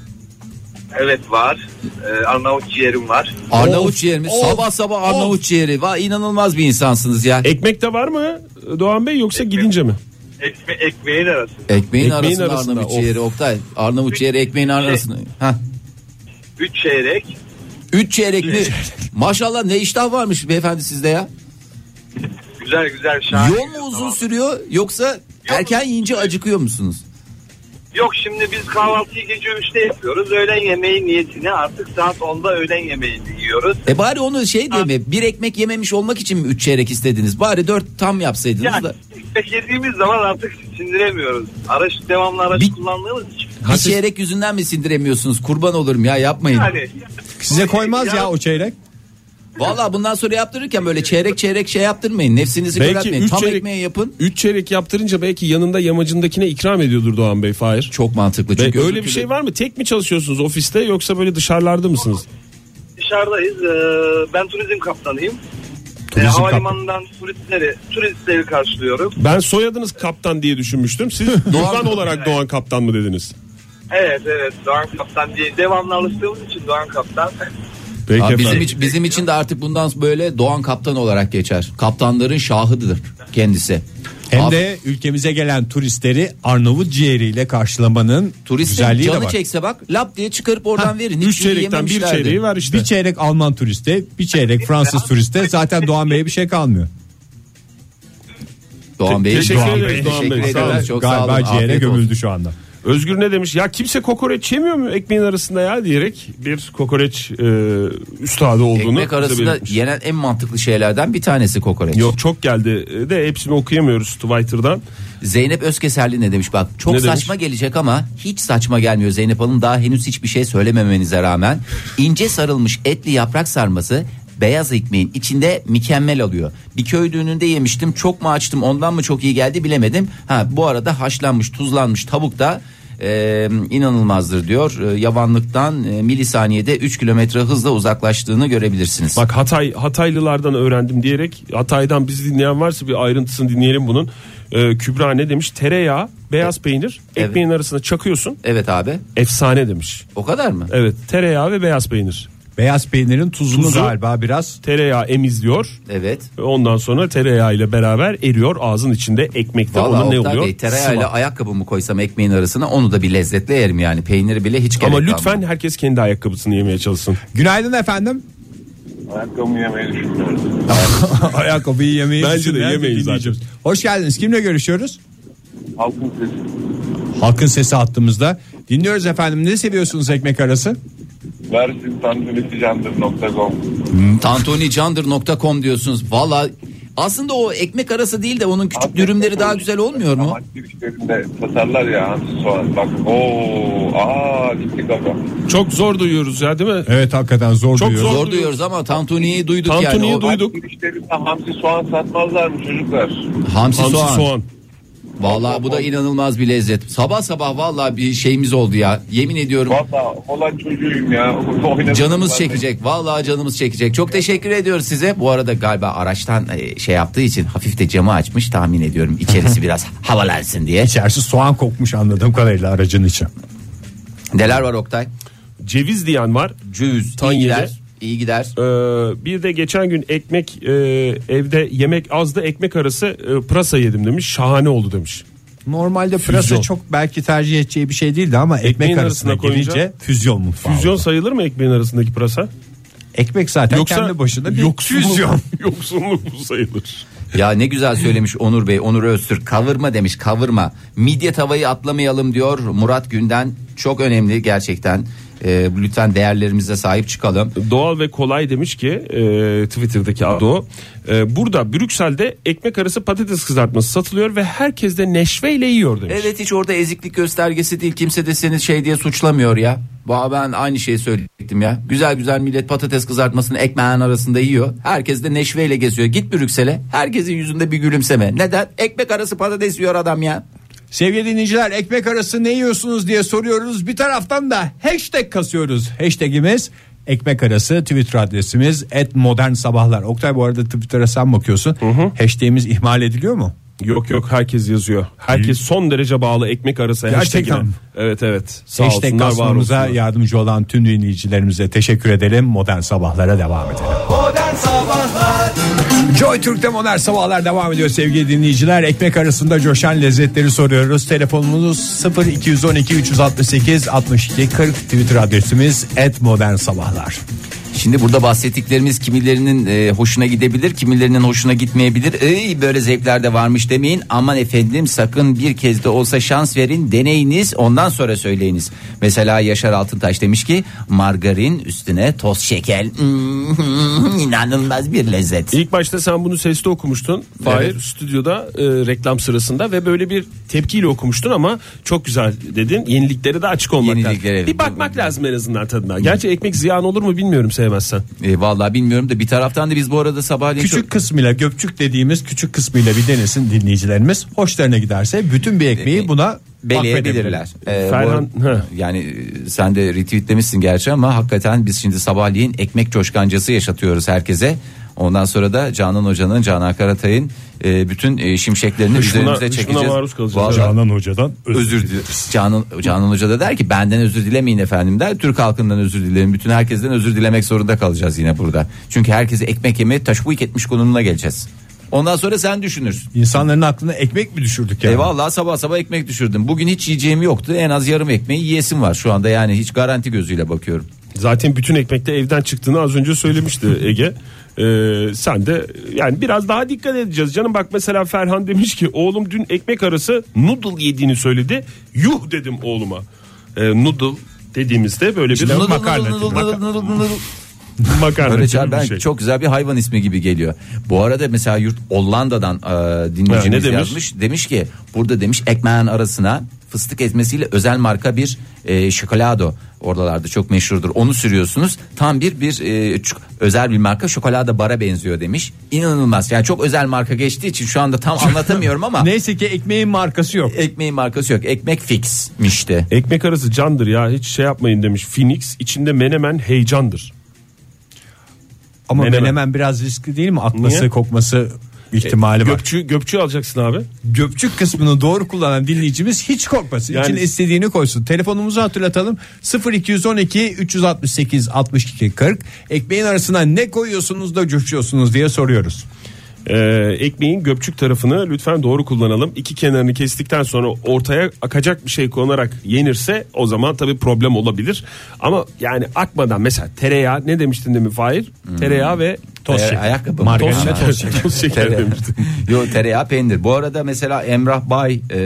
Speaker 11: Evet var. Ee, Arnavut ciğerim var.
Speaker 4: Arnavut
Speaker 3: Of,
Speaker 4: ciğerimiz
Speaker 3: of,
Speaker 4: sabah sabah Arnavut ciğeri. Vay inanılmaz bir insansınız ya.
Speaker 5: Ekmek de var mı Doğan Bey yoksa gidince mi?
Speaker 11: Ekme, ekmeğin arası.
Speaker 4: ekmeğin,
Speaker 5: E- ekmeğin
Speaker 4: arasında,
Speaker 5: arasında,
Speaker 4: Arnavut
Speaker 5: of. E-
Speaker 4: ciğeri Oktay. Arnavut ciğeri ekmeğin arasında. Hah.
Speaker 11: Üç çeyrek.
Speaker 4: Üç çeyrekli. Maşallah ne iştah varmış beyefendi sizde ya.
Speaker 11: Güzel güzel şahane.
Speaker 4: Yol mu uzun sürüyor yoksa erken yiyince acıkıyor musunuz?
Speaker 11: Yok şimdi biz kahvaltıyı gece 3'te yapıyoruz. Öğlen yemeği niyetine artık saat 10'da öğlen yemeğini yiyoruz.
Speaker 4: E bari onu şey diye mi bir ekmek yememiş olmak için mi üç çeyrek istediniz? Bari dört tam yapsaydınız
Speaker 11: Yani
Speaker 4: da.
Speaker 11: ekmek yediğimiz zaman artık sindiremiyoruz. Araç devamlı araç
Speaker 4: Bir-
Speaker 11: kullandığımız için.
Speaker 4: Bir çeyrek yüzünden mi sindiremiyorsunuz? Kurban olurum ya yapmayın.
Speaker 11: Yani
Speaker 3: Size koymaz ya o çeyrek.
Speaker 4: Valla bundan sonra yaptırırken böyle çeyrek çeyrek şey yaptırmayın. Nefsinizi
Speaker 5: Belki
Speaker 4: köreltmeyin.
Speaker 5: üç
Speaker 4: Tam
Speaker 5: çeyrek-
Speaker 4: ekmeği yapın.
Speaker 5: 3 çeyrek yaptırınca belki yanında yamacındakine ikram ediyordur Doğan Bey Fahir.
Speaker 4: Çok mantıklı.
Speaker 5: Be-
Speaker 4: Çünkü öbür
Speaker 5: öyle bir
Speaker 4: türlü-
Speaker 5: şey var mı? Tek mi çalışıyorsunuz ofiste yoksa böyle dışarılarda mısınız?
Speaker 12: Dışarıdayız. Ee, Ben turizm kaptanıyım. Ee,
Speaker 5: Turizm kaptan.
Speaker 12: Havalimanından turistleri, turistleri karşılıyorum.
Speaker 5: Ben soyadınız kaptan diye düşünmüştüm. Siz Doğan olarak Doğan kaptan mı dediniz?
Speaker 12: Evet evet Doğan Kaptan diye devamlı alıştığımız için Doğan Kaptan.
Speaker 5: Peki
Speaker 4: Abi bizim,
Speaker 5: efendim.
Speaker 4: için, bizim için de artık bundan böyle Doğan Kaptan olarak geçer. Kaptanların şahıdır kendisi.
Speaker 3: Hem
Speaker 4: Abi,
Speaker 3: de ülkemize gelen turistleri Arnavut ciğeriyle karşılamanın
Speaker 4: turistin
Speaker 3: güzelliği de
Speaker 4: canı
Speaker 3: var.
Speaker 4: çekse bak lap diye çıkarıp oradan verin. Hiç
Speaker 5: 3 çeyrekten bir
Speaker 4: yememişlerdi.
Speaker 5: çeyreği ver işte.
Speaker 3: Bir çeyrek Alman turiste, bir çeyrek Fransız turiste zaten Doğan Bey'e bir şey kalmıyor.
Speaker 4: Doğan Bey.
Speaker 5: Teşekkür
Speaker 4: Doğan
Speaker 5: ederiz Doğan Bey.
Speaker 4: Teşekkür
Speaker 5: Sağ olun.
Speaker 4: ederiz. Çok sağ olun.
Speaker 3: Galiba ciğere
Speaker 4: Afiyet olsun.
Speaker 3: gömüldü şu anda.
Speaker 5: Özgür ne demiş? Ya kimse kokoreç yemiyor mu ekmeğin arasında ya diyerek bir kokoreç e, üstadı olduğunu
Speaker 4: Ekmek arasında
Speaker 5: belirtmiş.
Speaker 4: yenen en mantıklı şeylerden bir tanesi kokoreç.
Speaker 5: Yok çok geldi E, de hepsini okuyamıyoruz Twitter'dan.
Speaker 4: Zeynep Özkeserli ne demiş bak çok
Speaker 5: Ne
Speaker 4: saçma gelecek ama hiç saçma gelmiyor Zeynep Hanım daha henüz hiçbir şey söylememenize rağmen ince sarılmış etli yaprak sarması beyaz ekmeğin içinde mükemmel alıyor. Bir köy düğününde yemiştim çok mu açtım ondan mı çok iyi geldi bilemedim. Ha bu arada haşlanmış tuzlanmış tavuk da e, inanılmazdır diyor. E, yavanlıktan e, milisaniyede 3 kilometre hızla uzaklaştığını görebilirsiniz.
Speaker 5: Bak Hatay Hataylılardan öğrendim diyerek Hatay'dan bizi dinleyen varsa bir ayrıntısını dinleyelim bunun. Ee, Kübra ne demiş? Tereyağı, beyaz peynir
Speaker 4: E, Evet.
Speaker 5: ekmeğin arasına çakıyorsun.
Speaker 4: Evet abi
Speaker 5: Efsane demiş.
Speaker 4: o kadar mı?
Speaker 5: Evet, tereyağı ve beyaz peynir.
Speaker 3: Beyaz peynirin tuzunu
Speaker 5: Tuzu.
Speaker 3: galiba biraz
Speaker 5: Tereyağı emizliyor.
Speaker 4: Evet.
Speaker 5: Ondan sonra tereyağı ile beraber eriyor ağzın içinde ekmekte
Speaker 4: Valla
Speaker 5: ona ne
Speaker 4: Oktay
Speaker 5: oluyor?
Speaker 4: Bey tereyağıyla
Speaker 5: Sıvı.
Speaker 4: ayakkabımı koysam ekmeğin arasına onu da bir lezzetle yerim yani. Peyniri bile hiç gerek
Speaker 5: Ama lütfen
Speaker 4: kalmıyor.
Speaker 5: herkes kendi ayakkabısını yemeye çalışsın.
Speaker 3: Günaydın efendim.
Speaker 11: Ayakkabımı yemeyi düşünüyorum.
Speaker 3: Ayakkabıyı yemeyi
Speaker 5: Bence de
Speaker 3: düşünmeyen bir
Speaker 5: yemeyin zaten.
Speaker 3: dinleyicimiz. Hoş geldiniz. Kimle görüşüyoruz?
Speaker 11: Halkın sesi.
Speaker 3: Halkın sesi attığımızda. Dinliyoruz efendim. Ne seviyorsunuz ekmek arası?
Speaker 11: Versin tanrıcandır.com
Speaker 4: Tantonicandır.com diyorsunuz. Valla aslında o ekmek arası değil de onun küçük dürümleri daha güzel olmuyor mu?
Speaker 11: Amaç girişlerinde tasarlar ya hamsi soğan. Bak ooo aa gitti kafa.
Speaker 5: Çok zor duyuyoruz ya değil mi?
Speaker 3: Evet hakikaten zor
Speaker 5: Çok
Speaker 3: duyuyoruz.
Speaker 5: zor.
Speaker 4: Zor duyuyoruz ama Tantuni'yi duyduk
Speaker 5: Tantuni'yi
Speaker 4: yani. O
Speaker 5: duyduk.
Speaker 11: Amaç girişlerinde hamsi soğan satmazlar mı çocuklar?
Speaker 4: Hamsi,
Speaker 5: Hamsi
Speaker 4: soğan.
Speaker 5: soğan.
Speaker 4: Valla bu da inanılmaz bir lezzet. Sabah sabah valla bir şeyimiz oldu ya. Yemin ediyorum
Speaker 11: Valla olan çocuğuyum ya. Oynadım
Speaker 4: canımız
Speaker 11: ben.
Speaker 4: çekecek. Valla canımız çekecek. Çok teşekkür ediyoruz size. Bu arada galiba araçtan e, şey yaptığı için hafif de camı açmış tahmin ediyorum. İçerisi biraz havalansın diye.
Speaker 3: İçerisi soğan kokmuş anladığım kadarıyla aracın içi.
Speaker 4: Neler var Oktay?
Speaker 5: Ceviz diyen var.
Speaker 4: Cüz.
Speaker 5: Tan
Speaker 4: iyi
Speaker 5: yedi.
Speaker 4: gider. iyi gider.
Speaker 5: Ee, bir de geçen gün ekmek e, evde yemek azdı ekmek arası e, pırasa yedim demiş. Şahane oldu demiş.
Speaker 3: Normalde pırasa çok belki tercih edeceği bir şey değildi ama ekmek
Speaker 5: Ekmeğin
Speaker 3: arasına
Speaker 5: arasına koyunca-
Speaker 3: gelince füzyon mutfağı.
Speaker 5: Füzyon
Speaker 3: oldu.
Speaker 5: sayılır mı ekmeğin arasındaki pırasa?
Speaker 3: Ekmek zaten
Speaker 5: Yoksa-
Speaker 3: kendi başına bir
Speaker 5: Yoksunluk-
Speaker 3: füzyon.
Speaker 5: Yoksunluk mu sayılır?
Speaker 4: Ya ne güzel söylemiş Onur Bey. Onur Öztürk kavurma demiş kavurma. Midye tavayı atlamayalım diyor Murat Günden. Çok önemli gerçekten. Ee, lütfen değerlerimize sahip çıkalım.
Speaker 5: Doğal ve kolay demiş ki e, Twitter'daki adı o. E, burada Brüksel'de ekmek arası patates kızartması satılıyor ve herkes de neşveyle yiyor demiş.
Speaker 4: Evet hiç orada eziklik göstergesi değil. Kimse de seni şey diye suçlamıyor ya. Ba- Ben aynı şeyi söyleyecektim ya. Güzel güzel millet patates kızartmasını ekmeğin arasında yiyor. Herkes de neşveyle geziyor. Git Brüksel'e. Herkesin yüzünde bir gülümseme. Neden? Ekmek arası patates yiyor adam ya.
Speaker 3: Sevgili dinleyiciler ekmek arası ne yiyorsunuz diye soruyoruz. Bir taraftan da hashtag kasıyoruz. Hashtagimiz ekmek arası Twitter adresimiz et modern sabahlar. Oktay bu arada Twitter'a sen bakıyorsun. Hashtagimiz ihmal ediliyor mu?
Speaker 5: E, Yok yok herkes yazıyor. Herkes son derece bağlı ekmek arası
Speaker 3: Gerçekten
Speaker 5: hashtagine.
Speaker 3: mi?
Speaker 5: Evet evet. Sağ
Speaker 3: hashtag
Speaker 5: olsunlar var
Speaker 3: kasmamıza
Speaker 5: olsunlar.
Speaker 3: yardımcı olan tüm dinleyicilerimize teşekkür edelim. Modern sabahlara devam edelim.
Speaker 6: Modern Sabahlar
Speaker 3: Joy Türk'te modern sabahlar devam ediyor sevgili dinleyiciler. Ekmek arasında coşan lezzetleri soruyoruz. Telefonumuz 0212 368 62 40 Twitter adresimiz et modern sabahlar.
Speaker 4: Şimdi burada bahsettiklerimiz kimilerinin e, hoşuna gidebilir, kimilerinin hoşuna gitmeyebilir. Ey böyle zevkler de varmış demeyin. Aman efendim sakın bir kez de olsa şans verin, deneyiniz, ondan sonra söyleyiniz. Mesela Yaşar Altıntaş demiş ki margarin üstüne toz şeker. Hmm, inanılmaz bir lezzet.
Speaker 5: İlk başta sen bunu sesli okumuştun. Fahir
Speaker 4: Evet.
Speaker 5: stüdyoda e, reklam sırasında ve böyle bir tepkiyle okumuştun ama çok güzel dedin. Yeniliklere de açık olmak lazım.
Speaker 4: Yeniliklere-
Speaker 5: Bir bakmak lazım en azından tadına. Gerçi ekmek ziyan olur mu bilmiyorum bilemezsen.
Speaker 4: E, vallahi bilmiyorum da bir taraftan da biz bu arada sabahleyin
Speaker 3: Küçük kısmıyla göpçük dediğimiz küçük kısmıyla bir denesin dinleyicilerimiz. Hoşlarına giderse bütün bir ekmeği buna
Speaker 4: beleyebilirler. Ee, bu
Speaker 5: Ferhan-
Speaker 4: arada-
Speaker 5: Hı.
Speaker 4: yani e, sen de retweetlemişsin gerçi ama hakikaten biz şimdi sabahleyin ekmek coşkancası yaşatıyoruz herkese. Ondan sonra da Canan Hoca'nın, Canan Karatay'ın e, bütün e, şimşeklerini
Speaker 5: Dışkına-
Speaker 4: üzerimize
Speaker 5: dışkına
Speaker 4: çekeceğiz.
Speaker 5: maruz kalacağız.
Speaker 4: Vallahi
Speaker 3: Canan Hoca'dan
Speaker 4: özür dileriz. Canan, Canan Hoca da der ki benden özür dilemeyin efendim der. Türk halkından özür dilerim. Bütün herkesten özür dilemek zorunda kalacağız yine burada. Çünkü herkese ekmek yemeye taşvik etmiş konumuna geleceğiz. Ondan sonra sen düşünürsün.
Speaker 3: İnsanların aklına ekmek mi düşürdük yani?
Speaker 4: E vallahi sabah sabah ekmek düşürdüm. Bugün hiç yiyeceğim yoktu. En az yarım ekmeği yiyesim var şu anda. Yani hiç garanti gözüyle bakıyorum.
Speaker 5: Zaten bütün ekmekte evden çıktığını az önce söylemişti Ege. Ee, sen de yani biraz daha dikkat edeceğiz canım bak mesela Ferhan demiş ki oğlum dün ekmek arası noodle yediğini söyledi yuh dedim oğluma ee, noodle dediğimizde böyle bir
Speaker 4: Nıdıl,
Speaker 5: makarna
Speaker 4: nıdıl,
Speaker 5: tipi,
Speaker 4: nıdıl, nıdıl, nıdıl, nıdıl.
Speaker 5: makarna
Speaker 4: Böyle
Speaker 5: tipi
Speaker 4: çağır-
Speaker 5: bir
Speaker 4: ben
Speaker 5: şey.
Speaker 4: çok güzel bir hayvan ismi gibi geliyor. Bu arada mesela yurt Hollanda'dan e, dinleyicimiz
Speaker 5: Ha, ne demiş?
Speaker 4: yazmış. Demiş ki burada demiş ekmeğin arasına fıstık ezmesiyle özel marka bir e, şokolado oradalarda çok meşhurdur. Onu sürüyorsunuz. Tam bir bir e, ç- özel bir marka şokolada bara benziyor demiş. İnanılmaz. Yani çok özel marka geçtiği için şu anda tam anlatamıyorum ama
Speaker 3: Neyse ki ekmeğin markası yok.
Speaker 4: ekmeğin markası yok. Ekmek fixmişti.
Speaker 5: ekmek arası candır ya hiç şey yapmayın demiş Phoenix içinde menemen heyecandır
Speaker 3: Ama
Speaker 5: Menemen.
Speaker 3: menemen. biraz riskli değil mi? Atması,
Speaker 5: Niye?
Speaker 3: kokması ihtimali var.
Speaker 5: göpçü, göpçü alacaksın abi
Speaker 3: Göpçük kısmını doğru kullanan dinleyicimiz hiç korkmasın.
Speaker 5: Yani-
Speaker 3: İçine istediğini koysun. Telefonumuzu hatırlatalım. 0212 368 62 40. Ekmeğin arasına ne koyuyorsunuz da coşuyorsunuz diye soruyoruz.
Speaker 5: Ee, ekmeğin göpçük tarafını lütfen doğru kullanalım. İki kenarını kestikten sonra ortaya akacak bir şey konarak yenirse o zaman tabii problem olabilir. Ama yani akmadan mesela tereyağı ne demiştin demin Fahir?
Speaker 4: Hmm.
Speaker 5: Tereyağı ve toz
Speaker 4: Eğer
Speaker 5: şeker.
Speaker 4: ayakkabı
Speaker 3: Margarin
Speaker 4: Toz
Speaker 3: ve
Speaker 4: şeker.
Speaker 5: toz şeker. Toz şeker
Speaker 4: Tereyağı.
Speaker 5: demiştim.
Speaker 4: Yo tereyağı peynir. Bu arada mesela Emrah Bay e,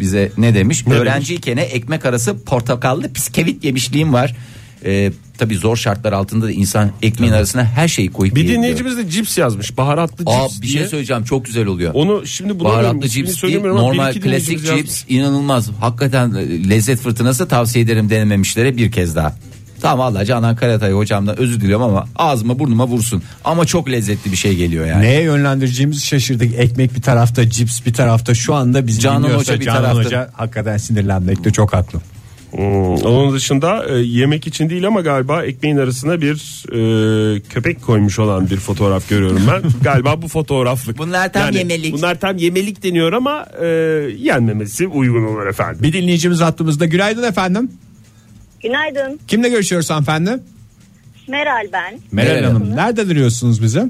Speaker 4: bize ne demiş? Öğrenciyken ekmek arası portakallı piskevit yemişliğim var. E, tabii zor şartlar altında da insan ekmeğin arasına her şeyi koyup
Speaker 5: Bir
Speaker 4: yiyebiliyor.
Speaker 5: dinleyicimiz de cips yazmış. Baharatlı
Speaker 4: Aa,
Speaker 5: cips
Speaker 4: bir
Speaker 5: diye.
Speaker 4: şey söyleyeceğim çok güzel oluyor.
Speaker 5: Onu şimdi bulamıyorum.
Speaker 4: Baharatlı
Speaker 5: İsmini
Speaker 4: cips değil
Speaker 5: söylemiyorum ama bir
Speaker 4: normal
Speaker 5: iki
Speaker 4: klasik
Speaker 5: dinleyicimiz
Speaker 4: cips
Speaker 5: yazmış.
Speaker 4: inanılmaz. Hakikaten e, lezzet fırtınası tavsiye ederim denememişlere bir kez daha. Tamam vallahi Canan Karatay hocamdan özür diliyorum ama ağzıma burnuma vursun. Ama çok lezzetli bir şey geliyor yani.
Speaker 3: Neye yönlendireceğimizi şaşırdık. Ekmek bir tarafta, cips bir tarafta. Şu anda biz
Speaker 4: Canan
Speaker 3: dinliyorsa
Speaker 4: Hoca bir
Speaker 3: Canan
Speaker 4: tarafta.
Speaker 3: Hoca hakikaten sinirlenmekte çok haklı.
Speaker 5: Hmm, Onun dışında e, yemek için değil ama galiba ekmeğin arasına bir e, köpek koymuş olan bir fotoğraf görüyorum ben. galiba bu fotoğraflık.
Speaker 4: Bunlar tam yemelik.
Speaker 5: Bunlar tam yemelik deniyor ama e, yenmemesi uygun olur efendim.
Speaker 3: Bir dinleyicimiz hattımızda. Günaydın efendim.
Speaker 13: Günaydın.
Speaker 3: Kimle görüşüyoruz hanımefendi?
Speaker 13: Meral ben.
Speaker 4: Meral
Speaker 3: Hanım. Nerede duruyorsunuz bize?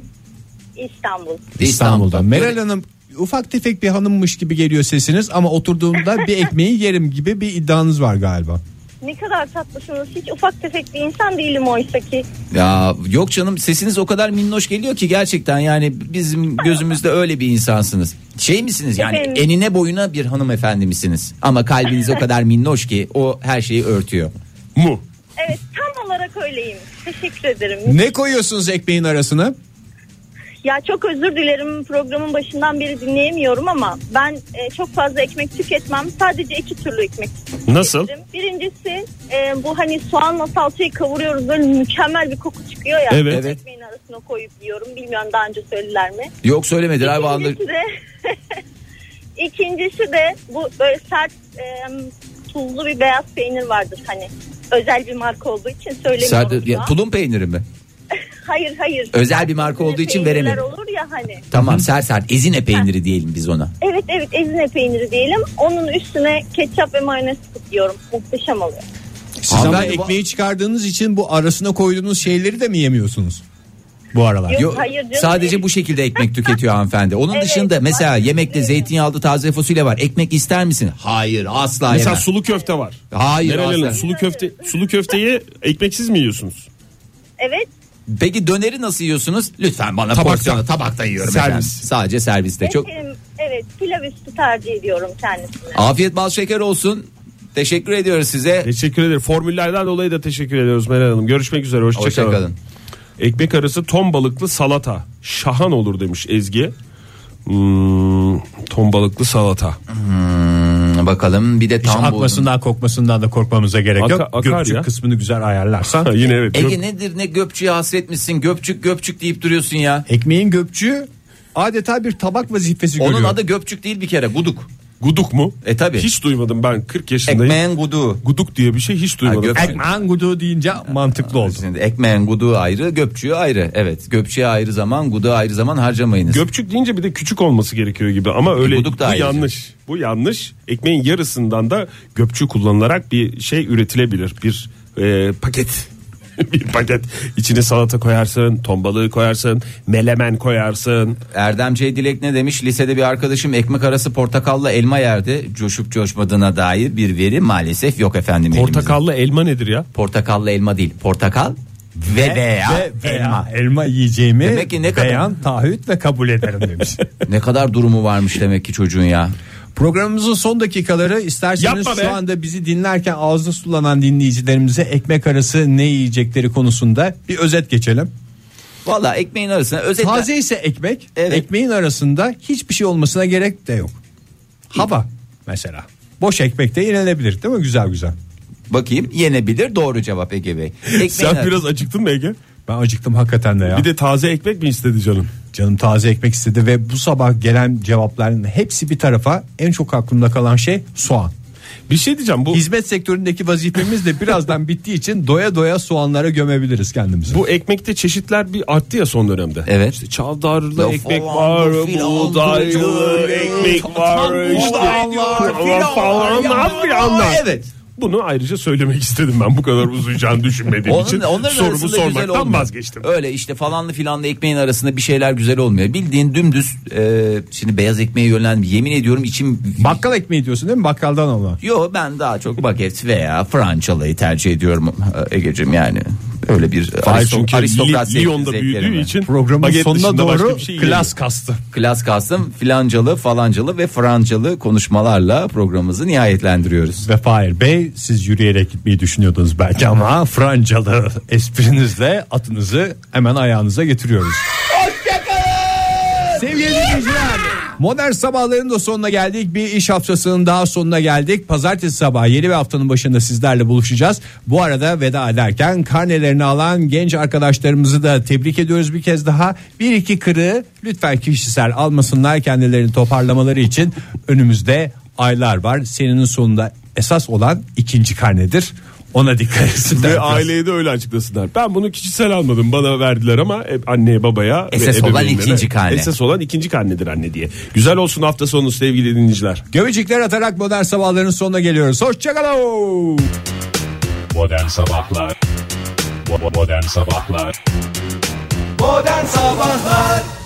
Speaker 13: İstanbul.
Speaker 3: İstanbul'da. Meral Hanım ufak tefek bir hanımmış gibi geliyor sesiniz ama oturduğumda bir ekmeği yerim gibi bir iddianız var galiba.
Speaker 13: Ne kadar tatlısınız. Hiç ufak tefek bir insan değilim oysa ki.
Speaker 4: Ya yok canım sesiniz o kadar minnoş geliyor ki gerçekten yani bizim gözümüzde öyle bir insansınız. Şey misiniz yani
Speaker 13: Efendim?
Speaker 4: enine boyuna bir hanımefendi misiniz? Ama kalbiniz o kadar minnoş ki o her şeyi örtüyor.
Speaker 5: Mu.
Speaker 13: Evet tam olarak öyleyim. Teşekkür ederim.
Speaker 3: Ne koyuyorsunuz ekmeğin arasına?
Speaker 13: Ya çok özür dilerim programın başından beri dinleyemiyorum ama ben e, çok fazla ekmek tüketmem. Sadece iki türlü ekmek tüketirim.
Speaker 5: Nasıl?
Speaker 13: Birincisi e, bu hani soğanla salçayı kavuruyoruz böyle mükemmel bir koku çıkıyor ya.
Speaker 5: Evet.
Speaker 4: Evet.
Speaker 13: Ekmeğin arasına koyup yiyorum. Bilmiyorum daha önce söylediler mi?
Speaker 4: Yok söylemediler vallahi.
Speaker 13: İkincisi de, ikincisi de bu böyle sert e, tuzlu bir beyaz peynir vardır hani. Özel bir marka olduğu için söylemiyorum.
Speaker 4: Sade-
Speaker 13: şu
Speaker 4: ya,
Speaker 13: an.
Speaker 4: tulum peyniri mi?
Speaker 13: Hayır hayır.
Speaker 4: Özel bir marka olduğu için
Speaker 13: Peynirler
Speaker 4: veremedim.
Speaker 13: olur ya hani.
Speaker 4: Tamam ser sert ezine peyniri diyelim biz ona.
Speaker 13: Evet evet ezine peyniri diyelim. Onun üstüne ketçap ve mayonez sıkıyorum. Muhteşem oluyor.
Speaker 3: Siz
Speaker 4: Abi
Speaker 3: ama
Speaker 4: bu-
Speaker 3: ekmeği çıkardığınız için bu arasına koyduğunuz şeyleri de mi yemiyorsunuz? Bu aralar.
Speaker 13: Yok,
Speaker 4: Yo-
Speaker 13: hayır canım.
Speaker 4: sadece bu şekilde ekmek tüketiyor hanımefendi. Onun
Speaker 13: Evet,
Speaker 4: dışında mesela
Speaker 13: hayır,
Speaker 4: yemekte
Speaker 13: değil.
Speaker 4: zeytinyağlı taze fasulye var. Ekmek ister misin? Hayır asla
Speaker 5: Mesela
Speaker 4: yemem.
Speaker 5: sulu köfte var.
Speaker 4: Hayır
Speaker 5: Meral Hanım
Speaker 4: asla.
Speaker 5: sulu köfte sulu köfteyi ekmeksiz mi yiyorsunuz?
Speaker 13: Evet
Speaker 4: Peki döneri nasıl yiyorsunuz? Lütfen bana tabakta. porsiyonu tabakta yiyorum
Speaker 5: Servis.
Speaker 4: efendim. Sadece serviste. Çok
Speaker 13: benim- evet pilav üstü tercih ediyorum kendisine.
Speaker 4: afiyet bal şeker olsun. Teşekkür ediyoruz size.
Speaker 5: Teşekkür ederim. Formüllerden dolayı da teşekkür ediyoruz Meral Hanım. Görüşmek üzere. Hoşçakalın.
Speaker 4: Hoşçakalın. kalın.
Speaker 5: Ekmek arası ton balıklı salata. Şahan olur demiş Ezgi. Hmm, ton balıklı salata.
Speaker 4: tadına bakalım. Bir de
Speaker 3: Hiç
Speaker 4: tam bu.
Speaker 3: akmasından kokmasından da korkmamıza gerek
Speaker 5: Aka-
Speaker 3: yok.
Speaker 5: akar
Speaker 3: Gökçük
Speaker 5: ya.
Speaker 3: kısmını güzel ayarlarsan.
Speaker 5: Ha, yine evet.
Speaker 4: Ege nedir ne göpçüye hasret misin? Göpçük göpçük deyip duruyorsun ya.
Speaker 3: Ekmeğin göpçüğü adeta bir tabak vazifesi görüyor.
Speaker 4: Onun adı göpçük değil bir kere guduk.
Speaker 5: Guduk mu?
Speaker 4: E tabi.
Speaker 5: Hiç duymadım ben 40 yaşındayım.
Speaker 4: Ekmeğin gudu.
Speaker 5: Guduk diye bir şey hiç duymadım.
Speaker 4: göp-
Speaker 3: Ekmeğin gudu deyince mantıklı oldu.
Speaker 4: Şimdi ekmeğin gudu ayrı, göpçüğü ayrı. Evet, göpçüğe ayrı zaman, gudu ayrı zaman harcamayınız.
Speaker 5: Göpçük deyince bir de küçük olması gerekiyor gibi ama öyle
Speaker 4: buduk da
Speaker 5: bu
Speaker 4: ayrı.
Speaker 5: yanlış. Bu yanlış. Ekmeğin yarısından da göpçük kullanılarak bir şey üretilebilir. Bir e, paket. bir paket. İçine salata koyarsın, ton balığı koyarsın, melemen koyarsın.
Speaker 4: Erdem C. Dilek ne demiş? Lisede bir arkadaşım ekmek arası portakalla elma yerdi. Coşup coşmadığına dair bir veri maalesef yok efendim elimizde.
Speaker 5: Portakallı elma nedir ya?
Speaker 4: Portakallı elma değil. Portakal ve, veya,
Speaker 3: Ve veya
Speaker 4: elma.
Speaker 3: elma. yiyeceğimi
Speaker 4: Demek ki ne kadar-
Speaker 3: beyan, taahhüt ve kabul ederim demiş.
Speaker 4: Ne kadar durumu varmış demek ki çocuğun ya.
Speaker 3: Programımızın son dakikaları isterseniz
Speaker 5: Yapma be.
Speaker 3: şu anda bizi dinlerken ağzı sulanan dinleyicilerimize ekmek arası ne yiyecekleri konusunda bir özet geçelim.
Speaker 4: Valla ekmeğin arasına özetle
Speaker 3: Taze ise ekmek,
Speaker 4: Evet.
Speaker 3: ekmeğin arasında hiçbir şey olmasına gerek de yok. Hava mesela. Boş ekmek de yenilebilir değil mi? Güzel güzel.
Speaker 4: bakayım yenebilir doğru cevap Ege Bey. Ekmeğin
Speaker 5: Sen
Speaker 4: arasına-
Speaker 5: biraz acıktın mı Ege?
Speaker 3: Ben acıktım hakikaten de ya.
Speaker 5: Bir de taze ekmek mi istedi canım?
Speaker 3: Canım taze ekmek istedi ve bu sabah gelen cevapların hepsi bir tarafa en çok aklımda kalan şey soğan.
Speaker 5: Bir şey diyeceğim bu
Speaker 3: Hizmet sektöründeki vazifemiz de birazdan bittiği için doya doya soğanlara gömebiliriz kendimizi.
Speaker 5: bu ekmekte çeşitler bir arttı ya son dönemde.
Speaker 4: Evet.
Speaker 5: İşte çavdarlı
Speaker 4: Laf
Speaker 5: ekmek
Speaker 4: olan,
Speaker 5: var,
Speaker 4: bu filan,
Speaker 5: buğdaylı
Speaker 4: bu-
Speaker 5: ekmek var, işte falan falan
Speaker 4: Aa,
Speaker 5: falan.
Speaker 4: Evet.
Speaker 5: Bunu ayrıca söylemek istedim ben bu kadar uzayacağını düşünmediğim
Speaker 4: Onun,
Speaker 5: için
Speaker 4: onların
Speaker 5: sorumu
Speaker 4: arasında güzel
Speaker 5: sormaktan
Speaker 4: olmuyor.
Speaker 5: vazgeçtim.
Speaker 4: Öyle işte falanlı filanlı ekmeğin arasında bir şeyler güzel olmuyor. Bildiğin dümdüz e, şimdi beyaz ekmeğe yönlendim. Yemin ediyorum içim
Speaker 3: Bakkal ekmeği diyorsun değil mi? Bakkaldan alınan.
Speaker 4: Yo ben daha çok baget veya françalayı tercih ediyorum e, Egeciğim yani. Öyle bir
Speaker 5: Hayır,
Speaker 4: aristo-
Speaker 5: çünkü
Speaker 4: aristokrat
Speaker 5: Li-
Speaker 4: zevk-
Speaker 5: Lyon'da büyüdüğü
Speaker 4: zevklerimi.
Speaker 5: için
Speaker 3: Programın
Speaker 5: baget
Speaker 3: sonuna
Speaker 5: dışında başka
Speaker 3: doğru
Speaker 5: bir şey
Speaker 3: klas kastı.
Speaker 4: Klas kastım filancalı falancalı ve francalı konuşmalarla programımızı nihayetlendiriyoruz.
Speaker 3: Ve Fahir Bey siz yürüyerek gitmeyi düşünüyordunuz belki ama francalı esprinizle atınızı hemen ayağınıza getiriyoruz. Sevgili dinleyiciler Modern sabahların da sonuna geldik. Bir iş haftasının daha sonuna geldik. Pazartesi sabahı yeni bir haftanın başında sizlerle buluşacağız. Bu arada veda ederken karnelerini alan genç arkadaşlarımızı da tebrik ediyoruz bir kez daha. Bir iki kırığı lütfen kişisel almasınlar kendilerini toparlamaları için. Önümüzde aylar var. Senenin sonunda esas olan ikinci karnedir. Ona dikkat etsinler.
Speaker 5: Ve aileye de öyle açıklasınlar. Ben bunu kişisel almadım. Bana verdiler ama hep anneye babaya ve
Speaker 4: Esas olan
Speaker 5: ebeveynlere.
Speaker 4: ikinci karne.
Speaker 5: Esas olan ikinci karnedir anne diye. Güzel olsun hafta sonu sevgili dinleyiciler.
Speaker 3: Göbecikler atarak modern sabahların sonuna geliyoruz. Hoşçakalın.
Speaker 14: Modern Sabahlar Bo- bo- Modern Sabahlar
Speaker 6: Modern Sabahlar